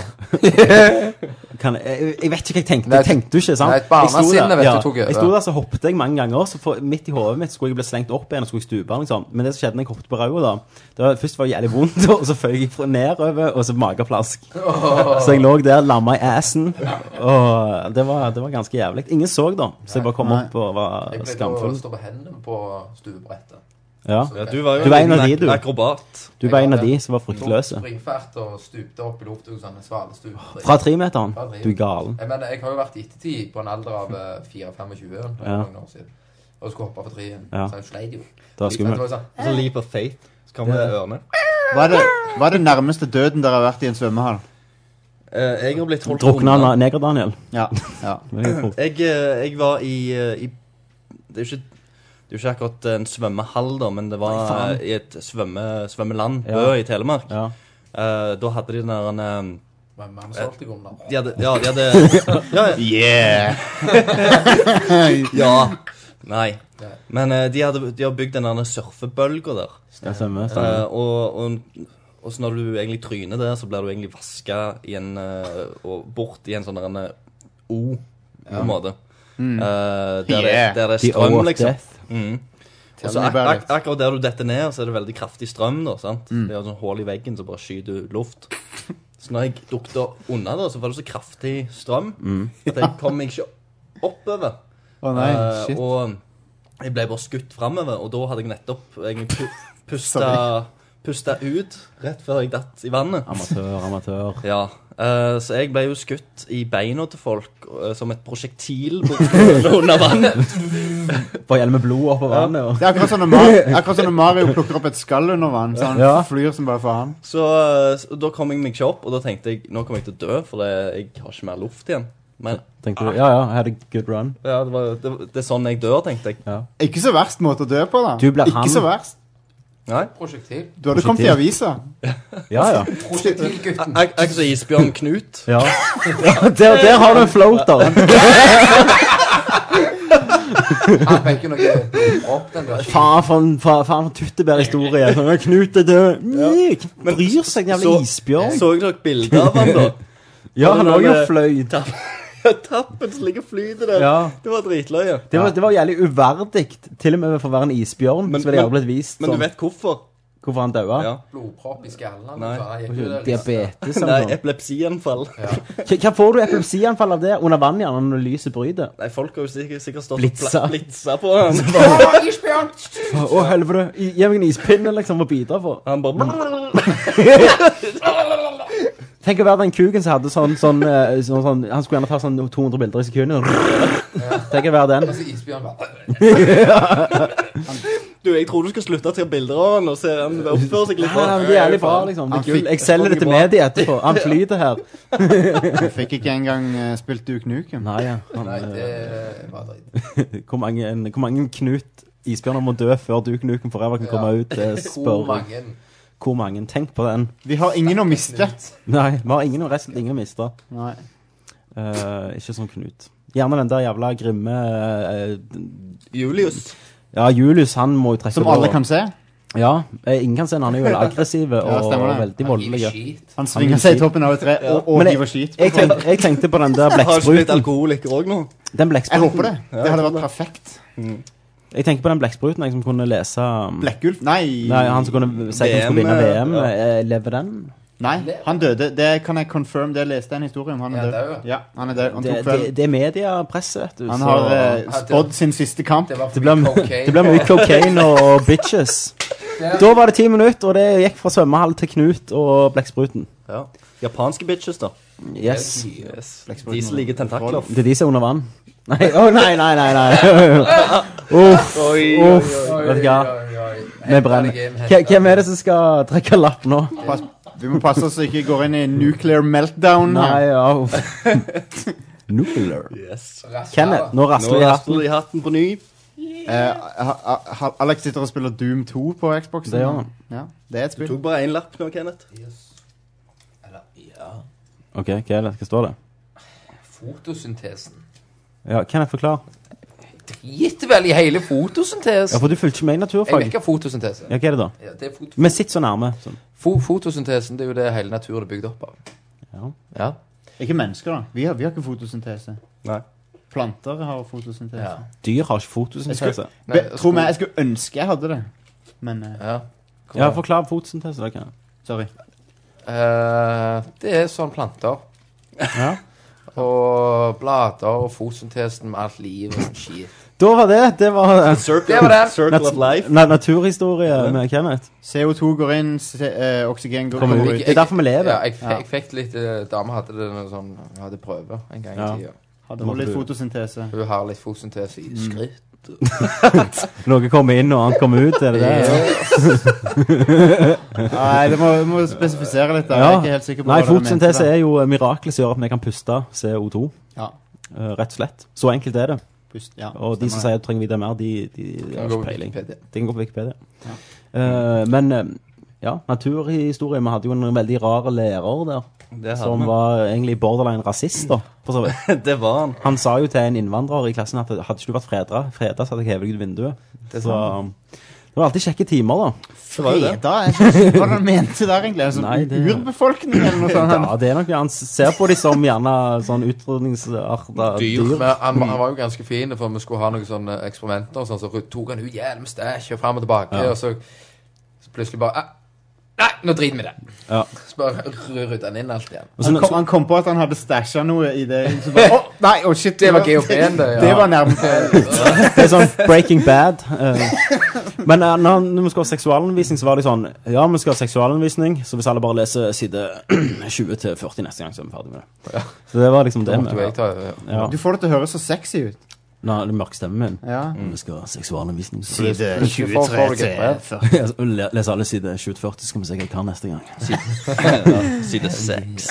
kan jeg, jeg, jeg vet ikke hva jeg tenkte.
Nei,
Jeg tenkte jo ikke, sant?
nei, barnesinnet,
Jeg sto der-
vet du, tok over.
jeg sto der så hoppet jeg mange ganger. Så for, midt i hodet mitt skulle jeg bli slengt opp igjen og skulle stupe. Liksom. Men det som skjedde når jeg hoppet på rauda, da, det var, først var det jævlig vondt, og så føyk jeg fra- nedover, og så mageplask. Så jeg lå der, lamma i assen. Og det var, det var ganske jævlig. Ingen så, da, så jeg bare kom
Nei.
opp og var
Jeg pleide å
skamfull.
stå på hendene på stuebrettet.
Ja.
Ja, du var jo
Du var
en
en av de,
liten
du.
ak- akrobat.
Du var en av de som var fryktløse.
Springfart og stupte opp i lufta sånn en svalestup.
Fra tremeteren. Du er galen.
Jeg mener, jeg har jo vært i ettertid på en alder av eh, 4-25 ja.
Ja.
noen år siden. Og skulle hoppe på treen.
Ja.
Så jeg sleit jo.
Det
Men
var
det
skummelt.
var jo sånn,
Og så leap of fate. Så kommer det ørene.
Hva er det, hva er det nærmeste døden dere har vært i en svømmehall?
Eh, jeg har blitt holdt
Drukna
unna.
av Neger-Daniel.
Ja. ja.
Jeg, eh, jeg var i, eh, i Det er jo ikke det er jo ikke akkurat en svømmehall, da, men det var eh, i et svømme, svømmeland,
Ja.
Bø i Telemark.
Ja.
Eh, da hadde de den der eh,
men man solgte jo under.
De hadde, ja, de hadde ja,
Yeah!
ja. Nei. Men eh, de, hadde, de har bygd den der surfebølga der.
Skal jeg svømme?
Eh, og, og, og så når du egentlig tryner der, så blir du egentlig vaska i en eh, og bort i en sånn der en, eh, O, på en måte. Eh, der,
Yeah.
det, der det er
The O
strøm,
of
liksom.
Death.
Mm. Og så
me
ak
about
ak
it.
akkurat der du detter ned, så er det veldig kraftig strøm. da, sant?
Mm.
Det er jo sånn hull i veggen, så bare skyter du luft. Så når jeg dukte unna, da, så var det så kraftig strøm at jeg kom meg ikke oppover.
Mm. Å nei,
Eh,
shit.
og jeg ble bare skutt framover, og da hadde jeg nettopp egentlig pu pusta, pusta ut rett før jeg datt i vannet.
Amatør, amatør.
Ja, eh, Så jeg ble jo skutt i beina til folk eh, som et prosjektil borte under vannet.
Bare gjeld med blod oppå vannet. Og...
Det er akkurat som når Mario, akkurat som når Mario plukker opp et skall under vann, så han
Ja.
flyr som bare faen.
Så, eh, så da kom jeg meg ikke opp, og da tenkte jeg nå kommer jeg til å dø, for det, jeg har ikke mer luft igjen. Men
Tenkte du, ja ja, had a good run.
ja, det, var, det, det er sånn jeg dør, tenkte jeg.
Ikke så verst måte å dø på, da.
Du ble
Ikke
han.
så verst.
Nei?
Prosjektil.
Du hadde kommet i avisa.
Ja ja.
Prosjektilgutten.
Jeg, jeg er ikke så isbjørn Knut.
ja. der, der har du en floater.
Han fikk jo noe opp den der.
Faen for en fa- faen for en tuttebærhistorie. Sånn, Knut er død. Nei, Hvem bryr seg, den jævla
så-
isbjørn?
Så jeg dere bilder av han da?
Ja, han
så-
òg jo fløyt.
Tappen som ligger og flyter der.
Ja.
Det var dritløye.
Det var, det var jævlig uverdig, til og med for å være en isbjørn.
Men-
så ville jeg
men-
blitt vist
Men du
sånn,
vet hvorfor?
hvorfor han daua.
Ja.
Blodpropp i skallen.
Nei.
Så han gikk jo der, liksom.
Diabetes
Nei,
eller noe.
epilepsianfall.
Hva- Hva får du epilepsianfall av det? Under vann, gjerne, når lyset bryter?
Nei, folk har jo sikkert, sikkert stått
Blitza.
og pla- blitza på han.
Å, å, helvete. Gi gi meg en ispinne, liksom, å bidra for.
Han bare
Tenk å være den kuken som hadde sånn, sånn, eh, sånn, sånn Han skulle gjerne ta sånn 200 bilder i sekundet. Tenk å være den.
Og så isbjørn bare
Du, jeg tror du skal slutte å ta bilder av han og se han oppføre seg litt
Ja, men det er jævlig bra, liksom. Det
Han
er gull.
fikk-
Jeg selger det til mediet etterpå. Han flyter her.
Jeg fikk ikke engang eh, spilt Duke Nukem.
Nei, han,
Nei, det
eh,
var dritt.
hvor, mange, hvor mange Knut Isbjørner må dø før Duke Nukem Forever kan komme
Ja.
ut? eh,
Hvor
Spør
mange
hvor mange. Tenk på den.
Vi har ingen å miste.
Nei, vi har ingen og resten ingen å miste.
Nei.
Eh, ikke som Knut. Gjerne den der jævla grimme eh,
Julius.
Ja, Julius, han må jo trekke
Som
det
alle
over.
kan se.
Ja, eh, ingen kan se den. Han er jo veldig aggressiv
Ja,
og
stemmer det.
veldig voldelig.
Gir
ja.
skit.
Han svinger seg i toppen av et tre og, og
Men
hiver skit. på
Jeg
folk.
tenkte, jeg tenkte på den der
Har ikke blitt
blekkspruten.
alkoholiker òg nå?
Den
Jeg
blekkspruten.
håper det. Det hadde vært perfekt.
Jeg tenker på den blekkspruten jeg som kunne lese um,
Blekkulf? Nei.
Nei, han som kunne si at han skulle
VM,
vinne
eh,
VM. eh, Lever den?
Nei, han døde. Det kan jeg confirm. Det leste jeg en historie om. Han
Ja,
er
det er jo.
død. Ja, han er død. Han
Det,
tok
det,
kvelden.
det er mediepresset, vet du.
Han
så-
har eh,
det-
spådd sin siste kamp.
Det var
det blir,
for cocaine.
det blir mye cocaine og bitches. Da var det ti minutter, og det gikk fra svømmehall til Knut og blekkspruten.
Ja. Japanske bitches, da.
Yes.
De som liker tentakler.
Det er de som er under vann. Nei, å nei, nei, nei, nei. Uff,
Oi, oi,
uff.
oi,
Vet du hva?
oi, oi.
Vi brenner. Hva- Hvem er det som skal trekke lapp nå?
Pass, vi må passe oss så ikke går inn i nuclear meltdown.
Nei,
her.
ja. uff. Nuclear. Kenneth, nå rasler
Nå
vi i
rasler
hatten.
de i hatten på ny. Eh, ha- ha- Alex sitter og spiller Doom 2 på Xboxen.
Det gjør han.
Ja, det er et spill.
Du tok bare én lapp nå, Kenneth.
Ok, hva er det? Hva står det?
Fotosyntesen.
Ja, Kenneth, forklar.
Gitt vel i hele fotosyntesen.
Ja, for du fulgte ikke med i
Jeg vet
naturfag.
ikke hva fotosyntese
Ja, hva er det da?
Ja, det er fot
Vi sitter så nærme. Sånn.
fo fotosyntesen det er jo det hele naturen er bygd opp av.
Ja.
Ja.
Ikke mennesker, da. Vi har, vi har ikke fotosyntese.
Nei.
Planter har fotosyntese.
Ja.
Dyr har ikke
Jeg skulle,
fotosyntese.
Be- tro meg, jeg skulle ønske jeg hadde det. Men eh,
Ja.
Ja, forklar fotosyntese, da, Kenneth.
sorry.
Eh, det er sånn planter.
Ja.
Og blader og fotosyntesen med alt liv og sånn skit.
Da var det. Det var
Det var det.
Circle of life.
Na naturhistorie med Kenneth.
CO2 går inn, se, eh, oksygen går
Kommer
ut.
ut. Det er derfor vi lever.
Ja, jeg, fe- jeg fikk litt eh, Dame hadde det noe sånn Hun hadde prøve en gang i
Ja.
tida.
Hadde hun litt fotosyntese.
Hun har litt fotosyntese
Mm.
i skritt.
Noe kommer inn, og annet kommer ut. Er det det?
Nei, det må, må spesifisere litt. da. Jeg er ikke helt sikker på
Nei,
hva dere mente
fotosyntese
der.
er jo eh, miraklet som gjør at vi kan puste CO2.
Ja.
eh, Rett og slett. Så enkelt er det.
Pust, ja,
Og de som
stemmer
sier at du trenger vite mer, de, de, de har
gå på
ikke peiling.
Wikipedia.
De kan gå på Wikipedia. Eh, men eh, ja, naturhistorie. Vi hadde jo en veldig rar lærer der.
Det hadde
Som
vi.
var egentlig borderline rasist, da. For så vidt.
Det var han.
Han sa jo til en innvandrer i klassen at hadde ikke du vært freda, freda så hadde jeg hevet deg ut vinduet.
Det er
så um, det var alltid kjekke timer, da.
Det var jo det.
Freda? Jeg skjønner ikke hva han mente der, egentlig. Altså,
Nei, det-
Urbefolkning, eller noe sånt.
Ja, det er nok, Han ser på de som gjerne sånn utrydningsarta dyr.
Men han, han var jo ganske fin, for vi skulle ha noen sånne eksperimenter. og Sånn, så tok han ut hjelm, stæsj og fram og tilbake. Og så, så plutselig bare «Ah, Nei, nå driter vi i det.
Ja.
Så bare rydda han inn alt igjen.
Og så,
Han kom, han kom på at han hadde stæsja noe i det. Så bare, «Å, nei, å shit,
Det var GOP-en, det, ja.
det var nærmest
det er sånn Breaking Bad. eh. Men eh, når, han- når vi skulle ha seksualundervisning, så var det sånn Ja, vi skal ha seksualundervisning, så hvis alle bare leser side 20 til 40 neste gang, så er vi ferdig med det. Så det var liksom det.
Måtte jo jeg
Med,
ta over.
ja.
Du får det til å høres så sexy ut.
Nå, det er mørk stemmen min.
Ja.
Vi skal ha seksualundervisning. Mm. så-
Plutselig får folk et brev.
Ja, så le- Les alle side 20 til 40, så skal vi se hva jeg kan neste gang.
Side seks.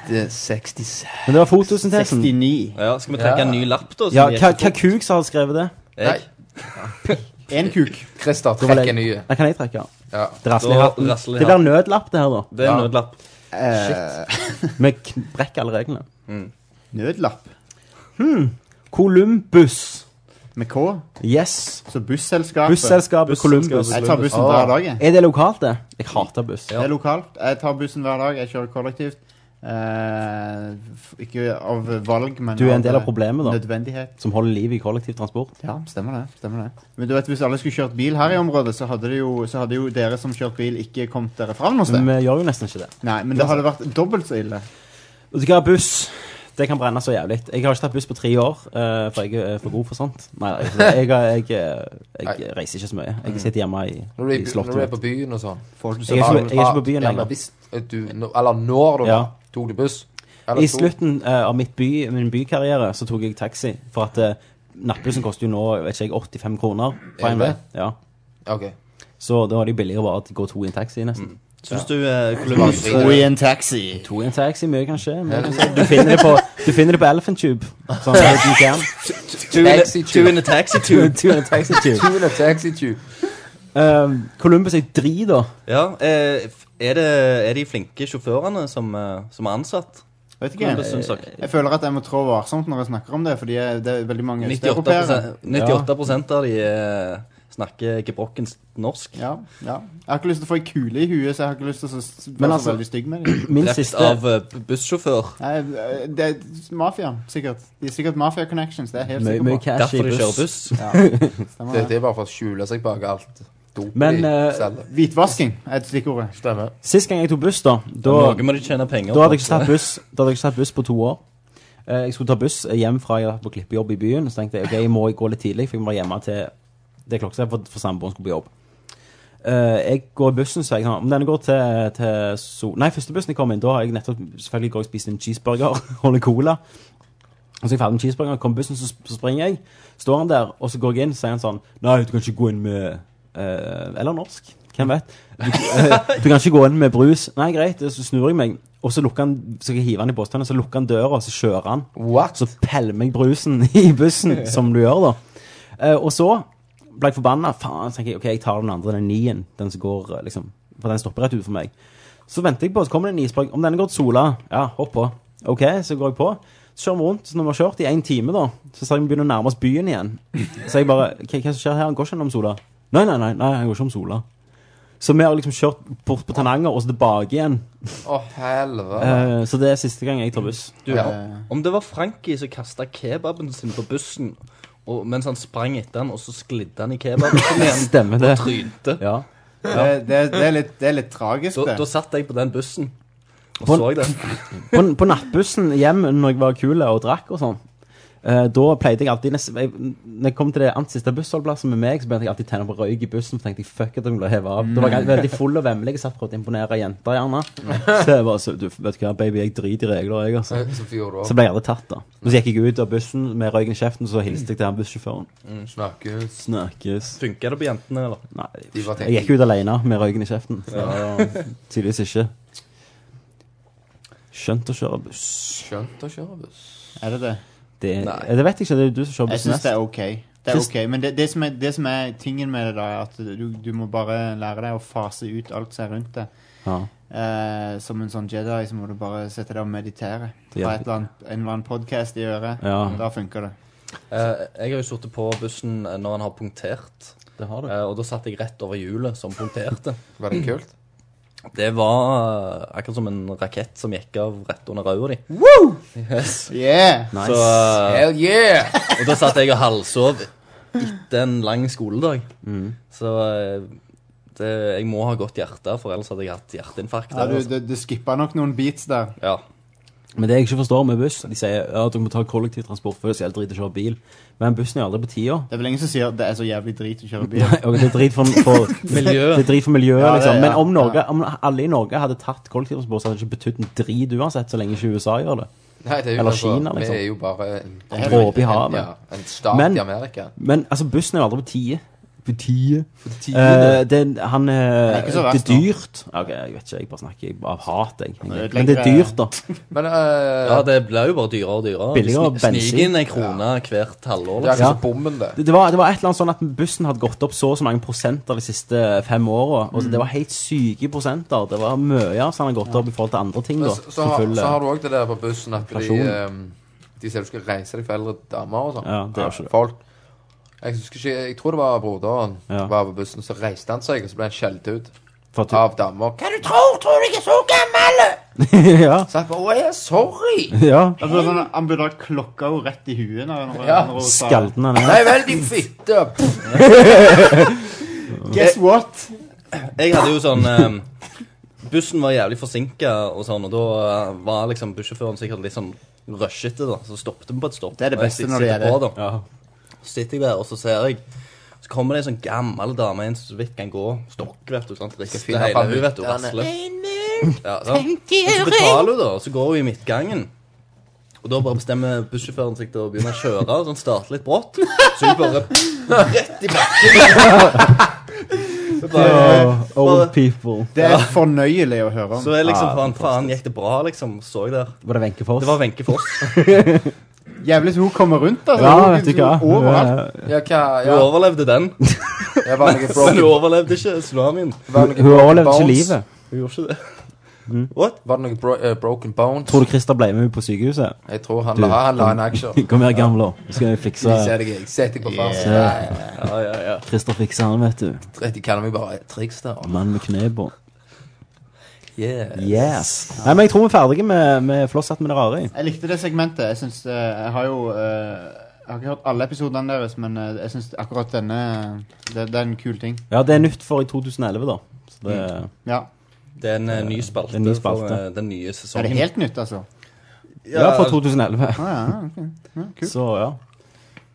Side 66.
Men det var fotosyntesen.
69.
Ja, skal vi trekke en ny lapp, da? som
Ja,
vi
hva,
ikke
hva
tok?
kuk som har skrevet det?
Nei,
Jeg.
Én kuk.
Christer,
Da vil
trekk en ny.
Da kan jeg trekke.
Ja.
Det rasler i
Da
hatten.
rasler i
Det blir nødlapp, det her, da.
Det er en nødlapp.
Vi brekker alle reglene.
Nødlapp.
Columbus.
Med K.
Yes.
Så busselskapet.
Busselskapet Columbus.
Jeg tar bussen hver dag. jeg.
Er det lokalt, det? Jeg hater buss.
Det er lokalt. Jeg tar bussen hver dag. Jeg kjører kollektivt. Eh, f- ikke av valg, men
Du er en del av problemet, da.
Nødvendighet.
Som holder liv i kollektivtransport.
Ja, stemmer det. stemmer det. Men du vet, Hvis alle skulle kjørt bil her i området, så hadde, det jo, så hadde jo dere som kjørte bil, ikke kommet dere fram noe sted.
Vi gjør jo nesten ikke det.
Nei, men det hadde vært dobbelt så ille.
Vet du hva, buss Det kan brenne så jævlig. Jeg har ikke tatt buss på tre år, eh, for jeg er for god for sånt. Nei, jeg, jeg, jeg, eh, jeg, jeg reiser ikke så mye. Jeg sitter hjemme i,
Når du,
i
er, i- når
slottet.
du er
mitt.
på byen og sånn
Folk
Jeg er
som-
ikke, jeg er ikke på byen
Ja, men
lenger.
hvis du, når- Eller når du
Ja.
tok du buss? Eller
I
tok-
slutten eh, av mitt by, min bykarriere så tok jeg taxi, for at eh, nattbussen koster jo nå vet ikke jeg, 85 kroner.
Er
På
det
NV.
det?
Ja.
Ok.
Så da er det jo billigere bare å gå to i en taxi, nesten.
Syns du eh, Columbus
To i en taxi.
To i en taxi, mye kan skje. Mye kan skje. Du, finner det på, du finner det på Elephant Tube. Sånn, du kan.
Two in a-
Taxi
two in a taxi
To,
tube.
to in a taxi tube.
Tune taxi tube.
Um, Columbus er drit, da.
Ja, eh, f- er, det, er de flinke sjåførene som, eh, som er ansatt?
Vet ikke
Columbus,
jeg.
syns dere?
Jeg føler at jeg må trå varsomt når jeg snakker om det, fordi jeg- det er veldig mange
98,
østeuropeere.
98 av de eh, snakker gebrokkent norsk.
Ja, ja. Jeg har ikke lyst til å få ei kule i huet, så jeg har ikke lyst til å s- s-
Men
være så
altså-
veldig stygg med dem.
Min
Drept
siste
av eh, bussjåfør.
Nei, det er mafia, sikkert. De er sikkert mafia connections. Det er jeg helt
Mye
sikker
mye
på.
cash i
Derfor de kjører
buss.
buss.
Stemmer
Det,
det.
det er bare for å skjule seg bak alt dopet
Men,
de
eh,
selger.
Hvitvasking er et stikkord.
Stemmer.
Sist gang jeg tok buss, da, da
Noe må de tjene penger
Da hadde jeg ikke tatt buss Da hadde jeg ikke tatt buss på to år. Eh, Jeg skulle ta buss hjem fra jeg hadde vært på klippejobb i byen. Så tenkte jeg ok, jeg må gå litt tidlig, for jeg må være hjemme til det klokka for, for samboeren skulle på jobb. Eh, jeg går i bussen, så er jeg sånn Om denne går til, til so Nei, første bussen jeg kom inn, da har jeg nettopp selvfølgelig går jeg og spist en cheeseburger og en cola. Og så er jeg ferdig med cheeseburgeren, kommer bussen, så, så springer jeg. Står han der, og så går jeg inn, så sier han sånn Nei, du kan ikke gå inn med eh, Eller norsk. Hvem vet? Du, eh, du kan ikke gå inn med brus. Nei, greit. Så snur jeg meg, og så lukker han Så jeg hiver han i posttønna, så lukker han døra, og så kjører han. Så pælmer jeg brusen i bussen, som du gjør, da. Eh, og så ble jeg forbanna. Faen, så tenker jeg, ok, jeg tar den andre, den nien. Den som går, eh, liksom. For den stopper rett ut for meg. Så venter jeg på, så kommer det en isbrag. Om denne går til Sola, ja, hopp på. Ok, så går jeg på. Så kjører vi rundt. Så når vi har kjørt i én time, da, så ser jeg vi begynner å nærme oss byen igjen. Så jeg bare Hva, hva som skjer her? Han går ikke gjennom Sola. Nei, nei, nei, nei, han går ikke om Sola. Så vi har liksom kjørt bort på Tananger og så tilbake igjen.
Å, helvete.
Eh, så det er siste gang jeg tar buss.
Du, Om det var Frankie som kasta kebaben sin på bussen og, mens han sprang etter han, og så sklidde han i kebaben sin igjen.
Stemmer det.
Og trynte.
Ja.
Det, det, det, er litt, det er litt tragisk,
Da,
det.
da satt jeg på den bussen og
På-
så det.
på, på nattbussen hjem når jeg var kul og drakk og sånn, eh, da pleide jeg alltid nest- jeg, Når jeg kom til det annet siste bussholdplassen med meg, så begynte jeg alltid å tenne på røyk i bussen. For tenkte jeg fuck it, jeg ble hevet av. Da var jeg veldig full og vemmelig og satt og prøvde å imponere jenter, gjerne. Så jeg bare så, du, vet du hva, baby, jeg driter i regler, jeg, altså.
Så gjorde du
Så
også.
ble jeg aldri tatt, da. Så gikk jeg ut av bussen med røyken i kjeften, så hilste jeg til han bussjåføren.
Mm, Snakkes.
Snakkes.
Funka det på jentene, eller?
Nei,
De var
jeg gikk ut alene med røyken i kjeften. Så tydeligvis ikke. Skjønt å kjøre buss.
Skjønt å kjøre buss.
Er det det?
Det,
Nei.
det vet jeg ikke. Det er jo du som kjører
Jeg
bussen
syns
mest.
det er ok. Det er
Syns-
ok, Men det, det, som er, det som er tingen med det, da, er at du, du må bare lære deg å fase ut alt som er rundt deg.
Ja.
Eh, som en sånn Jedi så må du bare sette deg og meditere.
Det
Ha
hjelper.
et eller annet, en eller annen podkast i øret.
Ja.
Da funker det.
Eh, jeg har jo sittet på bussen eh, når han har punktert.
Det har
Eh, og da satt jeg rett over hjulet som punkterte.
Var
Mm.
det kult?
Det var eh, akkurat som en rakett som gikk av rett under øya di. Yes.
Yeah!
Så, eh,
Hell yeah!
og da satt jeg og halvsov etter en lang skoledag.
Mm.
Så eh, det, jeg må ha godt hjerte, for ellers hadde jeg hatt hjerteinfarkt.
Ja, du,
altså.
du, du skippa nok noen beats der.
ja.
Men det jeg ikke forstår med buss, de sier ja, at dere må ta kollektivtransport før det er helt drit å kjøre bil. Men bussen er aldri på tida.
Det er vel ingen som sier at det er så jævlig drit å kjøre bil.
Nei, og det er drit for, for,
Miljø.
det er drit for miljøet,
Ja, det-
liksom. Men
ja,
om, Norge, om alle i Norge hadde tatt kollektivtransport, så hadde det ikke betydd en drit uansett, så lenge ikke USA gjør det.
Nei, det er jo
Eller
altså-
Kina,
Vi
liksom.
er jo bare en,
En dråpe i havet.
Ja, en stat
Men-
i Amerika.
Men altså, bussen er jo aldri på tide. På tide?
Tiende.
Eh, det, han, eh,
er ikke så
det er
verst, da.
dyrt. Ja, Ok, jeg vet ikke, jeg bare snakker jeg, av hat, jeg.
ødelegger
Men det er dyrt, da.
Men eh,
ja, det blir jo bare dyrere og dyrere.
Billigere
Sni-
bensin.
Sniker inn en krone hvert halvår.
det er
Liksom.
akkurat
Ja.
som bommen, det.
Det, det, var, det var et eller annet sånn at bussen hadde gått opp så og så mange prosenter de siste fem åra. Altså, Det var helt syke prosenter. Det var mye som hadde gått opp i forhold til andre ting.
Men
da.
Så, så, har,
Selvfølgelig.
så har du òg det der på bussen at de,
Inflasjon.
ehm, de sier du skal reise deg for eldre damer og sånn.
Ja, det er ikke det.
Folk jeg, husker ikke, jeg tror det var broderen
Ja.
var på bussen, så reiste han seg, og så ble han skjelt ut
For at
av damer. Hva du tror? Tror du jeg er så gammel?
du... ja,
Så jeg bare Å, jeg er sorry.
ja.
Jeg burde sånn, han burde ha klokka henne rett i huet. Når, når,
Ja,
når hun sa-
Skalten han er.
Nei vel, din fitte.
Guess what?
Jeg hadde jo sånn eh, Bussen var jævlig forsinka, og sånn, og da eh, var liksom bussjåføren sikkert litt sånn rushete. da, Så stoppet vi på et stopp.
Det er det
og jeg
beste
sit-
når det
sitter
er
på, da.
Ja.
Så sitter jeg der, og så ser jeg Så kommer det ei sånn gammel dame inn så vidt kan gå. Stokk, vet du. sant, Rister
finne
hele
fram
hun, vet du.
hyttene.
Rasler. Ja, sant? Og så betaler hun, da, og så går hun i midtgangen. Og da bare bestemmer bussjåføren seg til å begynne å kjøre, og sånn starter litt brått. Så hun bare rett i bakken. Så bare,
old people.
Det er fornøyelig å høre om.
så jeg liksom, faen, faen, gikk det bra, liksom? Så jeg der.
Var det Wenche Foss?
Det var Wenche Foss.
Jævlig så hun kommer rundt, altså.
Ja,
Hun-
vet du hva.
hun- Overalt.
Ja, hva
Hun
ja,
overlevde den,
Jeg var noe
men hun
broken,
overlevde ikke tsunamien.
var det noe
Hun
broken
overlevde ikke
bones?
livet.
Hun gjorde ikke det. What?
Var det noe bro eh, broken bones?
Tror du Christer ble med henne på sykehuset?
Jeg tror han la, han la en aksjer.
Kom her, gamle. Nå skal jeg fikse
Jeg ser deg, jeg setter deg på farsen.
Ja, ja, ja.
Christer fikser han, vet du.
De kaller meg bare Trikster.
Mann med knebå.
Yeah.
Yes. Nei, men jeg tror vi er ferdige med, med flosshatten med det rare i.
Jeg likte det segmentet. Jeg synes, eh, Jeg har jo eh, Jeg har ikke hørt alle episodene deres, men eh, jeg syns akkurat denne det, det er en kul ting.
Ja, det er nytt for i 2011, da. Så det...
Mm.
Ja.
Det er en eh, ny spalte.
Det er en ny
for,
spalte.
eh, den nye
Er
sesongen.
Sånn.
det helt nytt, altså?
Ah,
Ja, fra 2011.
Ah, ja, ok.
Så ja.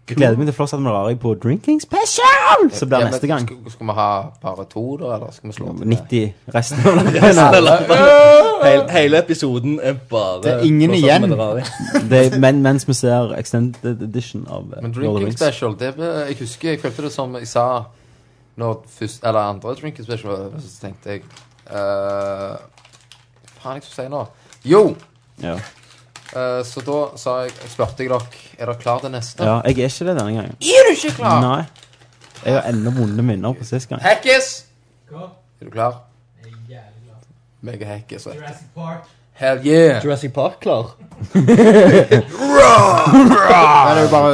Gleder meg til Floss Admirari på Drinking Special! Så blir det neste gang.
Skal, skal vi ha bare to, da? Eller skal vi slå til?
90 resten av
Resten av lappen. Hele,
lappen.
hele episoden er bare
Det er ingen
Blåser
igjen.
Minerari.
Det er, men mens vi ser Extended Edition av eh,
Men
Lord of the
Drinking
Rings.
Special, det, ble- jeg husker jeg følte det som jeg sa når først, eller andre Drinking Special var over, så tenkte jeg eh, Faen, jeg skulle si nå. Jo!
Ja.
Eh, så da sa jeg, spurte jeg dere er dere klar til neste.
ja, jeg er ikke det denne gangen.
Er du ikke klar?
Nei. Jeg har ennå vonde minner på sist gang.
Hackis! Er du klar? Jeg er jævlig klar. Mega hackis. vet du.
Jurassic Park.
Hell yeah!
Jurassic Park klar.
Da er det jo bare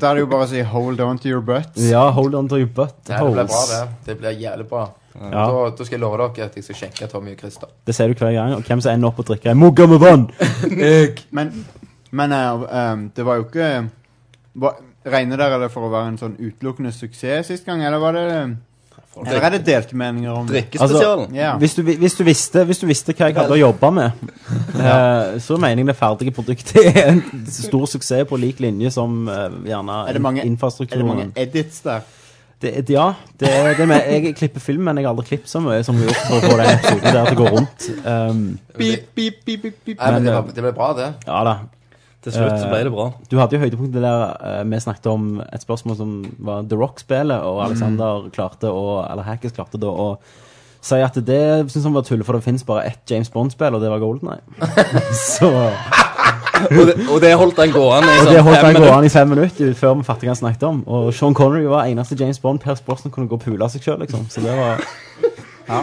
Da er det jo bare å si 'hold on to your butts'.
Ja, hold on to your butt
Nei, det blir bra,
holes.
det. Det blir jævlig bra.
Ja.
Da, da skal jeg love dere at jeg skal skjenke Tommy og Christer.
Det ser du hver gang. Og hvem som ender opp og drikker en mugge med vann!
Men, men eh, um, det var jo ikke hva, Regner dere det for å være en sånn utelukkende suksess sist gang, eller var det Eller er det delte meninger om
Altså,
Ja.
hvis, du, vi- hvis, du visste, hvis du visste hva jeg hadde å jobbe med, eh, så mener jeg det ferdige produktet er en stor suksess på lik linje som eh, gjerne
Er det mange- Er det
infrastrukturen.
mange edits der?
Det, det- ja, det, er- det med, jeg klipper film, men jeg har aldri klippet så mye som vi har gjort for å få den episoden der til å gå rundt. Um,
Beep,
beep, beep, beep, beep.
Nei, men det,
Men, eh,
var, det ble bra, det.
ja da.
Til slutt så ble det bra.
Du hadde jo høydepunktet der eh, vi snakket om et spørsmål som var The Rock-spillet,
Mm.
og Alexander klarte å, eller Hackes klarte da å si at det synes han var tull, for det finnes bare ett James Bond-spill, og det var Golden Eye. Så, og
Og det, og det holdt han gående i sånn
det holdt
fem
han
minutter.
gående i fem minutter før vi fattet hva han snakket om. Og Sean Connery var eneste James Bond Per Sportsen kunne gå og pule seg selv, liksom. Så det var...
Ja.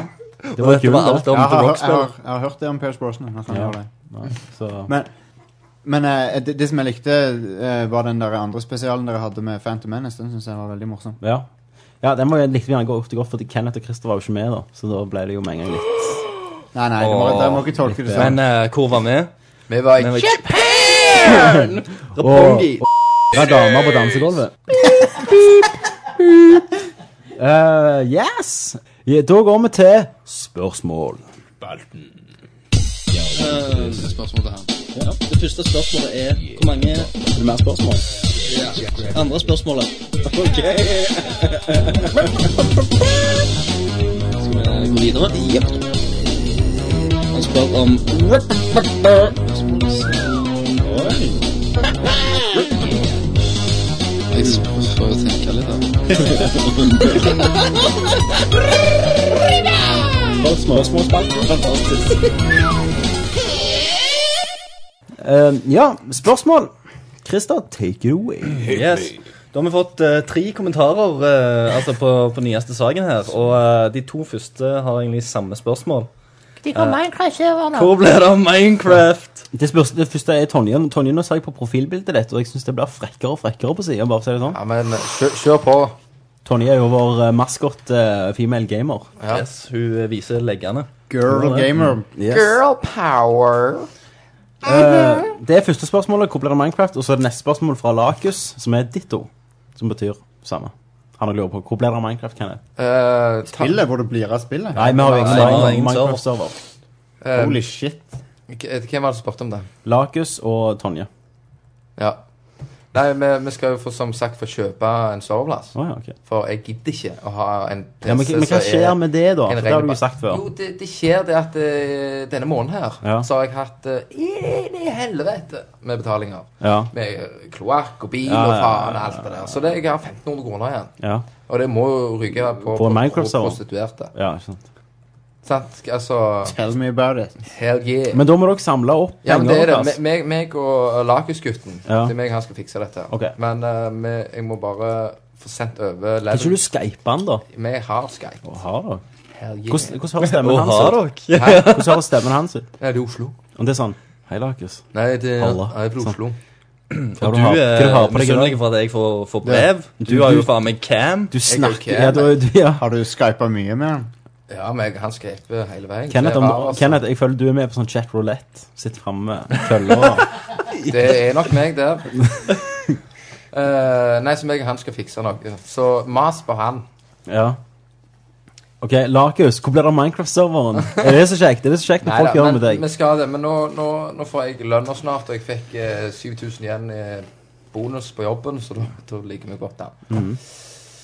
Det var
dette
kult,
var alt
det.
om
Jeg
The
har, jeg,
Rock-spill.
har, jeg har hørt det om Pierce Brosnan. At han
Ja.
gjør det.
Nei, så-
Men, men eh, det, det som jeg likte, eh, var den der andre spesialen dere hadde med Phantom Menace. Den synes jeg var veldig morsom.
Ja. ja, den var jo litt godt, godt, fordi Kenneth og Christer var jo ikke med da, så da ble det jo med en gang litt...
Nei, nei, du må,
Åh,
dere må ikke tolke det sånn.
Men eh, hvor var vi?
Vi var
Vi var
i
i-
Japan!
Roppongi.
Ja, damer på dansegulvet. Eh, yes! Ja, da går vi til spørsmål.
Eh, Det første spørsmålet er hvor mange
Er det mer spørsmål?
andre spørsmålet? Ok. Skal vi gå videre? Jepp. Han spør om
Eh, ja, spørsmål. Christer, take it away.
Yes. Da har vi fått eh, tre kommentarer eh, altså på, på nyeste saken her. Og eh, de to første har egentlig samme spørsmål. Eh, Hvor ble det av Minecraft?
Det, spørs, det første er Tonje. Tonje, nå ser jeg på profilbildet ditt, og jeg syns det blir frekkere og frekkere på sida. Bare si det sånn.
Ja, men kjør, kjør på.
Tonje er jo vår eh, maskot eh, female gamer.
Ja.
Yes, hun eh, viser leggene.
Girl gamer.
Girl power.
Eh, det er første spørsmålet. Hvor blir det Minecraft? Og så er det neste spørsmål fra Lakus, som er ditt ord. Som betyr samme. Han lurer på hvor blir det av Minecraft, kan jeg?
Eh, ta,
Spillet hvor det blir av spillet.
Nei, vi har jo ingen,
Nei, vi har
egen
ingen
Minecraft-server.
eh,
Holy shit.
k- eh, hvem var det som spurte om det?
Lakus og Tonje.
Ja. Nei, vi, vi skal jo få, som sagt få kjøpe en soveplass.
Å ja, ok.
For jeg gidder ikke å ha en
Ja, men, men hva skjer med det, da?
en
For det har du
regelbar-
jo sagt før.
Jo, det, det skjer det at eh, denne måneden her
Ja.
så har jeg hatt eh, inn i helvete med betalinger.
Ja.
Med eh, kloakk og bil
Ja,
og
ja,
faen og alt det der. Så det, jeg har 1500 kroner igjen.
ja.
Og det må jo ryke på,
På Minecraft-server.
prostituerte.
ja ikke sant.
Sant? Altså
Tell me about it.
Hell yeah.
Men da må dere samle opp
ja, men det er det.
penger.
Me- Meg, meg og Lakusgutten.
Ja.
Det er meg han skal fikse dette.
Ok.
Men eh, vi, jeg må bare få sendt over
Kan ikke
level.
du skype han, da?
Vi har Skype.
Å, har dere?
Hell yeah.
Hvordan, hvordan hører stemmen
Å,
hans
har
ut?
dere?
Hæ? Hvordan hører stemmen hans ut?
Ja, det er Oslo.
Om det er sånn Hei, Lakus.
Nei, det er,
Halla. Sånn.
jeg er fra Oslo.
Hva
Og
du
du
har- hva du
er
har på deg i dag?
misunnelig for at jeg får, får brev. Du
Du-
har
du-
jo faen meg cam.
Du snakker
ok,
ja, du, du, ja.
Har du skypa mye med han?
Ja, men jeg- han skreper hele veien.
Kenneth,
det, er rar,
om,
altså.
Kenneth, jeg føler du er med på sånn chat roulette. Sitter framme, følger og
det er nok meg der. Eh, nei, så meg og han skal fikse noe. Så mas på han.
Ja. OK, Lakus, hvor blir det av Minecraft-serveren? Er det så kjekt? Er det så kjekt når folk
Neida,
gjør det
men
med deg?
vi skal det. Men nå, nå, nå får jeg lønna snart, og jeg fikk eh, 7000 igjen eh, bonus på jobben, så da, da ligger vi godt an.
Mhm.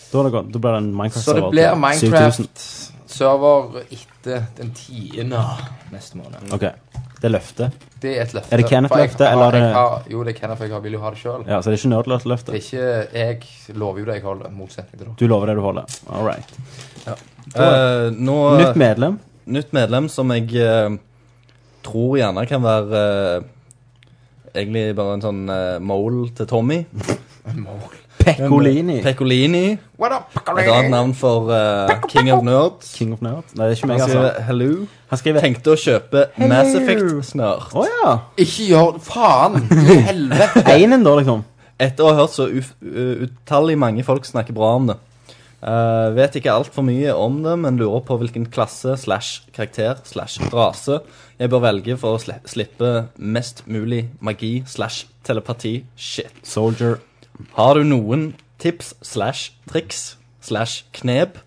Da, er det godt. da blir det en
Så det
Minecraft-server
blir
til 7000.
Minecraft-server etter den tiende neste måned.
Ok, det er løftet.
Det er et løfte.
Er
For
det
jeg-
Kenneth-løftet, eller
jeg
er det
har- Jo, det er Kenneth, for jeg har- vil jo ha det sjøl.
Ja, så det er ikke nerdløftet.
Det er ikke Jeg lover jo det jeg holder, motsetning til det.
Du lover det du holder. All right.
Eh, nå,
Nytt medlem.
Nytt medlem som jeg eh, tror gjerne kan være eh, Egentlig bare en sånn eh, mole til Tommy. eh,
Peccolini.
Peccolini.
What up,
Et annet navn for eh, King of Nerds.
King of Nerds? Nei, det er ikke meg,
Han skriver
altså.
hello.
Han skriver
Tenkte å kjøpe
Hello.
Mass Effect snart.
Å ja.
Ikke gjør Faen! I helvete!
Einen, da, liksom.
Etter å ha hørt så uf- u- utallig mange folk snakke bra om det. Eh, vet ikke altfor mye om det, men lurer på hvilken klasse slash karakter slash rase jeg bør velge for å sli slippe mest mulig magi slash telepati shit.
Soldier.
Har du noen tips slash triks slash knep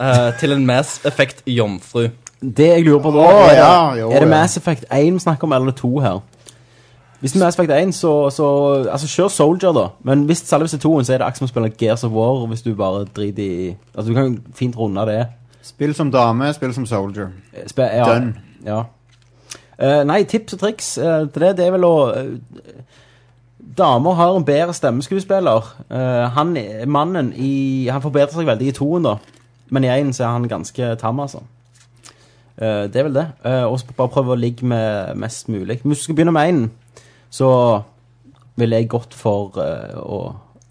eh, til en Mass Effect-jomfru?
Det jeg lurer på da,
Å,
er, det-
ja, jo,
er det
ja.
Mass Effect 1 vi snakker om, eller er det 2 her? Hvis det er Mass Effect 1, så, så Altså, kjør Soldier, da. Men hvis særlig hvis det er 2, så er det akkurat som å spille Gears of War, hvis du bare driter i Altså, du kan fint runde det.
Spill som dame, spill som soldier.
Spe Eh, ja.
Done.
Ja. Eh, nei, tips og triks eh, til det, det er vel å eh, Damer har en bedre stemmeskuespiller. Eh, han, mannen i Han forbedrer seg veldig i toen, da. Men i én så er han ganske tam, altså. Eh, det er vel det. Eh, og så bare prøve å ligge med mest mulig. Hvis du skal begynne med én, så ville jeg gått for eh, å,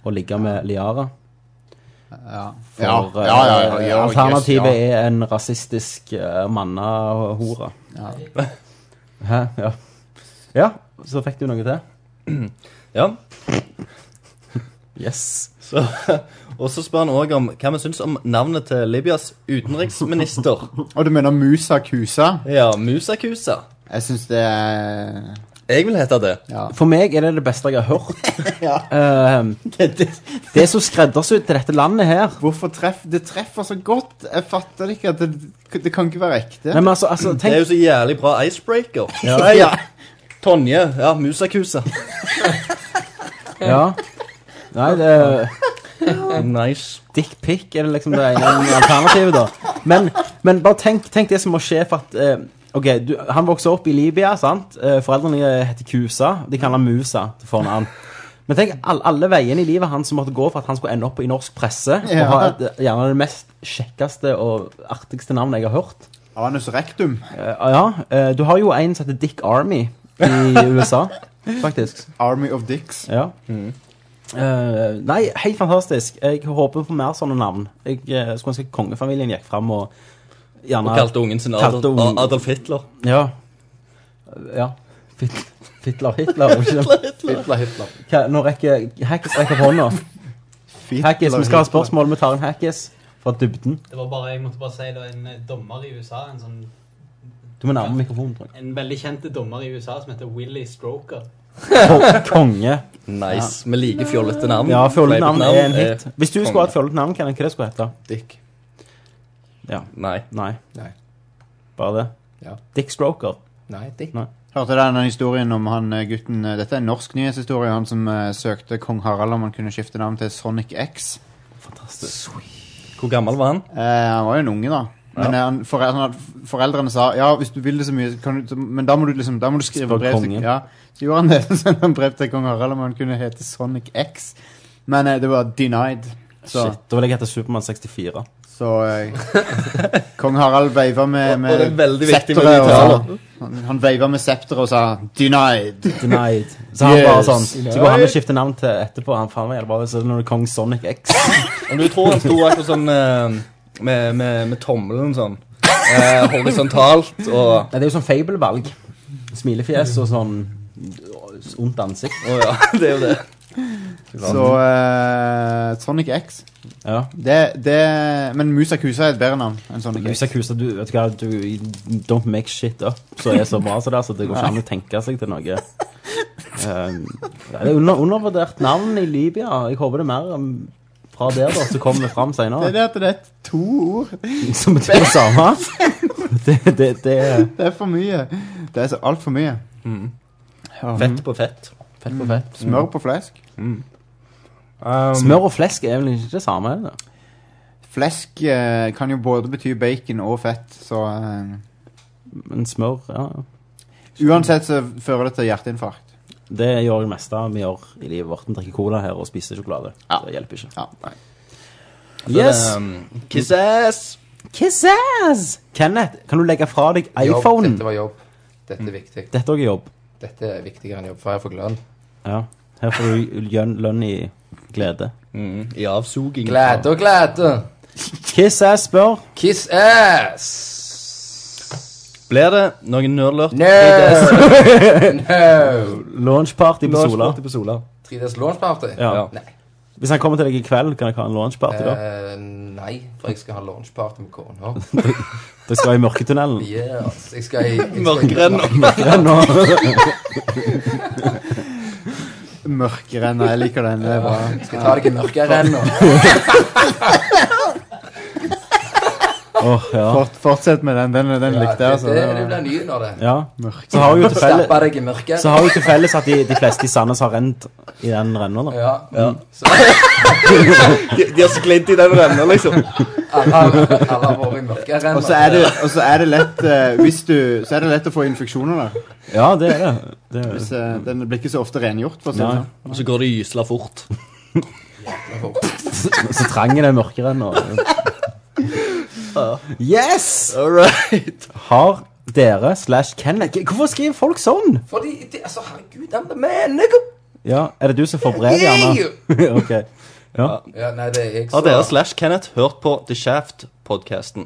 å ligge med Liara.
Ja.
For
Ja,
eh,
ja, ja, ja, ja,
alternativet
yes,
er en rasistisk uh, mannahore.
Ja.
Hæ? Ja. ja, så fikk du noe til.
Ja.
Yes.
Så, og så spør han òg om hva vi syns om navnet til Libyas utenriksminister.
Og du mener Musa Kusa?
Ja, Musakusa.
Jeg syns det er
Jeg vil hete det.
For meg er det det beste jeg har hørt. Eh, det er så skreddersydd til dette landet her.
Hvorfor treff, det treffer så godt? Jeg fatter ikke at det, det kan ikke være ekte.
Nei, men altså- altså, tenk-
Det er jo så jævlig bra icebreaker.
Ja.
Nei, ja. Tonje. Ja, Musakusa.
Ja. Nei, det
Nice.
Dickpic er det liksom det ene alternativet, da. Men, men bare tenk, tenk det som må skje for at eh, Ok, du, han vokser opp i Libya, sant? Eh, foreldrene heter Kusa. De kaller han Musa til fornavn. Men tenk all, alle veiene i livet hans som måtte gå for at han skulle ende opp i norsk presse.
Ja.
Og ha et, gjerne det mest kjekkeste og artigste navnet jeg har hørt.
Anus rectum.
Eh, ja, eh, du har jo en som heter Dick Army i USA, faktisk. Mm.
Army of Dicks.
Ja. Eh, nei, helt fantastisk. Jeg håper på mer sånne navn. Jeg eh, skulle ønske kongefamilien gikk fram og gjerne
Og kalte ungen sin
kalte
Adolf,
ungen-
Adolf Hitler.
Ja. Eh, ja. Fit- Fitler Hitler. var det ikke det?
Hitler, Hitler. Hitler, Hitler.
Hva- Nå rekker Hackis rekker opp hånda. Hackis, vi skal ha spørsmål. Vi tar en Hackis fra dybden.
Det var bare, Jeg måtte bare si det var en eh, dommer i USA. En sånn
Du må nærme mikrofonen. tror jeg.
En veldig kjent dommer i USA som heter Willy Stroker.
Ko- Konge.
Nice. Vi liker fjollete navn.
Ja, fjollete navn
Fleipete
er en
navn
hit. Hvis du skulle ha et fjollete navn, Kenneth, hva det skulle hete?
Dick.
Ja.
Eh, Nei.
Nei.
Nei.
Bare det?
Ja.
Dick Stroker?
Nei, Dick.
Nei.
Hørte dere den historien om han eh, gutten eh, Dette er en norsk nyhetshistorie. Han som eh, søkte kong Harald om han kunne skifte navn til Sonic X.
Fantastisk.
Hvor gammel var han?
Eh, han var jo en unge, da. Men eh, han, foreldrene, foreldrene sa ja, hvis du vil det så mye, så kan du, så- men da må du liksom Da må du skrive
Spør
brev til
kongen.
ja. Så gjorde han det. Så sendte han brev til kong Harald om han kunne hete Sonic X. Men eh, det var denied. Så,
Shit. Da vil jeg hete Supermann 64.
så eh, kong Harald veiva med,
Og det er
med
veldig viktig med
septeret og
uttaler.
sa Han, han veiva med septeret og sa denied.
Denied. Så han bare
Yes.
sånn Så går han og skifter navn til etterpå. Han faen meg er det bare så når det er kong Sonic X.
Om du tror han sto akkurat sånn eh, med, med, med tommelen sånn eh, horisontalt og
Nei, det er jo sånn fabelvalg. Smilefjes og sånn ondt ansikt.
Å ja, det er jo det.
Så eh, Sonic X.
Ja.
Det, det, men Musa Kusa er et bedre navn enn Sonic X.
Lusa Kusa, du vet du hva, du don't make shit up så er så bra så det, er, så det går ikke an å tenke seg til noe. Um, ja, det er under, undervurdert navn i Libya. Jeg håper det er mer um, fra der da, som kommer fram
Det er
senere.
det at det er to ord.
Som betyr det samme. Det, det, det er
Mm.
Det er for mye. Det er så altfor mye.
Fett på fett.
Fett på fett.
Smør på flesk.
Smør og flesk er vel ikke det samme? er det det?
Flesk eh, kan jo både bety bacon og fett, så eh,
Men smør, ja.
Uansett så fører det til hjerteinfarkt.
Det gjør det meste vi gjør i livet vårt. Vi drikker cola her og spiser sjokolade. Det hjelper ikke. Yes.
Så det, um, kiss ass!
Kiss ass! Kenneth, kan du legge fra deg
Jobb,
iPhonen?
dette var jobb.
Mm.
Dette er viktig.
Dette òg er jobb.
Dette er viktigere enn jobb, for jeg får lønn.
Ja. Her får du lønn, lønn i glede.
Mm, I avsuging.
Glede og glede.
Kiss ass spør.
Kiss ass!
Blir det noen nerdlurt?
No! no.
Launchparty på Sola.
På Sola.
3Ds launch party?
Ja.
Ja.
Nei.
Hvis han kommer til deg i kveld, kan jeg ha en launchparty da?
Eh, nei, for jeg skal ha launch party med kona.
Dere skal i mørketunnelen.
Yes, jeg skal i jeg skal i-
Mørkerenner.
Ja, nå.
Mørkerenna, jeg liker den. Det er bra.
Jeg skal ta deg i mørkerenna.
Åh, ja.
Fort, fortsett med den. Den, den likte jeg.
det,
Altså.
det, det
Det var-
blir ny når det.
ja. Så har jo til felles,
Stappe deg i mørket.
så har jo til felles at de, de fleste i Sandnes har rent i den renna. da.
Ja. Så
De, de har sklidd i den renna, liksom.
alle, alle har vært i mørkerenna.
Og så er det, og så er det lett eh, Hvis du Så er det lett å få infeksjoner der.
Ja, det er det. det, er
Hvis,
det.
eh, den blir ikke så ofte rengjort. For å si det
Nei.
sånn.
Og så går det gysla fort.
Så trenger det mørkerenna. Yes!
All right.
Har dere slash Kenneth Hvorfor skriver folk sånn?
Fordi, det, altså, herregud, han er menneske!
Ja, Er det du som får brev, gjerne? ok. Ja.
Ja, nei, det er jeg
Har
som
dere slash Kenneth hørt på The Shaft-podkasten?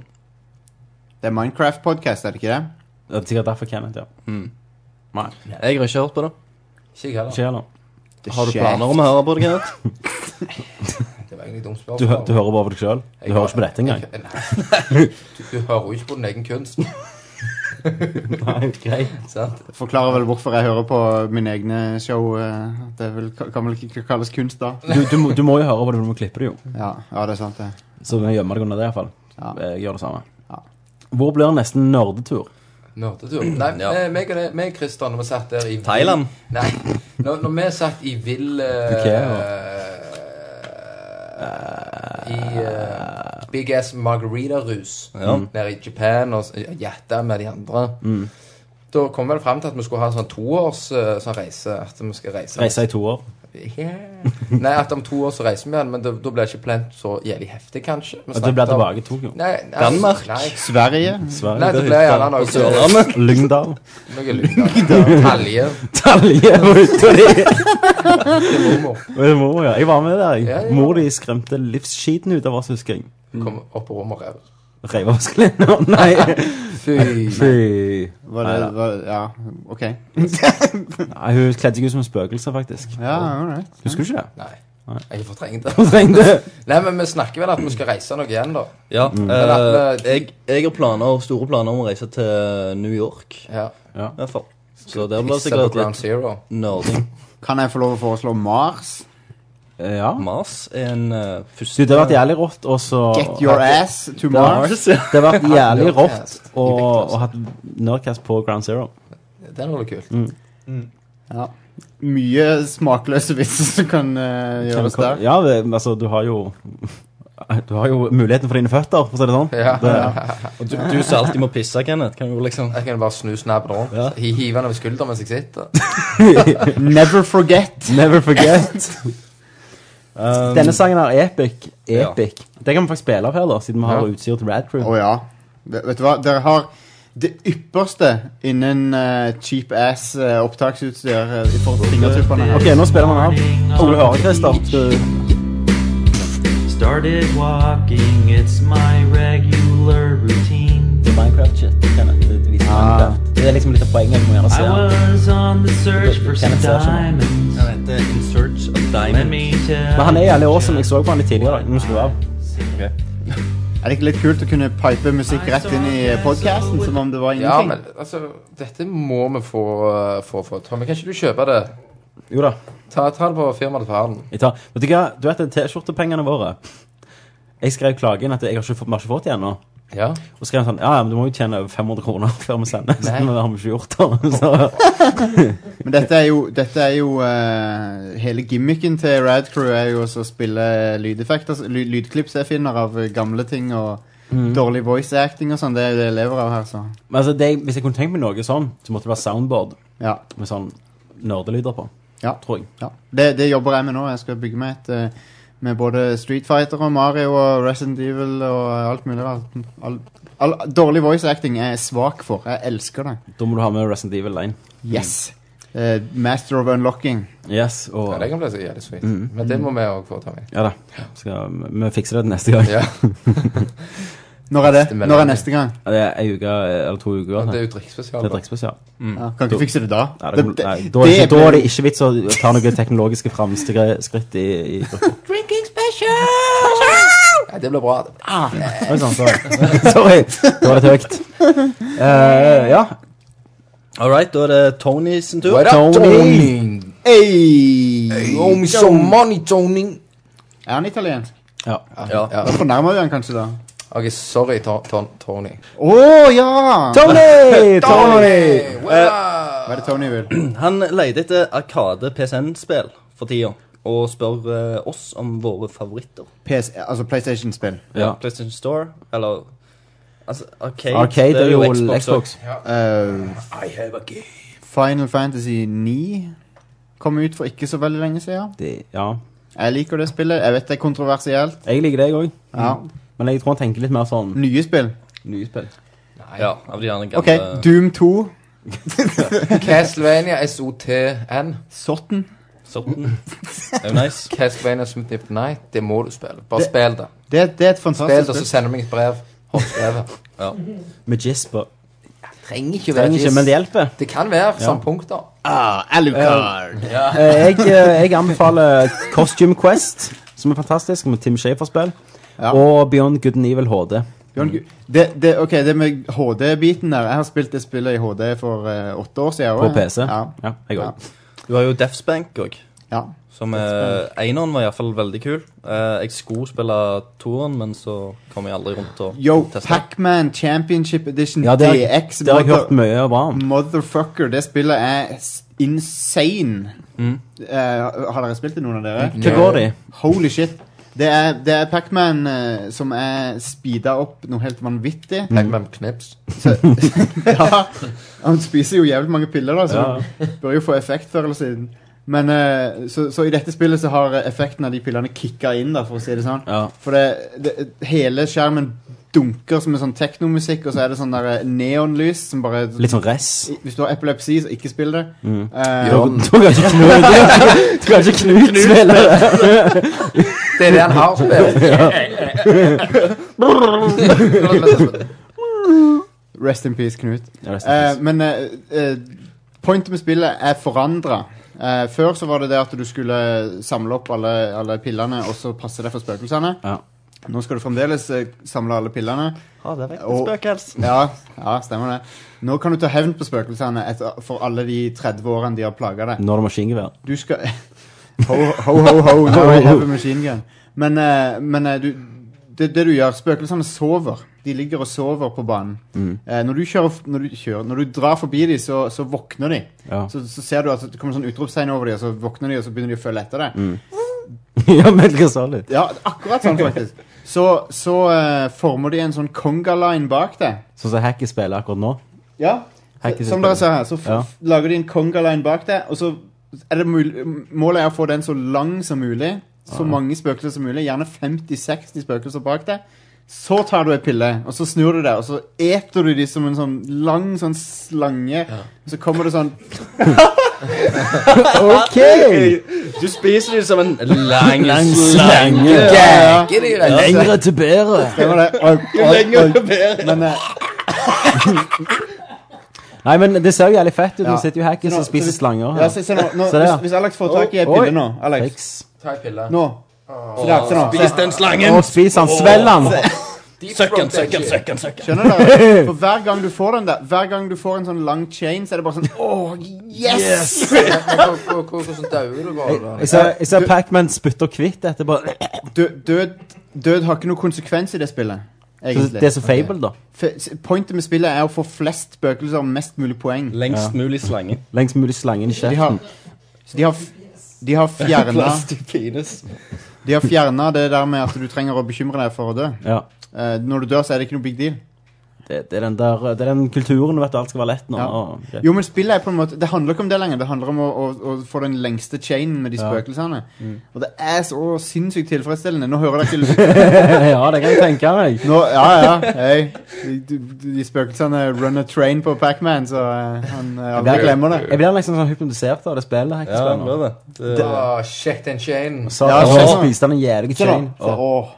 Det er Minecraft-podkast, er det ikke det?
Det er sikkert derfor Kenneth, ja. Nei,
Jeg har ikke hørt på det.
Ikke jeg heller.
ikke heller.
Det
Har du
skjer.
planer om å høre på det, Kenneth?
Det var egentlig et dumt
Du, hø-
spørsmål.
du hører bare på deg sjøl? Du
Jeg-
hører ikke på dette engang?
jeg- Nei. Du, du hører jo ikke på din egen kunst.
Nei, greit.
Sant?
Forklarer vel hvorfor jeg hører på mine egne show. eh, Det er vel, kan vel ikke kalles kunst, da?
Du, du, må, du må jo høre på det, du må klippe det jo.
Ja, ja det er sant, det.
Så vi gjemmer deg under det, iallfall.
Ja.
Jeg gjør det samme.
Ja.
Hvor blir neste nerdetur?
Nerdetur. Nei,
Ja.
eh, meg og det- meg og Christian, når vi satt der i vill-
Thailand.
Nei. Når, når vi satt i vill eh, I eh, Big Ass Margarita-rus Mm.
Ja.
nede i Japan og s- jatta med de andre. Da kom vi vel frem til at vi skulle ha en sånn toårs eh, sånn reise. At vi skal reise
Reise i to år.
Yeah. Nei, at om to år så reiser vi igjen, men da da blir ikke plent så jævlig heftig, kanskje. Vi
At du
snakket
blir
om-
tilbake i Tokyo.
Nei, nei,
Danmark.
Nei,
Sverige.
nei
Sverige.
det blir gjerne noe
Sørlandet.
Lyngdal.
Noe lyngdal. Talje.
Talje var ute og det.
Mormor.
Og mor, ja. Jeg var med der.
Ja,
jeg.
ja.
Mor di skremte livsskiten ut av oss, husker jeg.
Kom opp på rommet og rev.
Reiv av oss klærne. Å, Nei.
Fy.
Fy.
Var det, var, ja, OK.
Nei, hun kledde seg ut som en spøkelse, faktisk.
Ja, all right.
Husker du ikke det?
Nei. Jeg fortrengte det.
Hun trengte
Nei, men vi snakker vel at vi skal reise noe igjen, da.
Ja.
Men at
eh, jeg, jeg har planer, store planer om å reise til New York.
Ja.
I hvert fall. Så der blir det
Pisse på
sikkert
Ground
litt
Zero.
nerding.
Kan jeg få lov å foreslå Mars?
Ja.
Mars er en uh, første
Du, det har vært jævlig rått, og så
Get your ass to Mars?
Mars, ja.
Det har vært jævlig rått
Nerdcast.
å
Nerdcast.
å ha hatt Nerdcast på Ground Zero.
Det er noe kult.
Ja. Mye smakløse vitser som kan eh, gjøres der.
Ja, det, altså, du har jo Du har jo muligheten for dine føtter, for å si det sånn.
Ja.
Og du, du som alltid må pisse, Kenneth. Kan jo liksom
Jeg kan bare snu snappen rundt.
Ja.
Hi- Hive den over skulderen mens jeg sitter.
Never forget.
Never forget. Denne sangen her, Epic.
Ja.
Epic. Det kan vi faktisk spille opp her, da, siden vi har
Ja.
utstyr til Rad Crew.
Å ja. V- Vet du hva, dere har det ypperste innen eh, cheap ass eh, opptaksutstyr eh, i forhold til fingertuppene her.
Ok, nå spiller man av. Å, du hører, Christer. Du-
Started walking, it's my regular routine.
Det er Minecraft-shit. Kenneth. Det- det viser Minecraft. Det er liksom litt av poenget. Du må gjerne se
I
den.
was on the search for some
Kenneth Sarsen.
diamonds.
Den heter In Search of
Let
Diamond.
me tell
Men han er
you
jævlig awesome. Jeg
just
så på han litt tidligere.
what
Nå slå av.
Er det ikke litt kult å kunne pipe musikk rett inn i podkasten som om det var
Ja,
ingenting?
men altså, dette må vi få uh, få for. Tommy, kan ikke du kjøpe det?
Jo da.
Ta, ta det på firmaet til faren.
Jeg tar. Vet du hva? Du vet det er T-skjortepengene våre. Jeg skrev klagen at jeg har ikke fått, vi har ikke fått de ennå.
Ja.
Og skrev sånn Ja, ja, men du må jo tjene over 500 kroner før vi sender. Så
Nei.
det har vi ikke gjort. da. Så,
Men dette er jo, dette er jo eh, Hele gimmicken til Rad Crew er jo også å spille lydeffekter, ly, lydklips jeg finner av eh, gamle ting og
Mm.
dårlig voice acting og sånn. Det er jo det jeg lever av her, så.
men altså, det, hvis jeg kunne tenkt meg noe sånn, så måtte det være soundboard
Ja.
med sånn nerdelyder på.
Ja.
Tror jeg.
Ja. Det, det jobber jeg med nå. Jeg skal bygge meg et eh, med både Street Fighter og Mario og Resident Evil og alt mulig. All, all, all, dårlig voice acting er jeg svak for. Jeg elsker det.
Da må du ha med Resident Evil 1.
Yes.
Mm.
Eh, Master of Unlocking.
Yes, og,
Ja, det kan bli så jævlig sweet.
Mm.
Men det må vi òg få ta med.
Ja da. Skal, vi fikser det til neste gang.
Ja.
Når er det? Når er neste gang?
Ja, Det er ei uke eller to uker.
det er jo drikkspesial,
Det er
da.
drikkspesial.
Mm. Ja, kan ikke fikse det da.
Nei, det,
Det- det-
nei, da, er det,
det
ikke- da er
blir-
det ikke vits å ta noen teknologiske framskritt i, i
Drinking special! Nei, det blir bra. Ah.
Oi sann, sånn, sorry. sorry. Det var litt høyt. Eh, ja.
All right, da er det Tony sin tur.
What up, Tony?
Hey.
Owe me some money, Tony.
Er han italiensk?
Ja.
ja. ja.
Da fornærmer du han kanskje, da.
Ok, sorry, Ton- Ton- Tony.
Å ja!
Tony!
Hva er det Tony vil?
Han leide etter Arkade PSN-spill for tida, og spør eh, oss om våre favoritter.
PS, altså PlayStation-spill.
Ja.
PlayStation Store, eller altså, Arcade.
Arcade
det
er jo Xbox.
også.
Eh,
I have a game.
Final Fantasy 9 kom ut for ikke så veldig lenge siden.
Det, ja.
Jeg liker det spillet. Jeg vet det er kontroversielt.
Jeg liker deg òg,
Ja.
men jeg tror han tenker litt mer sånn
Nye spill.
nye spill.
Ja, av de gjerne gamle.
OK, Doom 2.
Castlevania SOTN.
Sorten.
Sorten. Det er jo nice.
Castlevania Smith Night Night. Det må du spille. Bare spill det.
Det, det er et
Spill det,
fantastisk
så
spill.
sender du meg et brev. Håndskrevet.
Med Gisper.
Trenger ikke Mm.
Trenger ikke, men det hjelper.
Det kan være samme punkter.
Ah, Alucard.
Eh, jeg, eh, jeg anbefaler Costume Quest, som er fantastisk, med Tim Shafer-spill.
Ja.
Og Beyond Good and Evil HD.
Bjørn Gu- Det, det, ok, det med HD-biten der Jeg har spilt det spillet i HD for eh, åtte år siden.
På
også.
PC.
Ja.
Ja, jeg òg.
Du har jo Defsbank òg,
ja.
som eh, Eineren var iallfall veldig kul. Eh, jeg skulle spille toeren, men så kom jeg aldri rundt og
Yo,
testa.
Pacman Championship Edition
Ja, det, har-
DX.
det har jeg
mother-
hørt mye bra om.
Motherfucker, det spillet er s- insane.
Mm.
Eh, har dere spilt det, noen av dere?
Hva går det i?
Holy shit. Det er, det er Pacman eh, som er speeda opp noe helt vanvittig.
Pac-Man Knips.
ja. Han spiser jo jævlig mange piller, da, så
Ja.
han bør jo få effekt før eller siden. Men, eh, så, så i dette spillet så har eh, effekten av de pillene kicka inn, da, for å si det sånn.
Ja.
For det, det, hele skjermen dunker som en sånn teknomusikk, og så er det sånn der eh, neonlys som bare
Litt sånn res.
Hvis du har epilepsi, så ikke spill det.
Mm.
Eh,
Ja.
Du kan ikke Knut Du kan ikke Knut spille det.
Det er det han har spilt.
Rest in peace, Knut.
Ja, det er
Eh, men eh, eh, pointet med spillet er forandra. Eh, før så var det det at du skulle samle opp alle, alle pillene og så passe deg for spøkelsene.
Ja.
Nå skal du fremdeles eh, samle alle pillene.
Ha det vekk,
Og-
spøkels.
Ja, ja, stemmer det. Nå kan du ta hevn på spøkelsene etter, for alle de 30 årene de har plaga deg.
Nå er det maskingevær.
Du skal Ho, ho, ho, ho, now I have a machine gun. Men, eh, men eh, du, det, det du gjør Spøkelsene sover. De ligger og sover på banen. Eh, når, du kjører, f- når, du kjører, når du drar forbi dem, så, så våkner de.
Ja.
Så, så ser du at det kommer sånn utropstegn over dem, og så våkner de, og så begynner de å følge etter deg.
ja, men hva sa du?
Ja, akkurat sånn, faktisk. Så, så eh, former de en sånn conga-line bak deg.
Sånn som Hacky spiller akkurat nå?
Ja,
Hacker
som
system.
dere sa her, så f
Ja.
lager de en conga-line bak deg, og så er det mul målet er å få den så lang som mulig, så mange spøkelser som mulig, gjerne 50-60 spøkelser bak deg. Så tar du en pille, og så snur du deg, og så eter du de som en sånn lang sånn slange, og så kommer det sånn
OK!
Du spiser det som en lang
Lang
slange.
slange.
ja,
Ikke det, det.
Lengre til bedre.
Stemmer det? Og, og, og, men eh,
Nei, men det ser jo jævlig fett ut.
Ja.
Nå sitter jo Hacky
Så
som
nå-
spiser
så vi-
slanger.
ja, se, se nå, nå,
Se der.
hvis, hvis Alex får tak i en pille nå Alex,
Triks.
Ta en pille.
nå Se der, se nå.
Spis den slangen.
Å, spis han. Svelg han.
Søkk den, søkk den, søkk den. søkk den.
Skjønner dere? For hver gang du får den der Hver gang du får en sånn lang chain, så er det bare sånn Åh, yes!
Hvordan dauer du bare? da?
Jeg ser, jeg ser Pacman spytter kvitt etterpå.
Død, død, død har ikke noen konsekvens i det spillet. egentlig.
Så det er som Fable, da?
F- s- Pointet med spillet er å få flest spøkelser og mest mulig poeng.
Lengst mulig slange.
Lengst mulig slangen i
De har,
kjeften.
så de har, f- de har fjerna
Plass til penis.
De har fjerna det der med at du trenger å bekymre deg for å dø.
Ja.
Eh, når du dør, så er det ikke noe big deal.
Det, det, er den der, det er den kulturen, vet du. Alt skal være lett nå.
Ja.
og- greit.
Jo, men spillet er på en måte Det handler ikke om det lenger. Det handler om å, å, å få den lengste chainen med de
Ja.
spøkelsene.
Mm.
Og det er så sinnssykt tilfredsstillende. Nå hører dere ikke
ja, det kan jeg tenke meg.
Nå, ja, ja, hei. De, de, de spøkelsene run a train på Pac-Man, så eh, han eh,
Jeg
aldri
blir-
glemmer det.
Jeg blir liksom sånn hypnotisert av det spillet. Jeg,
Ja, han ble det. det
Ah, Sjekk den chainen.
Så
Ja,
og så
sånn.
spiste han en jævlig
Se
chain.
nå. Se, åh.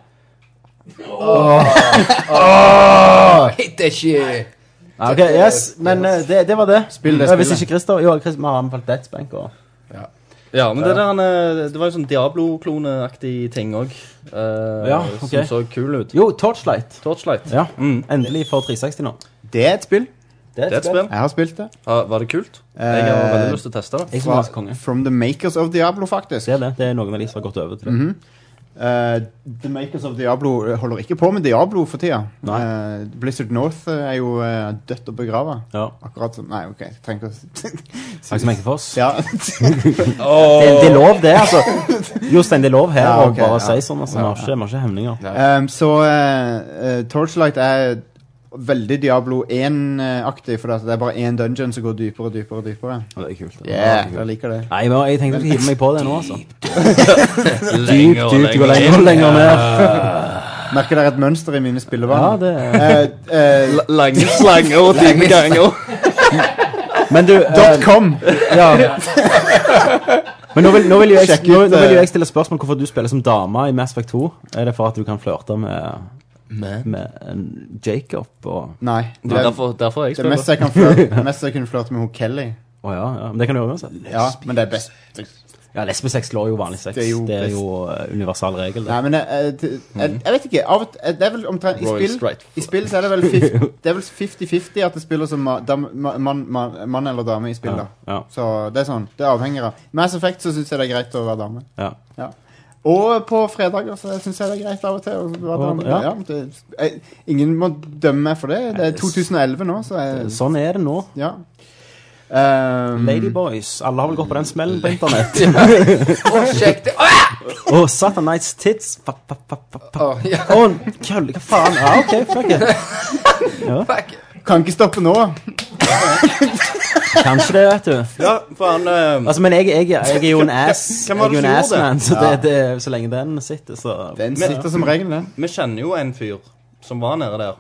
Hit that shit.
Ja, ok, yes, Men eh, det, det var det.
Spill det
Ja, Hvis
spillet.
ikke Christer Jo, Chris, vi har anbefalt Death's Bank. Og...
Ja, men det der han, eh, Det var jo sånn Diablo-kloneaktig ting òg.
Ja, ok.
Som så kul ut.
Jo, Torchlight.
Torchlight.
Ja,
Mm.
Endelig for 360 nå.
Det er et spill.
Det
Det er et spill.
Jeg har spilt det. Eh,
Ah, var det kult? Jeg har
Eh,
veldig lyst til å teste det.
Jeg synes det
Fra,
var så konge.
from the makers of Diablo, faktisk.
Det er det. Det er noen av de som har gått over til det.
Eh, the makers of Diablo holder ikke på med Diablo for tida.
Nei.
Eh, Blizzard North er jo eh, dødt og begrava.
Ja.
Akkurat som Nei, OK. jeg Trenger ikke
Takk som ikke for oss.
å Ja.
Det, det er lov, det, altså. Jostein, det er lov her
Ja,
å
ok,
bare
ja.
si sånn. altså. Vi har ikke, vi har ikke hemninger.
Ehm, så eh, eh, Torchlight er veldig Diablo 1-aktig, for at det er bare én dungeon som går dypere og dypere. og dypere
Ja, Det er kult. det.
Yeah, jeg liker det.
Nei, men jeg tenkte jeg skulle hive meg på det nå, altså.
Dypt,
Dypt går lenger og lenger ned.
Merker dere et mønster i
Ja,
mine spillevaner?
det er...
Eh, eh,
Lange slanger og dype ganger.
Men du eh,
Dot com!
ja. Men nå vil, nå, vil jo jeg,
Sjekk
nå,
ut,
nå vil jo
eh,
jeg stille spørsmål hvorfor du spiller som dame i Mass Effect 2. Er det for at du kan flørte med, med en Jacob og
Nei.
Det er derfor, derfor
det
jeg spiller.
meste jeg kan flørte det meste jeg kunne flørte med, hun Kelly.
Å ja, ja, men det kan du gjøre uansett.
Ja, men det er best.
Ja, lesbesex slår jo vanlig sex.
Det
Det
er
er
jo
jo, eh, universal regel, det.
Nei, men eh, eh, t- jeg,
Mhm.
jeg vet ikke. Av og til Det er vel omtrent I
Royal
spill,
Strike.
i spill så er det vel fif- Det er vel 50-50 at det spiller som ma- dam- ma- mann mann- mann eller dame i spill, da.
Ja,
Så det er sånn. Det avhenger av. Mass Effect så syns jeg det er greit å være dame.
ja.
Og på fredager så syns jeg det er greit av og til. å være
Og-
dame.
ja.
Ja, det, jeg, ingen må dømme meg for det. Det er 2011 nå, så
ja.
jeg,
Sånn er det nå.
ja. Um,
Ladyboys. Alle har vel gått på den smellen på internett.
Sjekk det. Ah!
Å, Satan Nights Tits. Fa, fa, fa, fa,
Å,
fa.
Ah, ja,
Å, kølle, hva faen? Ja, OK, fuck it.
fuck.
Kan ikke stoppe nå.
Kanskje det, vet du.
Ja, for han eh,
Altså, men jeg, jeg, jeg er jo en ass
Hvem
Jeg
var
er
det
jo en
som gjorde
assman,
det?
så, det, det, så lenge den sitter, så
Den sitter som regel, den.
Vi kjenner jo en fyr som var nede der.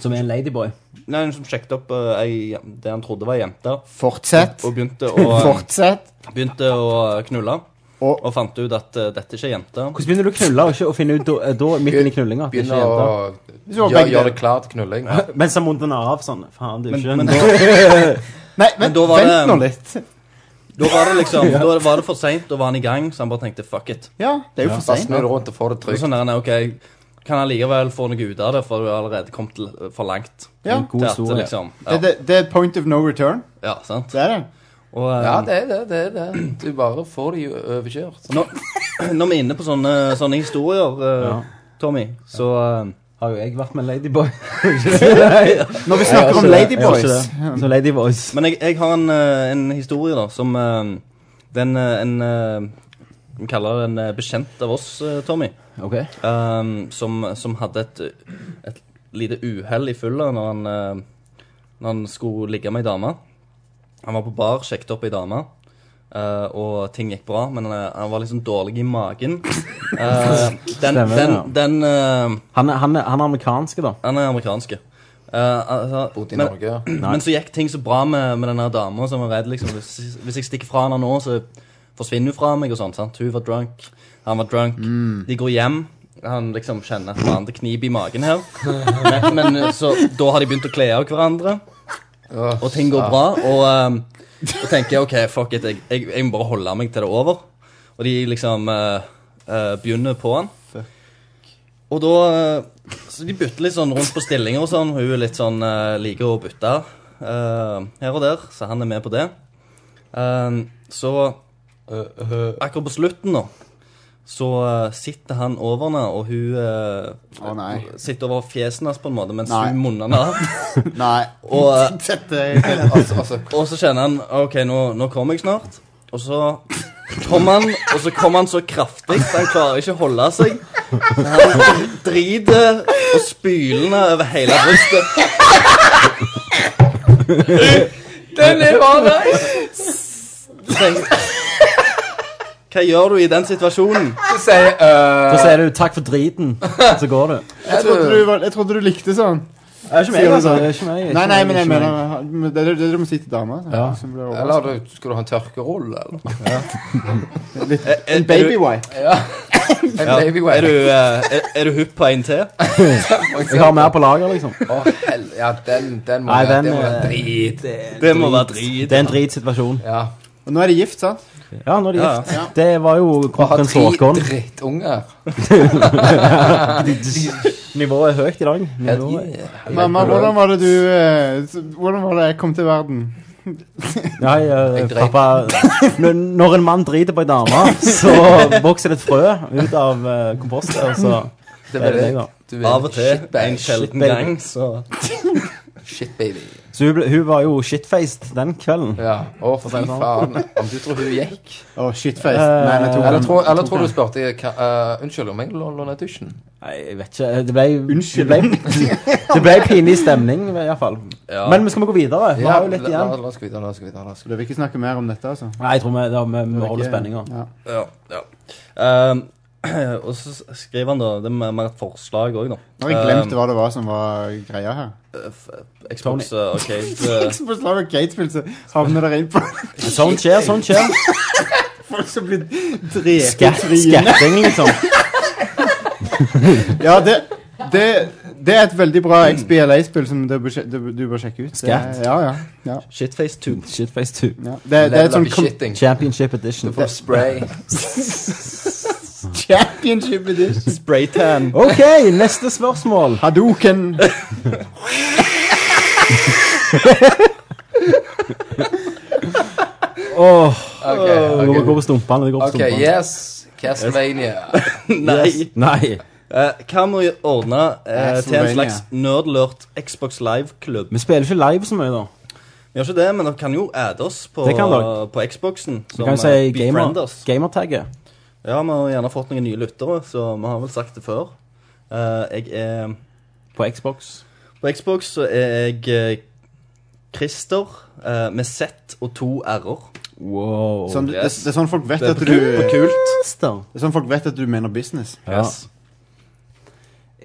Som er en ladyboy.
Nei, Som sjekket opp eh, ei, det han trodde var ei jente,
Fortsett.
og begynte å,
Fortsett.
begynte å knulle.
Og-
Og fant ut at eh, dette er ikke ei jente.
Hvordan begynner du å knulle og ikke å finne ut da, eh, da midt i knullinga? at det ikke
Begynner
er
å
jenter?
gjøre
var
gjør
begge
det
deler.
klart knulling.
Mens han munter den av sånn Faen, det er
Men,
jo ikke
men
en
da,
Nei,
Men
vent,
da var
vent
det-
nå litt.
da var det liksom Da var det for seint, da var han i gang, så han bare tenkte fuck it.
Ja, det er jo for
Bare
seint.
snu deg rundt og få det
Og
trygt.
sånn der, nei, ok, kan han likevel få noe ut av det, for du har allerede kommet til, for langt.
Ja.
god
til at,
historie.
liksom,
Det,
ja,
det, det er point of no return.
ja, sant?
Det er det.
Og, eh,
Ja, det er det. det, er det. Du bare får de overkjørt.
Nå- Når vi er inne på sånne, sånne historier, eh,
Ja.
Tommy, så eh,
Har jo jeg vært med en ladyboy?
Når vi snakker
altså,
om Ladyboys
Så ladyboys.
Men jeg, jeg har en, eh, en historie, da, som eh, Den eh, en eh, Vi kaller det en eh, bekjent av oss, eh, Tommy,
Ok.
eh, som, som hadde et, et lite uhell i fylla når han eh, Når han skulle ligge med ei dame. Han var på bar, sjekket opp ei dame. eh, og ting gikk bra, men eh, han var liksom dårlig i magen. Eh, den,
Stemmer,
den,
ja.
den eh,
Han, er- han, er- han er amerikanske, da.
Han er amerikanske. Eh, altså,
Bodde i
men,
Norge.
men så gikk ting så bra med, med denne dama som var redd. liksom hvis, hvis jeg stikker fra henne nå, så forsvinner hun fra meg. og sånt, sant? Hun var drunk, han var drunk.
Mm.
De går hjem. Han liksom kjenner at faen, det kniper i magen her. Men, men eh, så da har de begynt å kle av hverandre, og ting går bra. Og, eh, og tenker jeg, OK, fuck it, jeg, jeg, jeg må bare holde meg til det over. Og de liksom eh, eh, begynner på han. Og da eh, Så de bytter litt sånn rundt på stillinger og sånn. Hun er litt sånn eh, liker å bytte eh, her og der, så han er med på det. Eh, så akkurat på slutten, da, Så eh, sitter han over henne, og hun eh, sitter over fjesen hans på en måte, mens
Nei.
hun munner henne av.
Nei.
Og, eh,
Dette er helt- altså, altså.
og så kjenner han OK, nå, nå kommer jeg snart. Og så kommer han, og så kommer han så kraftig at han klarer ikke å holde seg. Han driter og spylende over hele brystet.
Den er bare nice!
Hva gjør du i den situasjonen?
Så sier
Da sier du 'takk for driten', så går du.
Jeg trodde du, var, jeg trodde du likte sånn.
Det er ikke meg,
Sier du
altså.
sånn?
Det er ikke meg, det er
Nei,
ikke
nei,
meg,
men jeg
det er ikke
mener men Det er det- det du må si til dama. altså,
Ja.
som blir
Eller har
overrasket.
du, skal du ha en tørkerull, eller?
Litt- En baby wipe.
Ja. En
Ja.
baby wipe.
Er du, eh, er, er du hupp på en til?
Jeg har mer på lager, liksom.
Å, hell, ja, den, den må
Nei,
være
den
det må være
er-
drit.
Det må være drit.
Det er en dritsituasjon.
Ja.
Og nå er de gift, sant?
Ja, nå er de
Ja.
gift. Det var jo
Ha tre
kroppen sårskål.
drittunger.
Nivået er høyt i dag.
Hell
Nivået.
yeah.
Mamma, hvordan var det du eh, s- Hvordan var det jeg kom til verden?
Nei, eh,
Jeg dreit.
pappa n- Når en mann driter på ei dame, så vokser det et frø ut av eh, kompostet, og så
Det
er
var
det deg, da.
Du er
Av og til.
shitbag.
En sjelden
baby.
gang, så
Shit, baby.
Så hun, ble, hun var jo shitfaced den kvelden.
Ja. Å, fy faen. Om du tror hun gikk
Å, shitface. Nei, nei, tok
Eller
den.
tror, eller tror du spurte hva- eh, Unnskyld om jeg lå- låner dusjen?
Nei, jeg vet ikke. Det ble, Unnskyld. Det ble, det ble pinlig stemning, i hvert fall.
Ja.
Men vi skal vi gå videre? Vi har jo litt
la-
igjen.
La, la oss gå videre. La oss gå videre. La oss gå videre.
Du vil ikke snakke mer om dette, altså?
Nei, jeg tror vi, da, vi, vi holder
Ikke-
spenninga.
Ja.
Ja. ja. Um, og så skriver han, da Det er mer et forslag òg, da.
Nå har jeg glemt hva det var som var greia her.
Um, Xbox uh, Arcade.
Xbox Live Arcade-spill, så havner dere inn på
Sånn skjer, sånn skjer.
folk som blir drept i
Skatt-
trynet.
Skatting, liksom.
Ja, det, det, det er et veldig bra
Mm.
XBLA-spill som du bør, sje- du, du bør sjekke ut. Det-
Skat.
Ja, ja. ja.
Shitface 2.
Shitface 2.
ja. Det, det er et
Level
sånn
up i
kom-
shitting.
Championship edition.
Du får spray.
championship edition.
Spraytan.
OK, neste spørsmål.
Hadoken.
Åh,
Ok,
det
ok.
går- går på stumpene. Det går på
Ok,
stumpene.
yes. Castlevania.
Nei.
Nei.
Eh, hva må vi ordne eh, til en
Castlevania.
slags nerdlurt Xbox Live-klubb?
Vi spiller ikke live så mye, da.
Vi Gjør ikke det, men dere kan jo adde oss på,
Det kan dere.
på Xboxen.
Vi
Som
kan jo
eh,
si
befriend
gamer,
oss.
gamertagget.
Ja, vi har gjerne fått noen nye lyttere, så vi har vel sagt det før. Eh, jeg er
På Xbox.
På Xbox så er jeg eh, Christer eh, med Z og to r-er.
Wow.
Sånn, det,
Oh, yes.
det er sånn folk vet
Det er
at du
på
Det
kult.
Sånn.
er sånn folk vet at du mener business.
Ja.
Yes.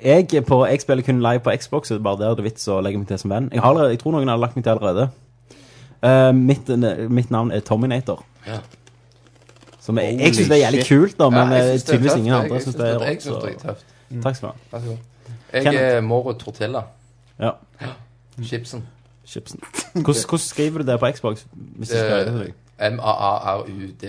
Jeg, er på, jeg spiller kun live på Xbox, så det er bare der det er vits å legge meg til som venn. Jeg, har, allerede- jeg tror noen har lagt meg til allerede. Eh, mitt, mitt navn er Tominator.
Ja.
Som jeg, jeg syns det er jævlig kult, da, men
Ja, jeg
eh,
synes det er
tydeligvis
tøft.
ingen
Jeg-
andre
jeg
syns
synes
det er
Jeg
rått.
synes det er
så-
tøft.
Takk skal du ha.
Vær så god. Jeg
Kenneth.
er Morud Tortilla.
Ja.
Chipsen.
Chipsen. Hvordan, hvordan skriver du det på Xbox? Hvis du skriver det til deg?
M-a-a-r-u-d.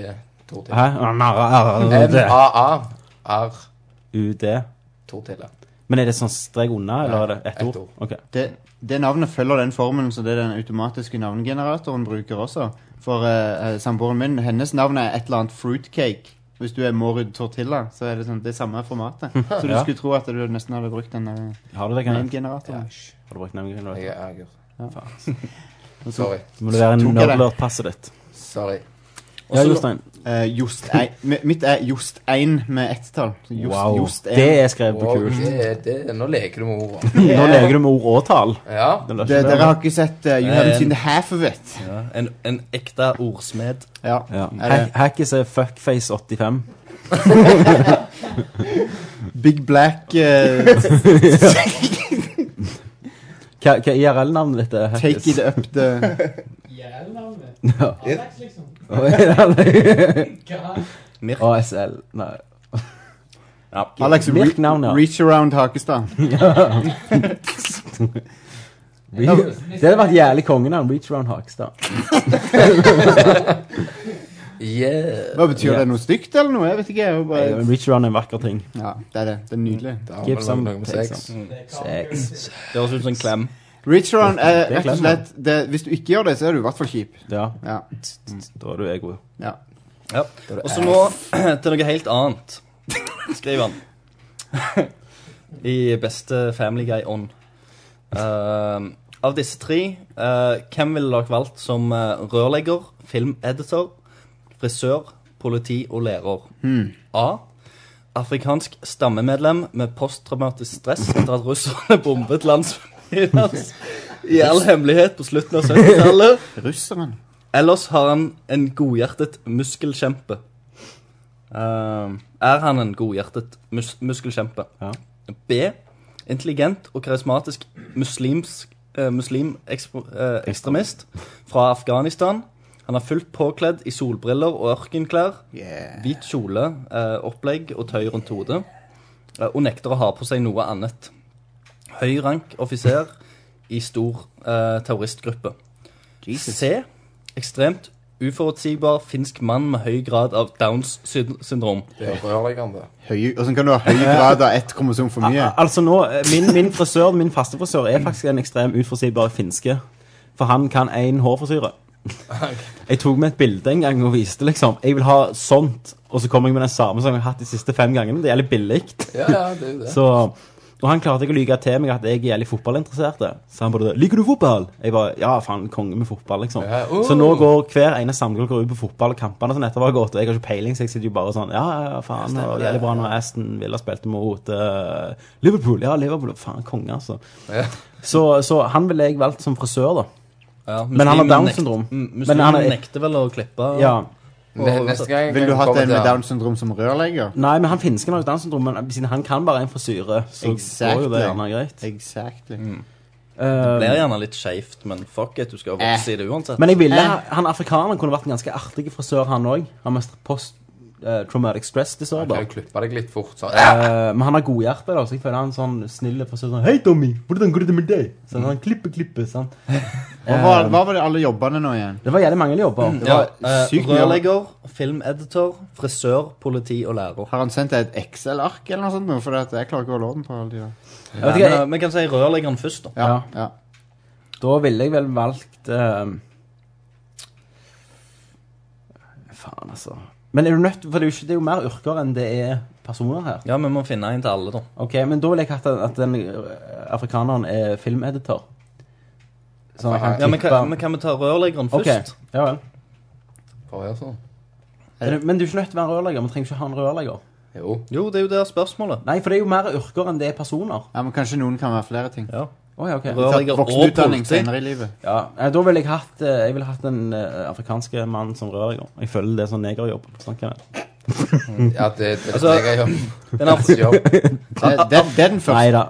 Tortilla.
Hæ? M-A-R-U-D.
M-a-a-r-tortilla.
Men er det sånn strek unna, eller er det ett
ett
ord?
ord.
Ok.
Det, det navnet følger den formelen som det den automatiske navngeneratoren bruker også. For eh, eh, samboeren min, hennes navn er et eller annet fruitcake. Hvis du er Morud Tortilla, så er det sånn, det samme formatet. Så du
Ja.
skulle tro at du nesten hadde brukt den eh,
Har du det, Kenneth?
navngeneratoren.
Har du brukt navnet?
Jeg
eller?
er Agur.
Og så-
Sorry.
Må det være
Tok
en
jeg det?
nerdlurt-passet ditt?
Sorry.
Ja, Jostein.
eh, Jost ei- mi- Mitt er Jostein med ett-tall. Så Jost,
Wow.
Jostein.
Det er skrevet på
Wow,
kult.
det, er- eh, det, nå leker du med ord.
Nå leker du med ord og tall.
Ja.
Det løser
Det,
det,
dere
eller?
har ikke sett eh, You haven't seen the half of it.
Ja, en, en ekte ordsmed.
Ja.
Ja.
Er det
Hack- Hackis er fuckface85.
Big Black eh,
Hva, hva IRL-navnet ditt er?
Take
Hackis?
It Up eh, The
Jævla Alex, liksom. Hva?
Mirk.
ASL Nei.
Alex Re
Mirk-navnet.
Reach Around Hakestad.
Re det hadde vært jævlig kongenavn. Reach Round Hakstad.
Yeah.
Hva betyr
Ja.
det? Noe stygt eller noe? Jeg vet ikke. Jeg er jo bare...
Reach Round er en vakker ting.
Ja, det er det. Det er nydelig.
Da har vi
Give
lagd
some
noe med
take
sex.
some.
Det er
Sex.
Det høres ut som en klem.
Reach-around er
Det er
eh, rett og
klart,
slett det, Hvis du ikke gjør det, så er du i hvert fall kjip.
Ja.
Ja.
Da er du ego.
ja.
Ja. Og så nå til noe helt annet. skriver han. I beste Family Guy-ånd. Eh, av disse tre, eh, hvem ville dere valgt som eh, rørlegger, filmeditor, frisør, politi og lærer?
Hmm.
A. Afrikansk stammemedlem med posttraumatisk stress etter at russerne bombet landsbyen hans i all hemmelighet på slutten av 70-tallet.
Russeren.
Ellers har han en godhjertet muskelkjempe. Eh, er han en godhjertet mus muskelkjempe? B. Intelligent og karismatisk muslimsk eh, muslim ekspo- eh, ekstremist fra Afghanistan. Han er fullt påkledd i solbriller og ørkenklær. Hvit kjole, eh, opplegg og tøy rundt hodet. eh, og nekter å ha på seg noe annet. Høy rank offiser i stor eh, terroristgruppe. C. Ekstremt uforutsigbar finsk mann med høy grad av Downs syn- syndrom.
Det er rørleggeren, det.
Høy, hvordan kan du ha høy grad av ett kromosom for mye?
Al- Altså nå, eh, min, min frisør, min faste frisør, er faktisk en ekstrem utforutsigbar finske. For han kan én hårfrisyre. Jeg tok med et bilde en gang og viste liksom Jeg vil ha sånt, og så kommer jeg med den samme som jeg har hatt de siste fem gangene. Det er litt billig.
Ja, ja, det er jo det.
Så, og han klarte ikke å lyge til meg at jeg er jævlig fotballinteressert. Så han bare 'Liker du fotball?' Jeg bare 'Ja, faen, konge med fotball', liksom.
Ja, oh.
Så nå går hver ene samling går ut på fotballkampene som nettopp har gått, og jeg har ikke peiling, så jeg sitter jo bare sånn 'Ja, ja, ja, faen, det var jævlig bra når Aston Villa spilte mot eh, Liverpool'. Ja, Liverpool. Faen, konge, altså.
Ja.
Så, så han ville jeg valgt som frisør, da.
Ja,
Men han har
muslimen
Downs
nekt-
syndrom.
Mm,
Men
Muslimen
han er-
nekter vel å klippe.
Ja.
og-
ah.
Vil du hatt en med Downs syndrom som rørlegger?
Nei, men han finsken har jo Downs syndrom, men siden han kan bare en frisyre, så går jo det gjerne greit.
Exactly.
Mm.
Det
Eh,
blir gjerne litt skeivt, men fuck it, du skal jo vokse i det uansett.
Men jeg ville, han afrikaneren kunne vært en ganske artig frisør, han òg. Han med post eh, traumatic stress disorder.
Kan du klippe deg litt fort, sånn?
Eh, men han har godhjerte, da, så jeg føler han er en sånn snill frisør sånn Hei, Tommy, hvordan går det med deg? Sånn, han klipper, klipper, sant. Eh,
Og hva,
Um,
hva var det alle jobbene nå igjen?
Det var jævlig mange jobber.
Det
Ja,
var
eh,
sykt mye.
rørlegger, filmeditor, frisør, politi og lærer.
Har han sendt deg et Excel-ark eller noe sånt? nå? For at jeg klarer ikke å holde orden på alle de der.
vet ikke, jeg-
Men, eh, vi kan si rørleggeren først, da.
Ja, ja.
Da ville jeg vel valgt eh, Faen, altså. Men er du nødt For det er jo, ikke, det er jo mer yrker enn det er personer her.
Ja, vi må finne en til alle, da.
Ok, Men da ville jeg hatt at- at den eh, afrikaneren er filmeditor. Så han kan
Ja, men,
klippe-
kan, men kan vi ta rørleggeren
Ok,
først?
ja vel.
Bare gjør sånn.
Er det- Men du er ikke nødt til å være rørlegger. Vi trenger ikke ha en rørlegger.
Jo.
Jo, det er jo det spørsmålet.
Nei, for det er jo mer yrker enn det er personer.
ja, men kanskje noen kan være flere ting.
Ja.
Å, ja, ok.
Rør- Rørlegger og
Voksenutdanning
politi.
senere i livet.
Ja, eh, da ville jeg hatt eh, Jeg ville hatt en eh, afrikansk mann som rørlegger. Jeg føler det er sånn negerjobb. Snakker jeg.
Ja, det, det,
Altså,
det jeg gjør.
Den er,
Jobb.
Det, det, det er den
Nei
første.
da.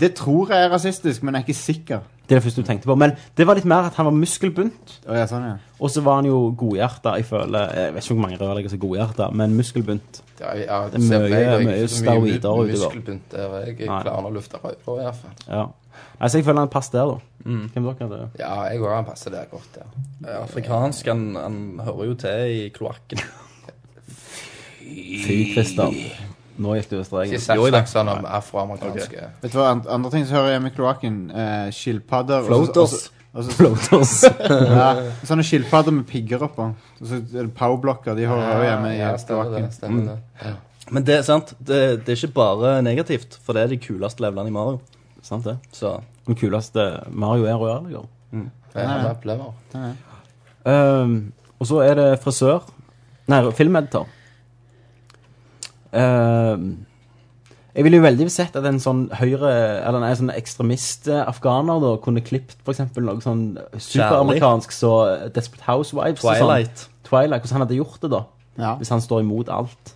Det tror jeg er rasistisk, men jeg er ikke sikker.
Det er det første du tenkte på. Men det var litt mer at han var muskelbunt.
Å, ja, sånn, ja.
Og så var han jo godhjerta. Jeg føler eh, Jeg vet ikke hvor mange rørleggere som er godhjerta, men muskelbunt.
Ja, ja,
Det er mye-
jeg- jeg-
mye
så mye mu-
steroider utover.
Muskelbunt der jeg, jeg
Nei.
klarer å lufte på, på i hvert fall.
Ja. Altså, jeg føler han passer der, da.
Mm.
Hvem dere er det?
Ja, jeg òg passer der godt. Ja.
eh, afrikansk, han, han hører jo til i kloakken.
Fy, Christer. Nå gikk du over
Ikke
streken.
snakk snakk sånn om afroamerikanske
Vet du hva, and- andre ting som hører hjemme i kloakken? Eh, skilpadder. og så- og
Floaters.
så- og så-
Floaters.
Ja, sånne skilpadder med pigger oppå. Og så er det powerblocker. De hører også hjemme i
Ja, stemmer
kloakken.
det. Stemmer det. Ja.
Men det er sant, det, det er ikke bare negativt, for det er de kuleste levelene i Mario.
Sant det?
Så
Den kuleste Mario er liksom. rørlegger.
Jeg har med opplever.
Ehm, og så er det frisør Nei, filmeditor. Ehm, jeg ville jo veldig sett at en sånn høyre Eller nei, sånn ekstremist eh, afghaner da kunne klippet for eksempel noe sånn superamerikansk så Desperate Housewives. og
Twilight.
Sånn. Twilight, Hvordan han hadde gjort det, da?
Ja.
Hvis han står imot alt.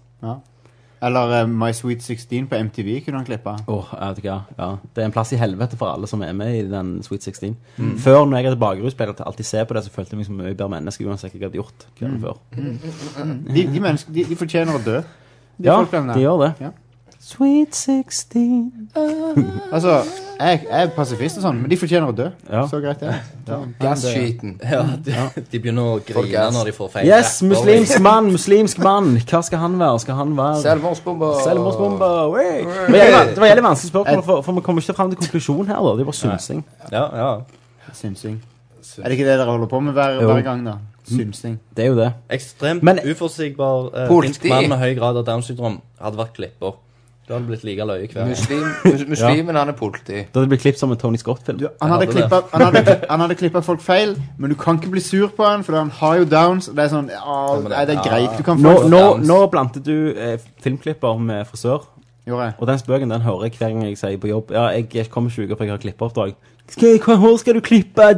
Eller eh, My Sweet 16 på MTV kunne han klippe.
Åh, jeg vet ikke, ja. ja. Det er en plass i helvete for alle som er med i den Sweet 16.
Mm.
Før, når jeg hadde bakrus, pleide jeg til å alltid se på det, så følte jeg meg som mye bedre menneske uansett hva jeg hadde gjort
Mm.
kvelden før.
De, de, menneske, de, de fortjener å dø. De
Ja,
folkene der.
de gjør det.
Ja.
Sweet 16
Altså, jeg, jeg er pasifist og sånn, men de fortjener å dø.
Ja.
Så greit det. Ja.
Gasskiten.
Mm. ja, de, de begynner å grine
Folkens.
når de får feil.
Yes,
rett, og-
muslimsk mann, muslimsk mann. Hva skal han være? Skal han være
Selvmordsbomber.
Selvmordsbombe. wey. Det var jævlig- det var jævlig vanskelig spørsmål, for, for vi kommer ikke fram til konklusjon her. da Det er bare synsing.
Ja, ja.
Synsing. Er det ikke det dere holder på med hver,
Jo.
hver gang, da? Synsing.
Det er jo det.
Ekstremt
Men-
uforutsigbar eh,
På
finsk
riktig.
mann med høy grad av Downs syndrom hadde vært klipper. Du hadde blitt like løye hver
Muslim,
mus- muslimen,
han er politi.
Det hadde blitt klippet som en Tony Scott-film.
Han hadde, klippet, han, hadde, klipp- han hadde klippet folk feil, men du kan ikke bli sur på han, for han har jo downs. og Det er sånn, ja, nei, det er greit, du kan
nå,
få
nå, nå blandet du eh, filmklipper med frisør.
Gjorde jeg.
Og den spøken den hører jeg hver gang jeg sier på jobb Ja, jeg kommer ikke uker for jeg har klippeoppdrag. Skal, hva hår skal du klippe da?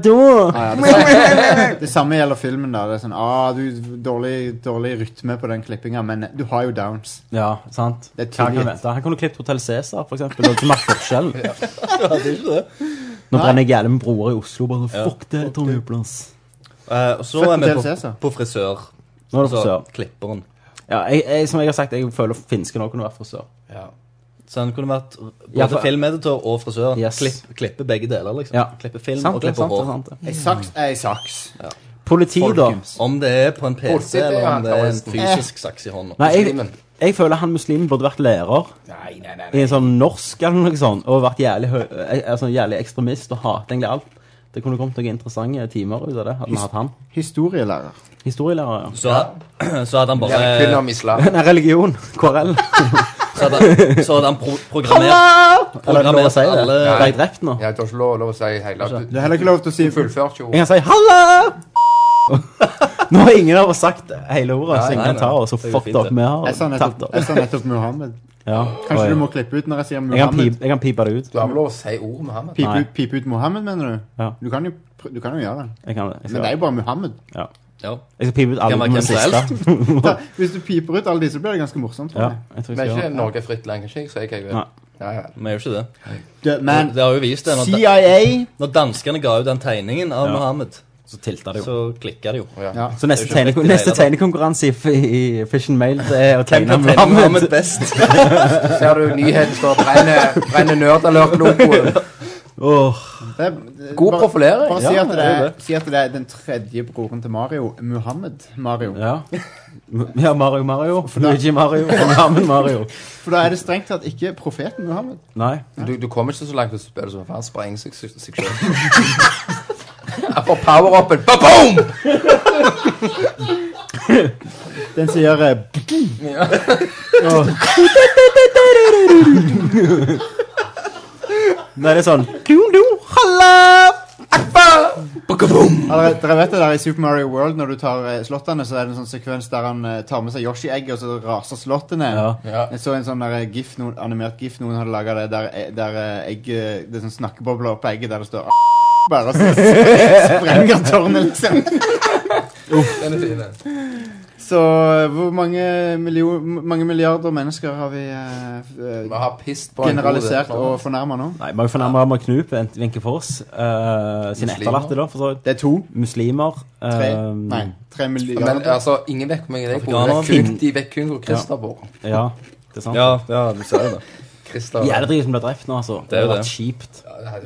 Ja, det, samme, det samme gjelder filmen. da Det er sånn, ah, du Dårlig, dårlig rytme på den klippinga, men du har jo downs.
Ja, sant.
Det er
Hva kan
tilgitt.
jeg vente? Han kunne klippet Hotell Cæsar, for eksempel. Det hadde ikke merket forskjellen.
Du hadde ikke det.
Nå
Nei.
brenner jeg jævlig med broer i Oslo. Bare
Ja.
fuck det, Tony Uplands.
Eh, og så
Født
er vi
til
på,
Cæsar.
på frisør.
Nå er det
Altså,
frisør.
klipperen.
Ja, jeg, jeg, som jeg har sagt, jeg føler finsken òg kunne vært frisør.
Ja. Så han kunne vært både
Ja, for-
filmeditor og frisør.
Yes.
Klipp, klippe begge deler, liksom.
Ja.
Klippe film
Sant
og
det,
klippe
sant det,
hår.
sant det.
Ei saks er ei saks.
Politi, da.
Om det er på en PC,
Politi,
eller
ja,
om det er en
terroristen.
fysisk saks i hånda.
Nei, jeg, jeg føler han muslimen burde vært lærer.
Nei, nei, nei,
I en sånn norsk eller noe sånt. Og vært jævlig, hø eh, altså, jævlig ekstremist og hater egentlig alt. Det kunne kommet noen interessante timer ut av det. Hadde vi hatt han.
Historielærer.
Historielærer, ja.
Så, så hadde han bare
Lærer kun om islam. Nei, religion. KRL.
så, hadde, så hadde han pro
Hallo!
programmert
Eller er det lov å si det?
alle
Ble jeg drept nå?
Jeg har ikke lov, lov å si hele Du
har heller ikke lov til å si
fullført jo.
Jeg kan si 'hallo'! Nå har ingen av oss sagt hele ordet, så ingen kan ta oss og fucked up. Vi har
sånn Jeg sa
tatt
nettopp,
det.
jeg sa nettopp Muhammed.
Ja.
Kanskje
Oi.
du må klippe ut når jeg sier
Jeg kan,
Muhammed?
pipe, jeg kan pipe det ut.
Du har vel lov å si ord, Mohammed?
Pipe
Nei.
ut, pipe ut Mohammed, mener du?
Ja.
Du, kan jo, pr- du kan jo gjøre det.
Jeg kan det. Jeg skal-
Men det er jo bare Muhammed.
Ja.
Ja.
Jeg skal pipe ut alle
Kan være
de
hvem som helst.
siste.
Da, hvis du piper ut alle de, så blir det ganske morsomt. tror
Ja,
jeg.
jeg tror
Men
jeg
ikke
skal
Norge er fritt land, kanskje? Jeg sier hva jeg vil.
Nei.
Nei, ja.
Vi gjør ikke det.
Du, men
det har jo vist det. Når,
CIA
når danskene ga ut den tegningen av
Ja.
Mohammed,
Så tilta det jo.
så klikka det jo.
ja.
Så neste,
Det er jo ikke
tegne,
riktig
neste
det hele,
tegnekonkurranse i, f- i Fish and Mail det er å tegne
kan tegne
Mohammed.
Mohammed best?
Ser du nyheten står brenner, brenner nerdalert-logoen?
Åh,
det, det-
God
bare-
profilering.
Bare
Ja,
si, at
det
det
er
er,
jo
si at det er den tredje broren til Mario. Muhammed Mario.
ja. ja, Mario Mario. Luigi Mario. og Mohammed Mario.
For da er det strengt tatt ikke profeten Muhammed.
Nei.
Du, du kommer ikke så langt hvis du spiller som faen. Sprenger seg seg seg selv. Jeg får power-upen. Ba-boom!
Den som gjør eh,
Nei, det er sånn dun, dun, halla, akbar.
Eller, dere vet det der i Super Mario World Når du tar eh, slottene Så er det en sånn sekvens der han eh, tar med seg Yoshi-egg Og så raser slottene
Ja.
Ja.
Jeg så en sånn der eh, gif, noen, animert gif Noen hadde laget det Der, eh, der eh, egg, eh, det er sånn snakkebobler på egget Der det står «A**», Bare og så sprenger tårnet liksom
Den er fin, den.
Så eh, hvor mange, millio- mange milliarder mennesker Har vi eh, f- eh,
Vi har pist på en
generalisert
god del.
og fornærmet nå?
Nei, Mange fornærmer Amar Knut vent- Wenche Foss. Uh, sine
Muslimer.
etterlatte, da, for så vidt.
Det er to
Muslimer.
Tre,
eh,
nei, tre
Men
milliarder
altså, ingen vet hvor mye jeg bor.
Afrikaner.
De vet kun- De vet kun hvor Christer bor.
Ja, det er sant.
Ja, ja, du ser det.
Christer
Jævlig drit som ble drept nå, altså.
Det er jo
var
det.
kjipt.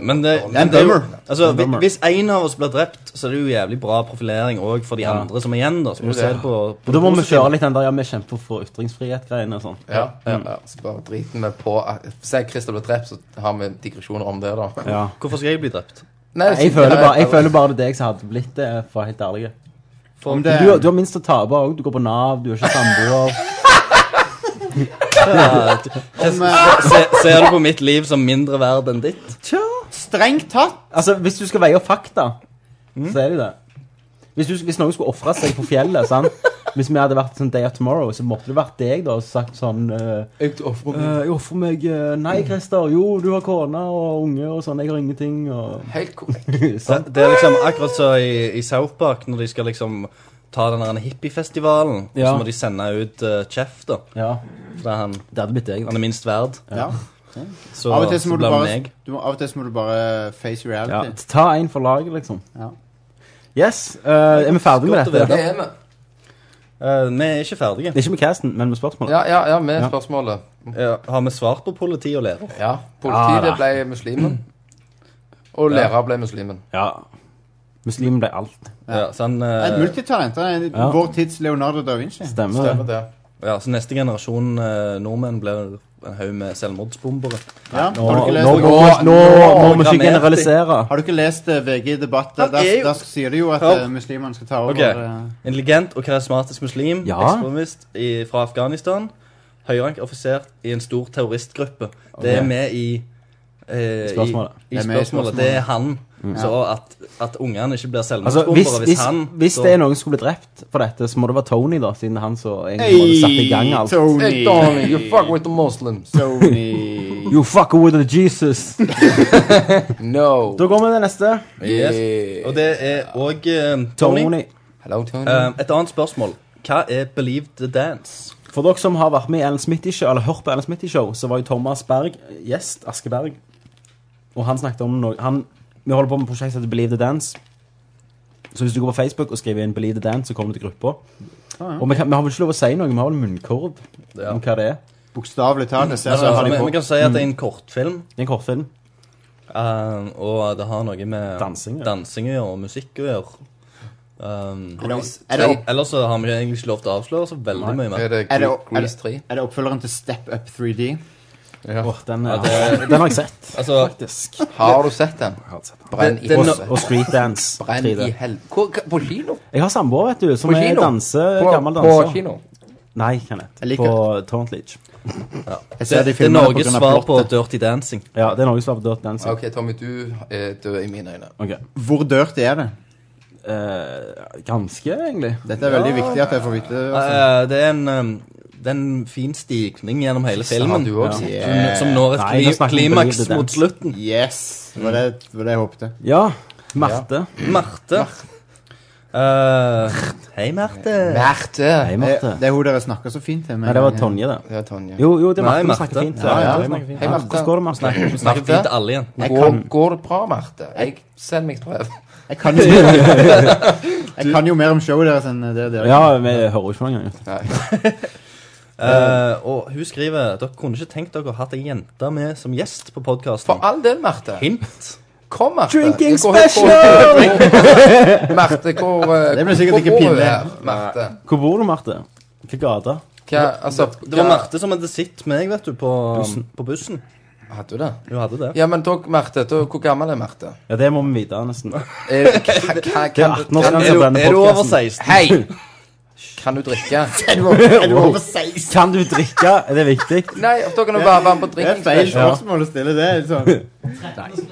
Men det,
Men
det er jo,
bummer.
altså,
En bummer.
hvis én av oss blir drept, så er det jo jævlig bra profilering òg for de
Ja.
andre som er igjen. da Så må du
Det er
se
det.
det på, på
Og da må vi
positive.
kjøre litt den der ja, vi kjemper for ytringsfrihet-greiene og sånn.
Ja, ja, ja. Så bare driter vi på at Se, Christer ble drept, så har vi digresjoner om det, da.
Ja.
Hvorfor skal jeg bli drept?
Nei, det er
Jeg
sikkert-
føler, bare, jeg føler bare det er deg som hadde blitt det, for å være helt ærlig.
For,
det-
Du, du har minst å tape òg. Du går på Nav, du er ikke samboer.
Om, eh,
se, ser du på mitt liv som mindre verd enn ditt?
Tja.
Strengt tatt
Altså, hvis du skal veie opp fakta, så er det jo det. Hvis, du, hvis noen skulle ofre seg på fjellet sant? Hvis vi hadde vært sånn Day of Tomorrow, så måtte det vært deg da, og sagt sånn eh,
Jeg offrer
eh,
meg.
Jeg ofrer meg eh, Nei, Christer. Jo, du har kone og unge og sånn. Jeg har ingenting. Og,
Helt korrekt.
Det,
sant?
det er liksom akkurat så i, i South Park, når de skal liksom ta den der hippiefestivalen, og
Ja.
så må de sende ut eh, Chef, da.
Ja,
For han,
det hadde blitt deg.
han er minst verd.
Ja
Så,
Av og til så
så
må du
blir han
bare,
meg.
du må, av og til så må du bare face
Ja.
reality.
Ta en for laget, liksom.
Ja.
Yes. eh, er vi ferdige med
Godt å
dette?
vite.
Det er vi.
Eh, vi er ikke ferdige.
Det er ikke med casten, men med spørsmålet.
Ja, ja, ja, med spørsmålet.
Eh, har vi svart på politi og lærer?
Ja.
Ja,
Politiet
da.
ble muslimen. Og lærer ble muslimen.
Ja. Muslimen ble alt.
Ja, så han,
Det er
eh,
Et multitalent. Han er
Ja.
Vår tids Leonardo da Vinci.
Stemmer det.
det.
Ja, så neste generasjon eh, nordmenn blir en haug med selvmordsbombere.
Ja,
Nå-
har du ikke lest-
nå- nå- nå- nå-
Har du ikke lest eh, VG Debatt? Der, der, der sier de jo at
Hør.
eh, muslimene skal ta over.
Ok.
eh,
Intelligent og karismatisk muslim,
Ja.
ekstremist i, fra Afghanistan. Høyrank offiser i en stor terroristgruppe. Det er
Ok.
med i eh,
Spørsmålet.
I,
Det
i
er med i
spørsmålet. Det er han. Så at, at ungene ikke blir
Altså,
selvmordsbombere
hvis,
hvis,
hvis,
han
hvis
da-
det er noen som ble drept for dette, så må det være Tony, da, siden han så egentlig hey, satte i gang altså. alt.
Hey, Tony, you fuck with the Muslims.
You fucker with the Jesus.
no.
Da går vi til neste.
Yes. Og det er òg Tony.
Tony.
Hello, Tony.
Eh, et annet spørsmål. Hva er Believe the Dance?
For dere som har vært med i Ellen Smith i Show, eller hørt på Ellen Smith i Show, så var jo Thomas Berg gjest, Askeberg. Og han snakket om noe han, Vi holder på med et prosjekt som heter Believe the Dance. Så hvis du går på Facebook og skriver inn Believe the Dance, så kommer du til gruppa.
Ah, ja.
Og vi, kan, vi har vel ikke lov å si noe, vi har vel munnkorv om hva det er.
Bokstavelig talt. det ser
Altså,
jeg har de
vi,
på.
vi kan si at
Mm.
det er en kortfilm.
En kortfilm.
Um, og det har noe med dansing, å gjøre, og musikk å gjøre. Um,
Er det- er det-
ellers så har vi egentlig ikke lov til å avsløre så veldig mye mer.
Er det, er, det, er det oppfølgeren til Step Up 3D?
Ja.
Åh, den,
Ja,
er,
det-
den har jeg sett,
Altså-
faktisk.
Har du sett den?
Jeg har sett den.
Brenn i
Den- den-
helvete.
og Street Dance.
Brenn
3D.
i helvete. På kino?
Jeg har samboer, vet du, som
På
er
kino?
danse,
På-
gammel
på
danser.
kino?
Nei, Kenneth.
Jeg liker
På Torrent Leach.
Jeg
Det,
ser de
det er
filmene på
Norges
grunn av
svar på
plottet.
Dirty Dancing.
Ja, det er Norges svar på Dirt Dancing.
OK, Tommy, du er død i mine øyne.
Ok.
Hvor dirty er det?
Eh, ganske, egentlig.
Dette er veldig viktig at jeg får vite. Altså.
Eh, det er en um, det er en fin stigning gjennom hele
Siste har
filmen.
du også sett.
Som- Som når et
Nei,
kli
nå snakker vi om
klimaks
Believe the
mot
Dance.
slutten.
Yes! Det var det, det, var det jeg håpte.
Ja. Marte.
Marte. Eh, hei, Marte.
Merte.
Hei,
Det,
Marte.
det er hun dere snakker så fint til. med
Nei, det var
en gang.
Tonje, det.
Det er Tonje.
Jo, jo, det er Marte.
Nei,
Hun
Marte.
snakker fint.
Ja,
ja.
hun snakker fint.
Hei, Marte.
Hvordan går det, Marte?
Snakker, snakker
Marte.
fint til alle igjen.
Jeg
Går,
kan-
går det bra, Marte? Jeg Send meg et brev.
Jeg kan jo, jeg kan jo mer om showet deres enn det dere
Ja, vi hører jo ikke noe engang.
Eh, og hun skriver Dere kunne ikke tenkt dere å hatt ei jente med som gjest på
For
podkasten.
all del, Merte.
Hint.
Kom, Marte.
Drinking
Jeg går helt på- Merte, hvor eh,
Det blir sikkert
hvor
ikke
bor du
pinlig.
her, Merte.
Hvor bor du, Marte? Hvilken gate?
Hva, altså,
Det var
hva-
Marte som hadde sett meg, vet du, på bussen. På bussen.
Hadde du det?
Hun hadde det.
Ja, men dere, Marte, da, hvor gammel er Merte?
Ja, det må vi vite, nesten.
Er, hva, hva,
Det er
kan, du-
18 år siden
Er,
jeg
du,
brant
er du over
podkasten.
16?
Hei! Kan du drikke?
Er du over 16?
Kan du drikke? Er det viktig?
Nei, dere kan jo bare være med på
Det er
drinking
feil
special.
spørsmål å stille det. Sånn.
Tretten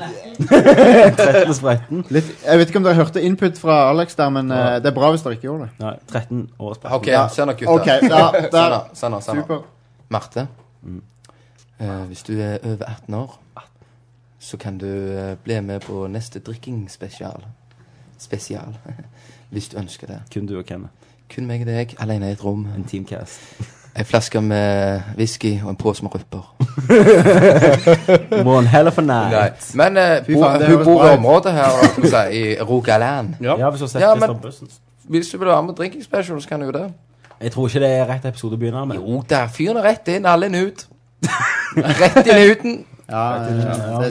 og spretten.
Litt, jeg vet ikke om dere hørte input fra Alex der, men eh, det er bra hvis dere ikke gjorde det.
Nei, 13 år spretten.
OK, send dere
Ok,
gutter.
ja,
Send
der.
her, send her, send her.
Super.
sånn
Mm.
Marte, eh, hvis du er over 18 år, så kan du eh, bli med på neste drikkingspesial. Spesial. Hvis du ønsker det.
Kun du og Kenneth.
Kun meg og deg, alene i et rom.
En teamcast.
Ei flaske med whisky og en pose med rupper.
One hell of a night.
Men eh,
Fy
bo-
faen, det
hun
høres
bor
bra
i
ut.
området her, hva skal jeg si, i Rogaland.
Ja, hvis du har sett
Ja, men-
Christian Bussen.
Hvis du vil være med på drinking special, så kan du jo det.
Jeg tror ikke det er rett episode å begynne med.
Jo, der fyren er rett inn, alle inn ut. Rett inn i huden.
Ja, eh, det,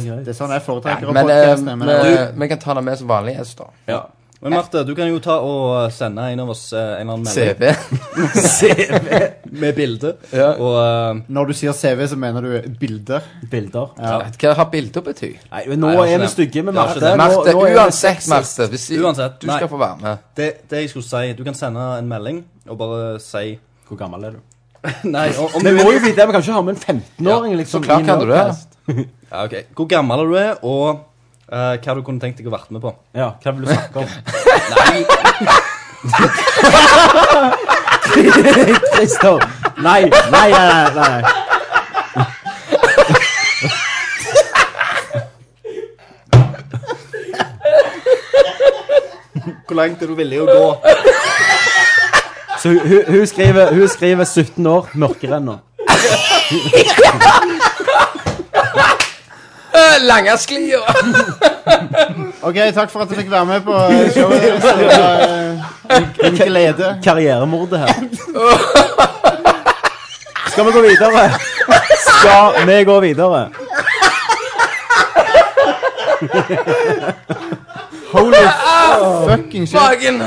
det er sånn jeg foretrekker å
Men eh,
podcaste, men
vi
jeg-
vi kan ta den med som vanlig gjest, da.
Ja.
Men Marte, du kan jo ta og sende en av oss eh, en eller annen melding
CV.
med bilde.
Ja.
Og eh,
Når du sier CV, så mener du bilder.
Bilder.
Hva har bilder betyr?
Nei, men nå
Nei, det har
er
ikke
vi
det.
stygge med
Det har ikke
Marte.
det.
Nå-
Marte,
nå er vi
uansett,
sexist.
Marte. Hvis
Uansett,
du
nei.
skal få være med.
det, det jeg skulle si Du kan sende en melding og bare si
Hvor gammel er du?
Nei, om, om
Vi
du
må jo
vil.
vite det, vi kan ikke ha med en 15-åring
Ja,
liksom.
så klart
i en
kan du det.
podcast.
Ja, ok. Hvor gammel er du er, og eh, hva du kunne tenkt deg å vært med på.
Ja, hva vil du snakke om?
Nei,
Christer! Nei, nei, nei, nei, nei.
Hvor langt er du villig å gå?
Så hun, hun, hun, skriver, hun skriver 17 år, mørkere enn nå.
Eh, Langasklia!
Ok, takk for at jeg fikk være med på eh, showet deres. Det var eh, en- en glede.
Karrieremordet her. Skal vi gå videre? Skal vi gå videre?
Holy fucking shit.
Magen!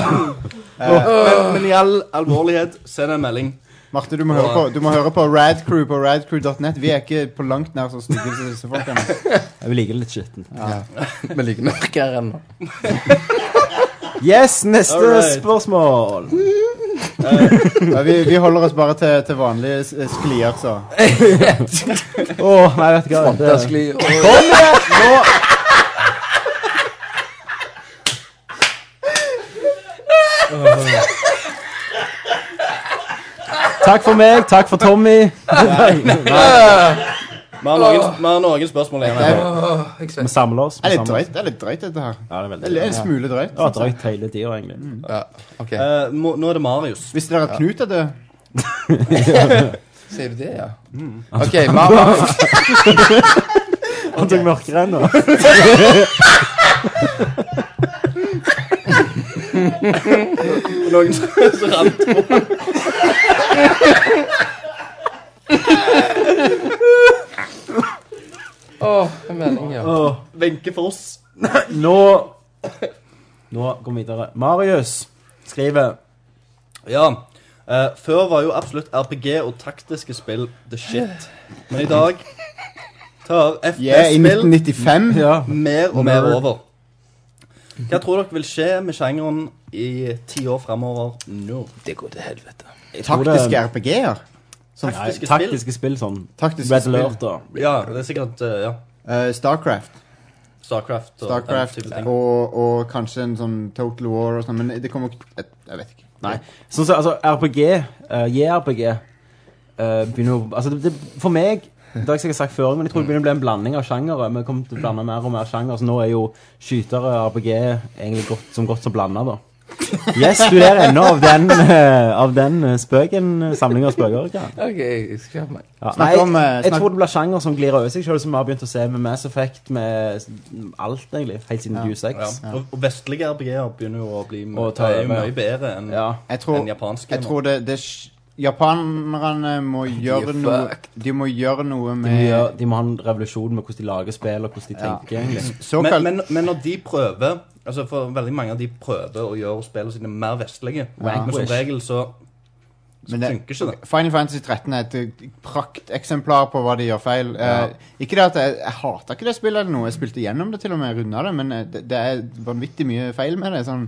Men i all alvorlighet, send en melding.
Marte, du må høre på, du må høre på Radcrew på radcrew.net. Vi er ikke på langt nær så stygge som disse folkene.
Vi liker det litt skittent.
Ja.
Vi liker mørkere ennå.
Yes, neste
Alright.
spørsmål.
Ja, vi, vi holder oss bare til, til vanlige s- eh, sklier, så.
Å, nei, vet du hva
Svanterskli.
Kom igjen, nå! Takk for meg, takk for Tommy.
Vi har noen, vi har noen spørsmål igjen. her.
Vi samler oss. vi
Det er
samler
litt
oss.
drøyt, det er litt drøyt dette her.
Ja, det er veldig
Det er Mm. en
drøyt.
smule drøyt.
Ja, drøyt hele tida, egentlig.
Ja, ok.
Eh, må, nå er det Marius.
Hvis dere har Knut er død
Sier du det, ja? OK, Marius.
Han tok mørkere ennå.
Noen som rant på.
Åh, hva meningen, ja.
Åh,
Wenche Foss.
Nå Nå går vi videre. Marius skriver
Ja. eh, før var jo absolutt RPG og taktiske spill the shit. Men i dag tar
Yeah, i
FPS-spill
1995.
Ja.
mer og mer
Mer.
over. Hva tror dere vil skje med sjangeren i ti år framover nå?
Det går til helvete.
tror det-
Taktiske RPG-er.
Som
Nei,
taktiske spill?
taktiske spill sånn.
Taktiske
Red
spill.
Alert og
Ja, det er sikkert eh, ja.
Eh, Starcraft.
Starcraft og
Starcraft
den type ting.
og, og kanskje en sånn Total War og sånn, men det kommer ikke Jeg, jeg vet ikke.
Nei. Sånn som altså, RPG, eh, JRPG eh, begynner å Altså, det, det, for meg det har jeg sikkert sagt før, men jeg tror det begynner å bli en blanding av sjangere. Vi kommer til å blande mer og mer sjanger, så nå er jo skytere og RPG egentlig godt, som godt som blanda, da. Yes, du ler ennå av den, eh, av den eh, spøken, eh, samling av spøker. Ikke? sant?
OK, jeg skal skjerpe meg.
Ja. Nei,
Snakk om, eh,
jeg
snakk-
tror det blir sjanger som glir over seg sjøl, som vi har begynt å se med Mass Effect, med alt, egentlig, helt siden
Ja.
Q6.
Og, og vestlige RPG-er begynner jo å bli m-
Og ta
er jo
over, ja.
mye bedre enn
Ja.
Jeg tror,
enn japanske.
jeg
nå.
tror det, det er sj- Japanerne må gjøre
fucked.
noe De må gjøre noe
De, må gjøre,
med
de må ha en revolusjon med hvordan de lager spill, og hvordan de tenker, egentlig.
såkalt
men, men, men når de prøver Altså For veldig mange av de prøver å gjøre spillene sine mer vestlige. Men som
Vanquish.
regel så, så
Men det-
funker ikke det.
Final Fantasy 13 er et eh, prakteksemplar på hva de gjør feil. Eh, ikke det at Jeg, jeg hater ikke det spillet eller noe, jeg spilte gjennom det til og med, runda det, men eh, det, det er vanvittig mye feil med det. Sånn.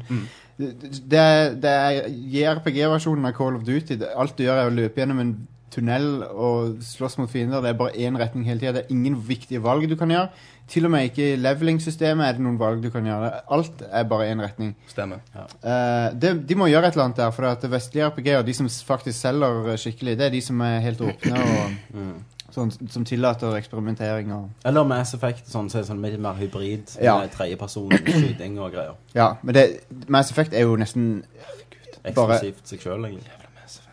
Det, det er- det er JRPG-versjonen av Call of Duty. Det, alt du gjør, er å løpe gjennom en tunnel og slåss mot fiender. Det er bare én retning hele tida. Det er ingen viktige valg du kan gjøre. Til og med ikke i leveling-systemet er det noen valg du kan gjøre. Alt er bare én retning.
Stemmer.
Eh, de, de må gjøre et eller annet der, for at vestlige RPG-er, de som s- faktisk selger eh, skikkelig, det er de som er helt åpne og sånn, som tillater eksperimentering og
Eller Mass Effect, sånn, så er det sånn litt mer hybrid.
Ja.
Med tredjeperson, skyting og greier.
Ja, men det, Mass Effect er jo nesten Bare-
Eksklusivt seg sjøl, egentlig.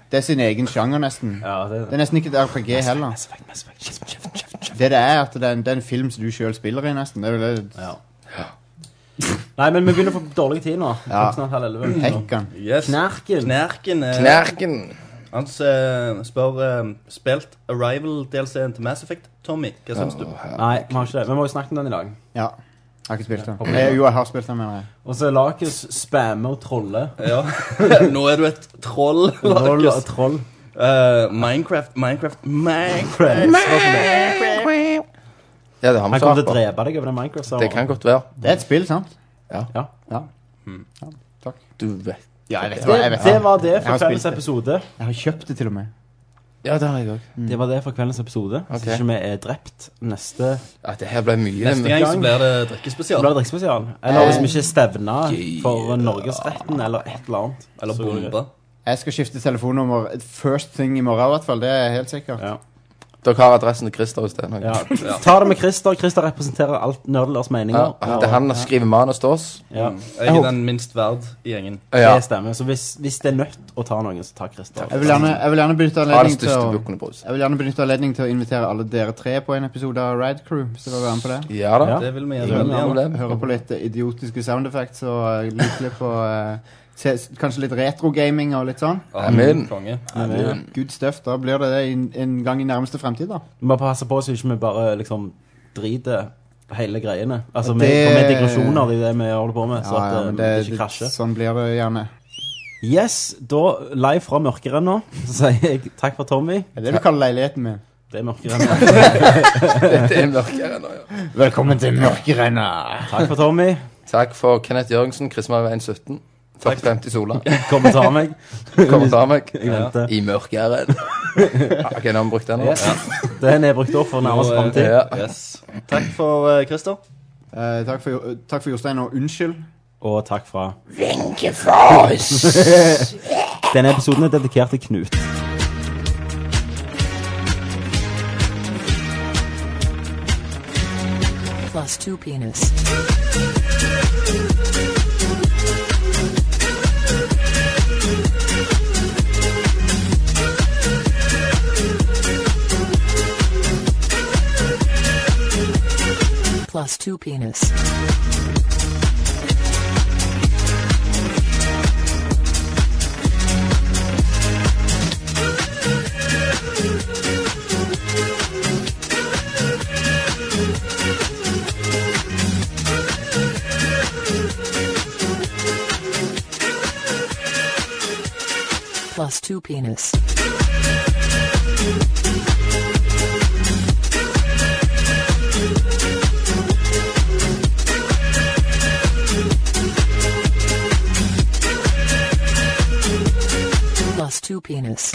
Det er sin egen sjanger, nesten.
Ja, det
Det
er
er
det.
nesten ikke et RPG heller.
Mass Effect, Mass Effect, kjeft, kjeft, kjeft, kjeft.
Det det er, at det er en, det er en film som du sjøl spiller i, nesten. Det er jo det
Ja. Nei, men vi begynner å få dårlig tid nå. Ja.
Ja.
Snart halv elleve.
Hekkan.
Yes.
Knerken.
Knerken eh,
Knerken.
Han eh, spør eh, Spilt Arrival-DLC-en til Mass Effect. Tommy, hva syns du?
Nei, vi har ikke det. Vi må jo snakke om den i dag.
Ja. Jeg har ikke spilt den. Eh, jo, jeg har spilt den, mener jeg.
Og så er Lakus spammer og troller.
Ja. Nå er du et troll,
Troll og
Markus.
troll.
Eh, Minecraft, Minecraft, Minecraft
Ja, det har vi
Han kommer til
svart
å
på.
drepe deg over den Microsoft.
Det kan godt være.
Det er et spill, sant?
Ja.
Du vet.
Ja, jeg vet
Det,
hva- jeg vet
det var det
Jeg har
for kveldens
spilt det.
episode.
Jeg har kjøpt det, til og med.
Ja, det har jeg òg.
Mm.
Det var det for kveldens episode. Så
Ok.
ikke vi er drept neste
Ja, det her ble mye.
Neste gang så blir det drikkespesial.
Blir det drikkespesial? Eller hvis vi ikke
Eh,
stevner for Norgesretten eller et eller annet.
Eller
Så-
bombe.
Jeg skal skifte telefonnummer eh, first thing i morgen, i hvert fall. Det er helt sikkert.
Ja.
Dere har adressen til Christer hos deg?
Ja. Ta det med Christer. Christer representerer alt Nerdlers meninger.
Ja, det er han som skriver manus til oss.
Ja.
Jeg er den minst verd i gjengen.
Ja.
Det stemmer. Så hvis, hvis det er nødt å ta noen, så ta Christer.
Jeg vil gjerne, jeg vil gjerne benytte
Har den
anledning til
største
å
bukken i brus.
Jeg vil gjerne benytte anledning til å invitere alle dere tre på en episode av Ride Crew. Hvis dere vil være med på det.
Ja da.
Ja.
Det vil vi
Ingen
gjøre veldig gjerne.
problem.
Høre på litt eh, idiotiske sound effects og eh, lydklipp og eh, se, s- kanskje litt retrogaming og litt sånn. Eh,
Ja,
Amen.
Konge.
Good stuff. Da blir det det i en- en gang i nærmeste fremtid, da.
Vi må passe på så ikke vi bare liksom driter hele greiene. Altså,
Det-
vi får med digresjoner i det vi holder på med, så at
Ja, ja,
eh,
men
det
det-
ikke krasjer.
Sånn blir det gjerne.
Yes, da live fra Mørkerenna så sier jeg takk for Tommy.
Er det du kaller leiligheten min?
Det er Mørkerenna.
Dette er Mørkerenna, ja.
Velkommen til Mørkerenna.
Takk for Tommy.
Takk for Kenneth Jørgensen, Kristianveien 17. 4050 Sola.
Kom og ta meg.
Kom og ta meg.
Jeg venter.
I mørkeren. Ja, Ok, nå har vi brukt den. nå.
Yes. Den er brukt opp for nærmest
Nå, eh,
framtid.
Ja.
Yes. Takk for eh, Christer.
Eh, takk, for, Jo- takk for Jostein, og unnskyld.
Og takk fra Denne episoden er dedikert til Knut.
Plus two penis. Plus two penis. Plus two penis. Plus two penis.